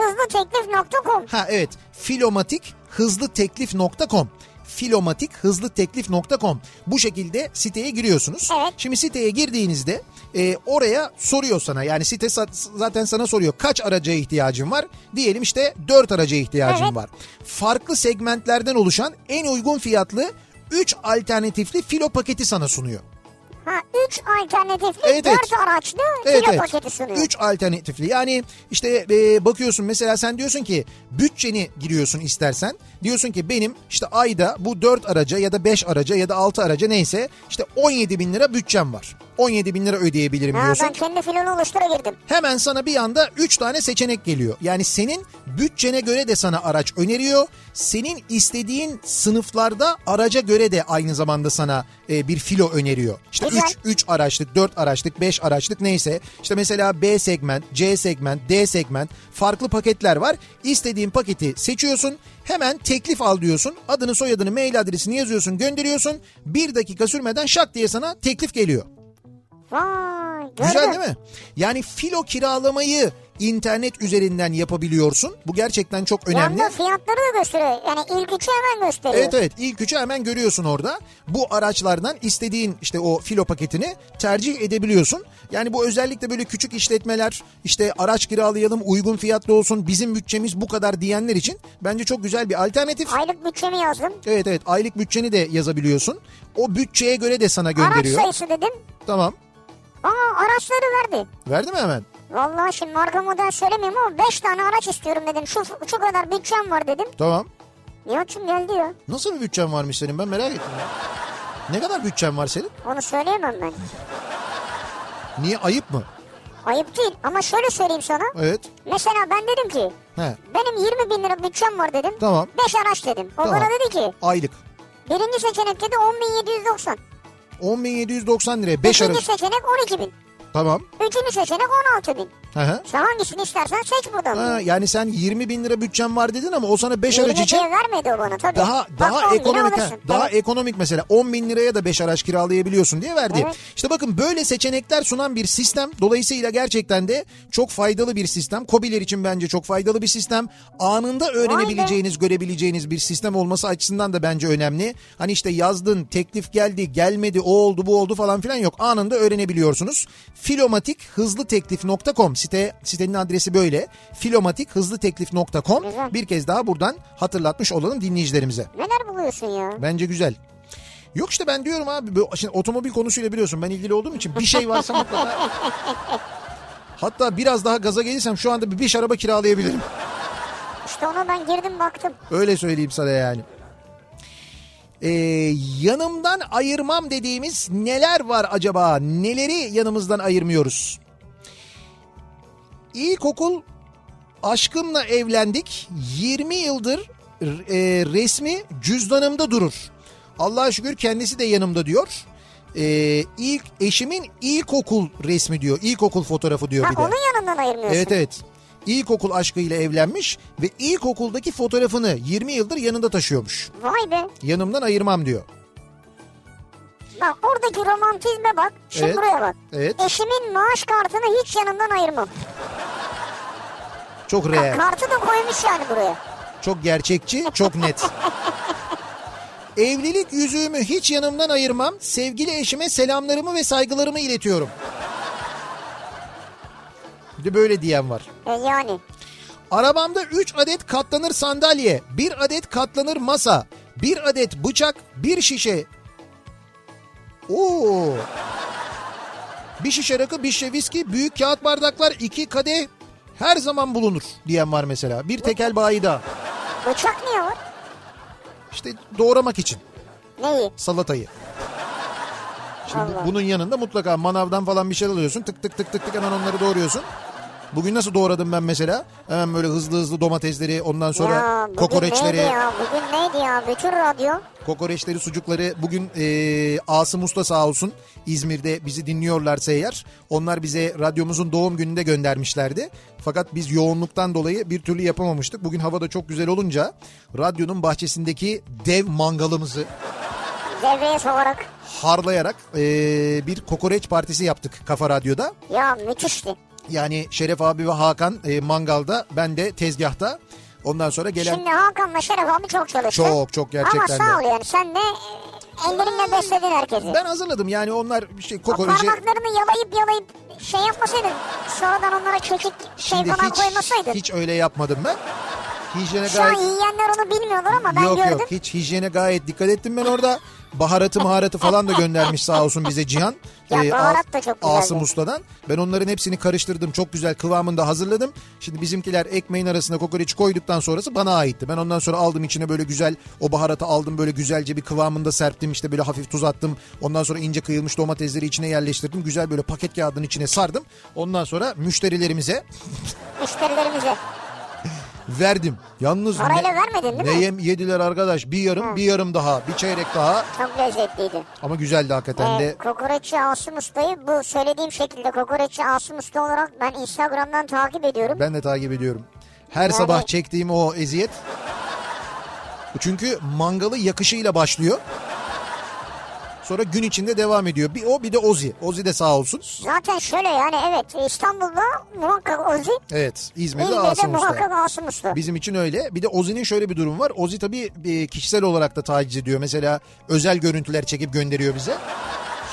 Speaker 2: Filomatikhızlıteklif.com
Speaker 1: Ha evet. Filomatik hızlı teklif.com filomatik hızlı teklif.com bu şekilde siteye giriyorsunuz.
Speaker 2: Evet.
Speaker 1: Şimdi siteye girdiğinizde e, oraya soruyor sana yani site sa- zaten sana soruyor kaç araca ihtiyacın var diyelim işte 4 araca ihtiyacın
Speaker 2: Evet.
Speaker 1: var. Farklı segmentlerden oluşan en uygun fiyatlı 3 alternatifli filo paketi sana sunuyor.
Speaker 2: Ha Ha 3 alternatifli
Speaker 1: Evet,
Speaker 2: 4
Speaker 1: evet.
Speaker 2: araçlı
Speaker 1: Evet,
Speaker 2: kilo
Speaker 1: evet.
Speaker 2: paketi sunuyor.
Speaker 1: Üç alternatifli. Yani işte e, bakıyorsun mesela sen diyorsun ki bütçeni giriyorsun istersen. Diyorsun ki benim işte ayda bu dört araca ya da beş araca ya da altı araca neyse işte 17 bin lira bütçem var. 17 bin lira ödeyebilirim
Speaker 2: Ha,
Speaker 1: diyorsun.
Speaker 2: ben kendi filonu oluştura girdim.
Speaker 1: Hemen sana bir anda 3 tane seçenek geliyor. Yani senin bütçene göre de sana araç öneriyor. Senin istediğin sınıflarda araca göre de aynı zamanda sana e, bir filo öneriyor. İşte
Speaker 2: Güzel.
Speaker 1: 3 3 araçlık, 4 araçlık, 5 araçlık neyse. İşte mesela B segment, C segment, D segment farklı paketler var. İstediğin paketi seçiyorsun. Hemen teklif al diyorsun. Adını, soyadını, mail adresini yazıyorsun, gönderiyorsun. Bir dakika sürmeden şak diye sana teklif geliyor.
Speaker 2: Vay gördün.
Speaker 1: Güzel değil mi? Yani filo kiralamayı internet üzerinden yapabiliyorsun. Bu gerçekten çok önemli.
Speaker 2: Yanda fiyatları da gösteriyor. Yani ilk üçü hemen gösteriyor.
Speaker 1: Evet evet ilk üçü hemen görüyorsun orada. Bu araçlardan istediğin işte o filo paketini tercih edebiliyorsun. Yani bu özellikle böyle küçük işletmeler işte araç kiralayalım uygun fiyatlı olsun bizim bütçemiz bu kadar diyenler için bence çok güzel bir alternatif.
Speaker 2: Aylık bütçemi yazdım.
Speaker 1: Evet evet aylık bütçeni de yazabiliyorsun. O bütçeye göre de sana
Speaker 2: Araç
Speaker 1: gönderiyor.
Speaker 2: sayısı dedim. Aa araçları verdi.
Speaker 1: Verdi mi hemen?
Speaker 2: Vallahi şimdi marka model söylemeyeyim ama 5 tane araç istiyorum dedim. Şu, şu kadar bütçem var dedim.
Speaker 1: Tamam.
Speaker 2: Nihat'cığım geldi ya.
Speaker 1: Nasıl bir bütçen varmış senin ben merak ettim. ya. Ne kadar bütçen var senin?
Speaker 2: Onu söyleyemem ben.
Speaker 1: Niye ayıp mı?
Speaker 2: Ayıp değil ama şöyle söyleyeyim sana.
Speaker 1: Evet.
Speaker 2: Mesela ben dedim ki
Speaker 1: He.
Speaker 2: benim 20 bin lira bütçem var dedim.
Speaker 1: Tamam.
Speaker 2: 5 araç dedim. O
Speaker 1: Tamam.
Speaker 2: bana dedi ki
Speaker 1: Aylık.
Speaker 2: birinci seçenek dedi 10.790.
Speaker 1: 10.790 liraya 5
Speaker 2: İkinci
Speaker 1: arası.
Speaker 2: seçenek 12.000.
Speaker 1: Tamam.
Speaker 2: Üçüncü seçenek 16.000.
Speaker 1: Hı hı.
Speaker 2: Sen hangisini istersen seç buradan.
Speaker 1: Ha, yani sen 20 bin lira bütçen var dedin ama o sana 5
Speaker 2: 20
Speaker 1: araç için
Speaker 2: diye vermedi o bana tabii.
Speaker 1: daha
Speaker 2: Bak,
Speaker 1: daha
Speaker 2: 10 bine
Speaker 1: ekonomik ha,
Speaker 2: alırsın.
Speaker 1: daha
Speaker 2: Evet.
Speaker 1: ekonomik mesela 10 bin liraya da 5 araç kiralayabiliyorsun diye verdi.
Speaker 2: Evet.
Speaker 1: İşte bakın böyle seçenekler sunan bir sistem dolayısıyla gerçekten de çok faydalı bir sistem. Kobiler için bence çok faydalı bir sistem. Anında öğrenebileceğiniz, görebileceğiniz bir sistem olması açısından da bence önemli. Hani işte yazdın, teklif geldi, gelmedi, o oldu, bu oldu falan filan yok. Anında öğrenebiliyorsunuz. Filomatik hızlı teklif.com site sitenin adresi böyle. Filomatik hızlı teklif.com
Speaker 2: Güzel.
Speaker 1: bir kez daha buradan hatırlatmış olalım dinleyicilerimize.
Speaker 2: Neler buluyorsun ya?
Speaker 1: Bence güzel. Yok işte ben diyorum abi bu şimdi otomobil konusuyla biliyorsun ben ilgili olduğum için bir şey varsa mutlaka. Hatta biraz daha gaza gelirsem şu anda bir beş araba kiralayabilirim.
Speaker 2: İşte ona ben girdim baktım.
Speaker 1: Öyle söyleyeyim sana yani. Ee, yanımdan ayırmam dediğimiz neler var acaba? Neleri yanımızdan ayırmıyoruz? İlkokul aşkımla evlendik. 20 yıldır e, resmi cüzdanımda durur. Allah'a şükür kendisi de yanımda diyor. Ee, ilk eşimin ilkokul resmi diyor. İlkokul fotoğrafı diyor
Speaker 2: Ha,
Speaker 1: bir de.
Speaker 2: onun yanından ayırmıyorsun.
Speaker 1: Evet evet. İlkokul aşkıyla evlenmiş ve ilkokuldaki fotoğrafını 20 yıldır yanında taşıyormuş.
Speaker 2: Vay be.
Speaker 1: Yanımdan ayırmam diyor.
Speaker 2: Bak oradaki romantizme bak. Şimdi
Speaker 1: Evet.
Speaker 2: buraya bak.
Speaker 1: Evet.
Speaker 2: Eşimin maaş kartını hiç yanımdan ayırmam.
Speaker 1: Çok
Speaker 2: Ha,
Speaker 1: real,
Speaker 2: kartı da koymuş yani buraya.
Speaker 1: çok gerçekçi, çok net. Evlilik yüzüğümü hiç yanımdan ayırmam. Sevgili eşime selamlarımı ve saygılarımı iletiyorum. Bir de böyle diyen var.
Speaker 2: E, yani.
Speaker 1: Arabamda 3 adet katlanır sandalye, 1 adet katlanır masa, 1 adet bıçak, 1 şişe... Oo. Bir şişe rakı, bir şişe viski, büyük kağıt bardaklar, iki kadeh her zaman bulunur diyen var mesela. Bir tekel bayi daha.
Speaker 2: Bıçak niye var?
Speaker 1: İşte doğramak için
Speaker 2: Neyi?
Speaker 1: salatayı. Şimdi
Speaker 2: Allah.
Speaker 1: bunun yanında mutlaka manavdan falan bir şey alıyorsun. Tık tık tık tık tık hemen onları doğruyorsun. Bugün nasıl doğradım ben mesela? Hemen böyle hızlı hızlı domatesleri ondan sonra
Speaker 2: ya, bugün
Speaker 1: kokoreçleri,
Speaker 2: neydi ya? Bugün neydi ya? Bütün radyo.
Speaker 1: kokoreçleri, sucukları. Bugün eee Asım Usta sağ olsun İzmir'de bizi dinliyorlarsa eğer. Onlar bize radyomuzun doğum gününde göndermişlerdi. Fakat biz yoğunluktan dolayı bir türlü yapamamıştık. Bugün hava da çok güzel olunca radyonun bahçesindeki dev mangalımızı
Speaker 2: Devreye sokarak.
Speaker 1: harlayarak eee, bir kokoreç partisi yaptık Kafa Radyo'da.
Speaker 2: Ya müthişti.
Speaker 1: Yani Şeref abi ve Hakan eee, mangalda, ben de tezgahta. Ondan sonra gelen
Speaker 2: Şimdi Hakan'la Şeref abi çok çalıştı.
Speaker 1: çok çok
Speaker 2: Ama
Speaker 1: gerçekten
Speaker 2: sağ ol
Speaker 1: de.
Speaker 2: yani sen de e, ellerinle besledin herkesi.
Speaker 1: Ben hazırladım yani onlar bir şey
Speaker 2: O
Speaker 1: kokoreçi
Speaker 2: parmaklarını yalayıp yalayıp şey yapmasaydın. Sonradan onlara çekik şey
Speaker 1: Şimdi
Speaker 2: falan
Speaker 1: hiç,
Speaker 2: koymasaydın.
Speaker 1: hiç öyle yapmadım ben. Hijyene
Speaker 2: Şu an
Speaker 1: gayet...
Speaker 2: yiyenler onu bilmiyorlar ama ben
Speaker 1: yok
Speaker 2: gördüm.
Speaker 1: yok hiç hijyene gayet dikkat ettim ben orada. Baharatı maharatı falan da göndermiş sağ olsun bize Cihan.
Speaker 2: Ya
Speaker 1: Ee,
Speaker 2: baharat
Speaker 1: As-
Speaker 2: da çok güzeldi.
Speaker 1: Asım Usta'dan. Ben onların hepsini karıştırdım. Çok güzel kıvamında hazırladım. Şimdi bizimkiler ekmeğin arasına kokoreç koyduktan sonrası bana aitti. Ben ondan sonra aldım içine böyle güzel o baharatı aldım böyle güzelce bir kıvamında serptim. işte böyle hafif tuz attım. Ondan sonra ince kıyılmış domatesleri içine yerleştirdim. Güzel böyle paket kağıdının içine sardım. Ondan sonra müşterilerimize
Speaker 2: Müşterilerimize.
Speaker 1: verdim. Yalnız
Speaker 2: Parayla vermedin değil
Speaker 1: ne
Speaker 2: mi?
Speaker 1: yem yediler arkadaş? Bir yarım, bir yarım daha, bir çeyrek daha.
Speaker 2: Çok lezzetliydi.
Speaker 1: Ama güzeldi hakikaten de.
Speaker 2: Ee, kokoreççi Asım Usta'yı bu söylediğim şekilde kokoreççi Asım Usta olarak ben Instagram'dan takip ediyorum.
Speaker 1: Ben de takip ediyorum. Her
Speaker 2: Yani-
Speaker 1: sabah çektiğim o eziyet. Çünkü mangalı yakışıyla başlıyor. Sonra gün içinde devam ediyor. Bir o bir de Ozi. Ozi de sağ olsun.
Speaker 2: Zaten şöyle yani evet İstanbul'da muhakkak Ozi,
Speaker 1: Evet İzmir'de
Speaker 2: İzmir'de
Speaker 1: Asım Usta.
Speaker 2: muhakkak Asım Usta.
Speaker 1: Bizim için öyle. Bir de Ozi'nin şöyle bir durum var. Ozi tabii e, kişisel olarak da taciz ediyor. Mesela özel görüntüler çekip gönderiyor bize.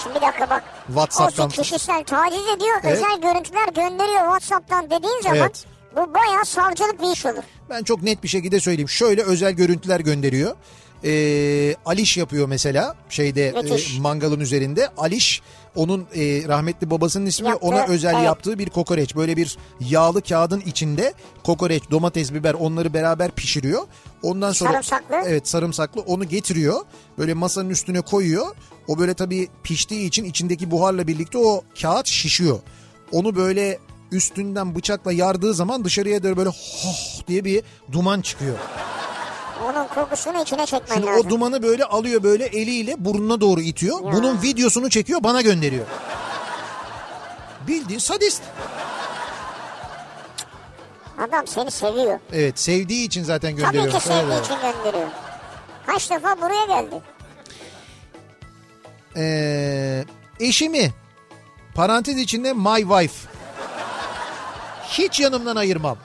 Speaker 2: Şimdi bir dakika bak.
Speaker 1: WhatsApp'tan-
Speaker 2: Ozi kişisel taciz ediyor,
Speaker 1: Evet.
Speaker 2: özel görüntüler gönderiyor WhatsApp'tan dediğin zaman
Speaker 1: Evet.
Speaker 2: bu bayağı savcılık bir iş olur.
Speaker 1: Ben çok net bir şekilde söyleyeyim. Şöyle özel görüntüler gönderiyor. Ee, Aliş yapıyor mesela şeyde
Speaker 2: Müthiş.
Speaker 1: e, mangalın üzerinde. Aliş onun e, rahmetli babasının ismi
Speaker 2: Yaptığı,
Speaker 1: ona özel
Speaker 2: evet.
Speaker 1: yaptığı bir kokoreç. Böyle bir yağlı kağıdın içinde kokoreç, domates, biber onları beraber pişiriyor. Ondan sonra
Speaker 2: Sarımsaklı.
Speaker 1: Evet sarımsaklı onu getiriyor. Böyle masanın üstüne koyuyor. O böyle tabii piştiği için içindeki buharla birlikte o kağıt şişiyor. Onu böyle üstünden bıçakla yardığı zaman dışarıya doğru böyle hoh diye bir duman çıkıyor.
Speaker 2: Onun kokusunu içine çekmen
Speaker 1: Şimdi
Speaker 2: lazım.
Speaker 1: o dumanı böyle alıyor böyle eliyle burnuna doğru itiyor. Bunun videosunu çekiyor bana gönderiyor. Bildiğin sadist.
Speaker 2: Adam seni seviyor.
Speaker 1: Evet sevdiği için zaten
Speaker 2: Tabii
Speaker 1: gönderiyor.
Speaker 2: ki sevdiği
Speaker 1: Evet.
Speaker 2: için gönderiyor. Kaç defa buraya geldi.
Speaker 1: Ee, eşimi parantez içinde my wife hiç yanımdan ayırmam.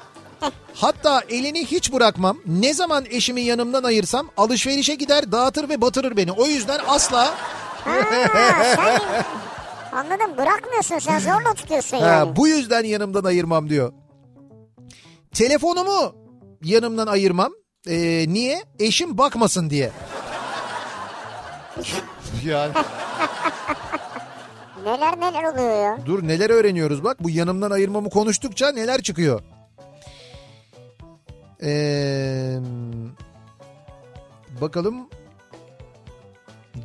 Speaker 1: Hatta elini hiç bırakmam. Ne zaman eşimi yanımdan ayırsam alışverişe gider dağıtır ve batırır beni. O yüzden asla
Speaker 2: Ha, sen anladım bırakmıyorsun sen zorla tutuyorsun yani.
Speaker 1: Ha, bu yüzden yanımdan ayırmam diyor. Telefonumu yanımdan ayırmam. Ee, niye? Eşim bakmasın diye. yani
Speaker 2: Neler neler oluyor ya.
Speaker 1: Dur neler öğreniyoruz bak bu yanımdan ayırmamı konuştukça neler çıkıyor. Ee, bakalım.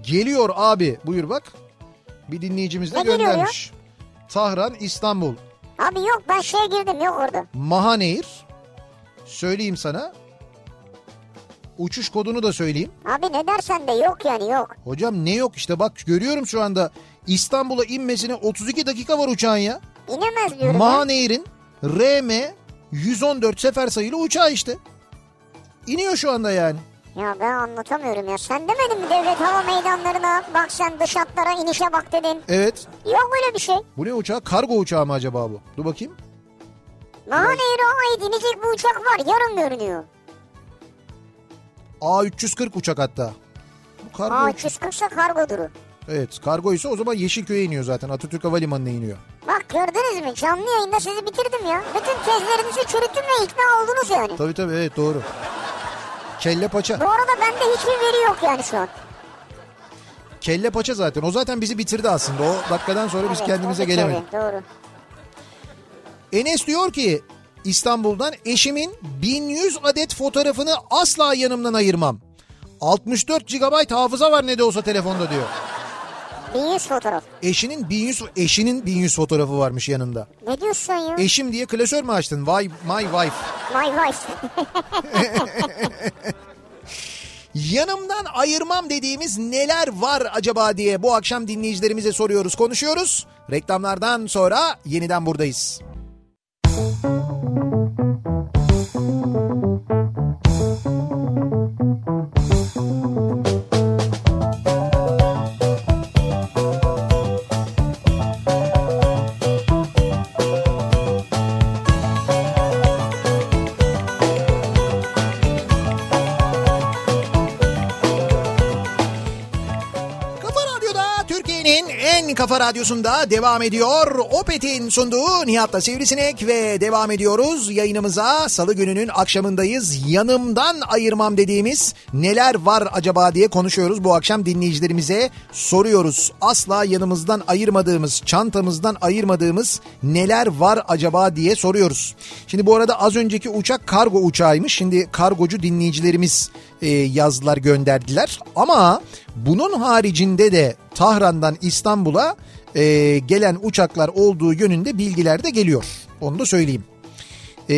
Speaker 1: Geliyor abi buyur bak. Bir dinleyicimiz de
Speaker 2: Ne geliyor
Speaker 1: göndermiş. Tahran İstanbul.
Speaker 2: Abi yok ben şeye girdim yok orada.
Speaker 1: Mahanehir. Söyleyeyim sana. Uçuş kodunu da söyleyeyim.
Speaker 2: Abi ne dersen de yok yani yok.
Speaker 1: Hocam ne yok işte bak görüyorum şu anda İstanbul'a inmesine 32 dakika var uçağın ya.
Speaker 2: İnemez diyorum. ben.
Speaker 1: Mahaneir'in RM 114 sefer sayılı uçağı işte. İniyor şu anda yani.
Speaker 2: Ya ben anlatamıyorum ya. Sen demedin mi devlet hava meydanlarına bak sen dış hatlara inişe bak dedin.
Speaker 1: Evet.
Speaker 2: Yok böyle bir şey.
Speaker 1: Bu ne uçağı? Kargo uçağı mı acaba bu? Dur bakayım.
Speaker 2: Mahanehir'e ait inecek bir uçak var yarın görünüyor.
Speaker 1: A340 uçak hatta. Bu kargo
Speaker 2: Aa
Speaker 1: uçağı.
Speaker 2: 340 ise kargo duru.
Speaker 1: Evet kargo ise o zaman Yeşilköy'e iniyor zaten. Atatürk Havalimanı'na iniyor.
Speaker 2: Bak gördünüz mü canlı yayında sizi bitirdim ya. Bütün tezlerinizi çürüttüm ve ikna oldunuz yani.
Speaker 1: Tabii tabii evet doğru. Kelle paça.
Speaker 2: Bu arada bende hiçbir veri yok yani şu an.
Speaker 1: Kelle paça zaten. O zaten bizi bitirdi aslında. O dakikadan sonra biz
Speaker 2: Evet,
Speaker 1: kendimize
Speaker 2: o bir kere,
Speaker 1: gelemedik.
Speaker 2: Doğru.
Speaker 1: Enes diyor ki İstanbul'dan eşimin 1100 adet fotoğrafını asla yanımdan ayırmam. 64 GB hafıza var ne de olsa telefonda diyor.
Speaker 2: 1100 fotoğraf.
Speaker 1: Eşinin 1100 eşinin 1100 fotoğrafı varmış yanında.
Speaker 2: Ne diyorsun ya?
Speaker 1: Eşim diye klasör mü açtın? Vay my wife.
Speaker 2: My wife.
Speaker 1: Yanımdan ayırmam dediğimiz neler var acaba diye bu akşam dinleyicilerimize soruyoruz, konuşuyoruz. Reklamlardan sonra yeniden buradayız. Kafa Radyo'da Türkiye'nin en Opet'in Kafa Radyosu'nda devam ediyor. Opet'in sunduğu Nihat'la Sivrisinek ve devam ediyoruz. Yayınımıza salı gününün akşamındayız. Yanımdan ayırmam dediğimiz neler var acaba diye konuşuyoruz. Bu akşam dinleyicilerimize soruyoruz. Asla yanımızdan ayırmadığımız, çantamızdan ayırmadığımız neler var acaba diye soruyoruz. Şimdi bu arada az önceki uçak kargo uçağıymış. Şimdi kargocu dinleyicilerimiz e, yazdılar gönderdiler. Ama bunun haricinde de Tahran'dan İstanbul'a e, gelen uçaklar olduğu yönünde bilgiler de geliyor. Onu da söyleyeyim. E,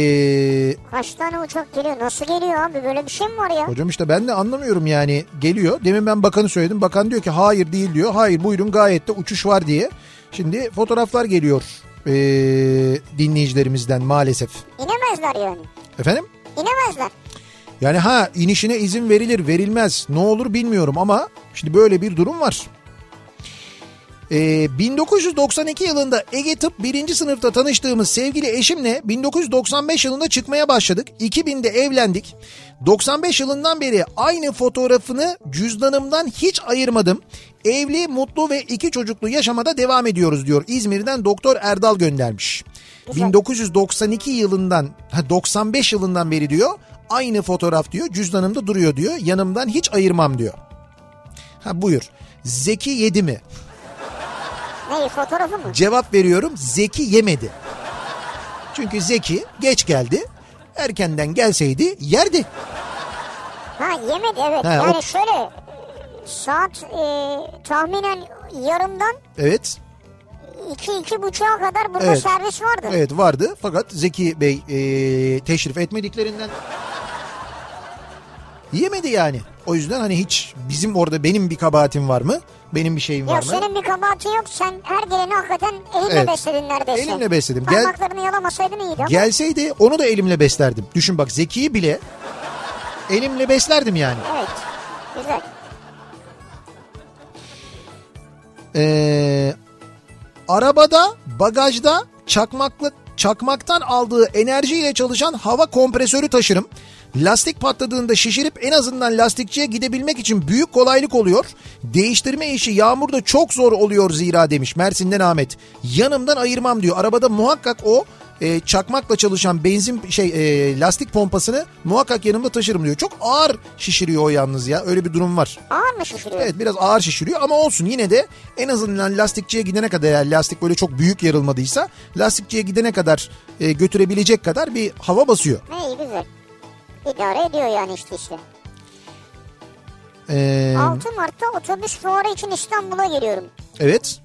Speaker 2: Kaç tane uçak geliyor? Nasıl geliyor abi? Böyle bir şey mi var ya?
Speaker 1: hocam işte ben de anlamıyorum yani geliyor. Demin ben bakanı söyledim. Bakan diyor ki hayır değil diyor. Hayır buyurun gayet de uçuş var diye. Şimdi fotoğraflar geliyor e, dinleyicilerimizden maalesef.
Speaker 2: İnemezler yani.
Speaker 1: Efendim?
Speaker 2: İnemezler.
Speaker 1: Yani ha inişine izin verilir verilmez ne olur bilmiyorum ama şimdi böyle bir durum var. Ee, 1992 yılında Ege Tıp 1. sınıfta tanıştığımız sevgili eşimle 1995 yılında çıkmaya başladık. 2000'de evlendik. 95 yılından beri aynı fotoğrafını cüzdanımdan hiç ayırmadım. Evli, mutlu ve iki çocuklu yaşamada devam ediyoruz diyor. İzmir'den Doktor Erdal göndermiş. 1992 yılından ha, 95 yılından beri diyor aynı fotoğraf diyor cüzdanımda duruyor diyor yanımdan hiç ayırmam diyor. Ha buyur. Zeki yedi mi?
Speaker 2: Ne fotoğrafı mı?
Speaker 1: Cevap veriyorum Zeki yemedi. Çünkü Zeki geç geldi. Erkenden gelseydi yerdi.
Speaker 2: Ha yemedi evet.
Speaker 1: Ha,
Speaker 2: yani
Speaker 1: o-
Speaker 2: şöyle saat e, tahminen yarımdan
Speaker 1: Evet.
Speaker 2: iki iki buçuğa kadar burada
Speaker 1: Evet.
Speaker 2: servis vardı.
Speaker 1: Evet vardı fakat Zeki Bey e, teşrif etmediklerinden yemedi yani. O yüzden hani hiç bizim orada benim bir kabahatim var mı? Benim bir şeyim var
Speaker 2: Yok
Speaker 1: mı?
Speaker 2: senin bir kabahatin yok. Sen her geleni hakikaten elinle
Speaker 1: Evet.
Speaker 2: besledin neredeyse.
Speaker 1: Elimle besledim. Gel-
Speaker 2: Parmaklarını yalamasaydın iyiydi ama.
Speaker 1: Gelseydi onu da elimle beslerdim. Düşün bak Zeki'yi bile elimle beslerdim yani.
Speaker 2: Evet. Güzel.
Speaker 1: Ee, arabada, bagajda çakmaklı çakmaktan aldığı enerjiyle çalışan hava kompresörü taşırım. Lastik patladığında şişirip en azından lastikçiye gidebilmek için büyük kolaylık oluyor. Değiştirme işi yağmurda çok zor oluyor zira demiş Mersin'den Ahmet. Yanımdan ayırmam diyor. Arabada muhakkak o e, çakmakla çalışan benzin şey e, lastik pompasını muhakkak yanımda taşırım diyor. Çok ağır şişiriyor o yalnız ya. Öyle bir durum var.
Speaker 2: Ağır mı şişiriyor?
Speaker 1: Evet biraz ağır şişiriyor ama olsun yine de en azından lastikçiye gidene kadar eğer lastik böyle çok büyük yarılmadıysa lastikçiye gidene kadar e, götürebilecek kadar bir hava basıyor.
Speaker 2: Ne iyi güzel. İdare ediyor yani işte işte.
Speaker 1: Ee,
Speaker 2: 6 Mart'ta otobüs fuarı için İstanbul'a geliyorum.
Speaker 1: evet.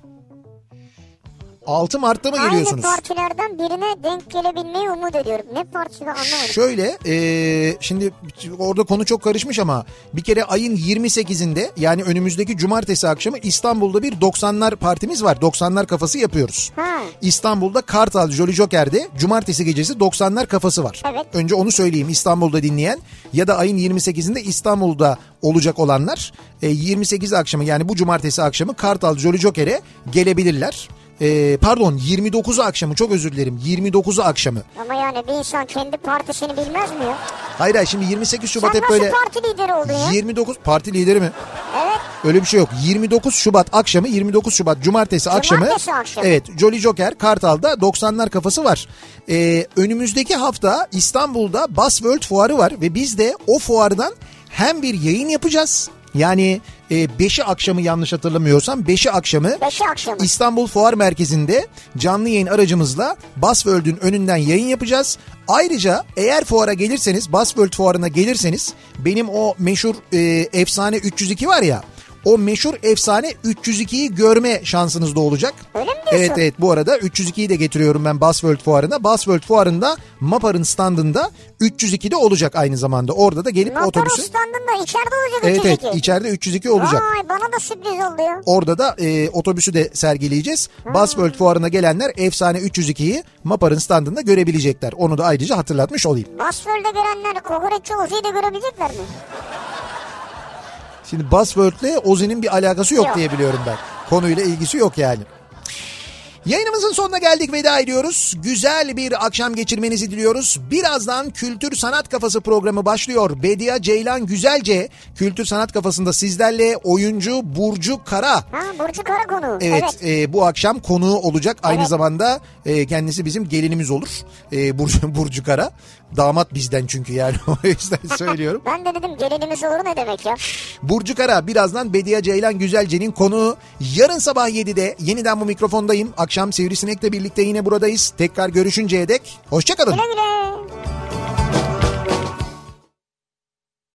Speaker 1: 6 Mart'ta mı
Speaker 2: Aynı
Speaker 1: geliyorsunuz?
Speaker 2: partilerden birine denk gelebilmeyi umut ediyorum. Ne partisi ben anlamadım.
Speaker 1: Şöyle e, şimdi orada konu çok karışmış ama bir kere ayın 28'inde yani önümüzdeki cumartesi akşamı İstanbul'da bir 90'lar partimiz var. 90'lar kafası yapıyoruz.
Speaker 2: Ha.
Speaker 1: İstanbul'da Kartal Jolly Joker'de cumartesi gecesi 90'lar kafası var.
Speaker 2: Evet.
Speaker 1: Önce onu söyleyeyim İstanbul'da dinleyen ya da ayın 28'inde İstanbul'da olacak olanlar e, 28 akşamı yani bu cumartesi akşamı Kartal Jolly Joker'e gelebilirler. E, pardon 29'u akşamı çok özür dilerim 29'u akşamı.
Speaker 2: Ama yani bir insan kendi partisini bilmez mi ya?
Speaker 1: Hayır hayır şimdi 28
Speaker 2: Sen
Speaker 1: Şubat
Speaker 2: nasıl
Speaker 1: hep böyle
Speaker 2: parti lideri oldun ya?
Speaker 1: 29 parti lideri mi?
Speaker 2: Evet.
Speaker 1: Öyle bir şey yok. 29 Şubat akşamı 29 Şubat cumartesi,
Speaker 2: Cumartesi akşamı.
Speaker 1: Evet Jolly Joker Kartal'da 90'lar kafası var. Ee, önümüzdeki hafta İstanbul'da Bass World fuarı var ve biz de o fuardan hem bir yayın yapacağız. Yani 5'i akşamı yanlış hatırlamıyorsam 5'i akşamı
Speaker 2: Beşi akşamı.
Speaker 1: İstanbul Fuar Merkezi'nde canlı yayın aracımızla Basworld'ün önünden yayın yapacağız. Ayrıca eğer fuara gelirseniz, Basworld fuarına gelirseniz benim o meşhur e, efsane 302 var ya o meşhur efsane 302'yi görme şansınız da olacak.
Speaker 2: Öyle mi diyorsun?
Speaker 1: Evet evet bu arada 302'yi de getiriyorum ben Basworld fuarına. Basworld fuarında Mapar'ın standında 302'de olacak aynı zamanda. Orada da gelip
Speaker 2: Motor
Speaker 1: otobüsü...
Speaker 2: standında içeride olacak
Speaker 1: Evet evet
Speaker 2: üçüncü.
Speaker 1: içeride 302 olacak.
Speaker 2: Vay bana da sürpriz oldu ya.
Speaker 1: Orada da e, otobüsü de sergileyeceğiz. Basworld fuarına gelenler efsane 302'yi Mapar'ın standında görebilecekler. Onu da ayrıca hatırlatmış olayım.
Speaker 2: Basröl'de görenler kokoreççi Ozi'yi de görebilecekler mi?
Speaker 1: Şimdi Buzzword'le Ozi'nin bir alakası yok,
Speaker 2: Yok.
Speaker 1: diye biliyorum ben. Konuyla ilgisi yok yani. Yayınımızın sonuna geldik veda ediyoruz. Güzel bir akşam geçirmenizi diliyoruz. Birazdan Kültür Sanat Kafası programı başlıyor. Bedia Ceylan Güzelce Kültür Sanat Kafası'nda sizlerle oyuncu Burcu Kara.
Speaker 2: Ha Burcu Karakonu.
Speaker 1: Evet, e, bu akşam konuğu olacak. Aynı
Speaker 2: Evet.
Speaker 1: zamanda e, kendisi bizim gelinimiz olur. E, Burcu, Burcu Kara. Damat bizden çünkü yani o yüzden söylüyorum.
Speaker 2: Ben de dedim gelinimiz olur ne demek ya.
Speaker 1: Burcu Kara birazdan Bediye Ceylan Güzelce'nin konuğu. Yarın sabah 7'de yeniden bu mikrofondayım. Akşam Sivrisinek'le birlikte yine buradayız. Tekrar görüşünceye dek hoşçakalın.
Speaker 2: Güle güle.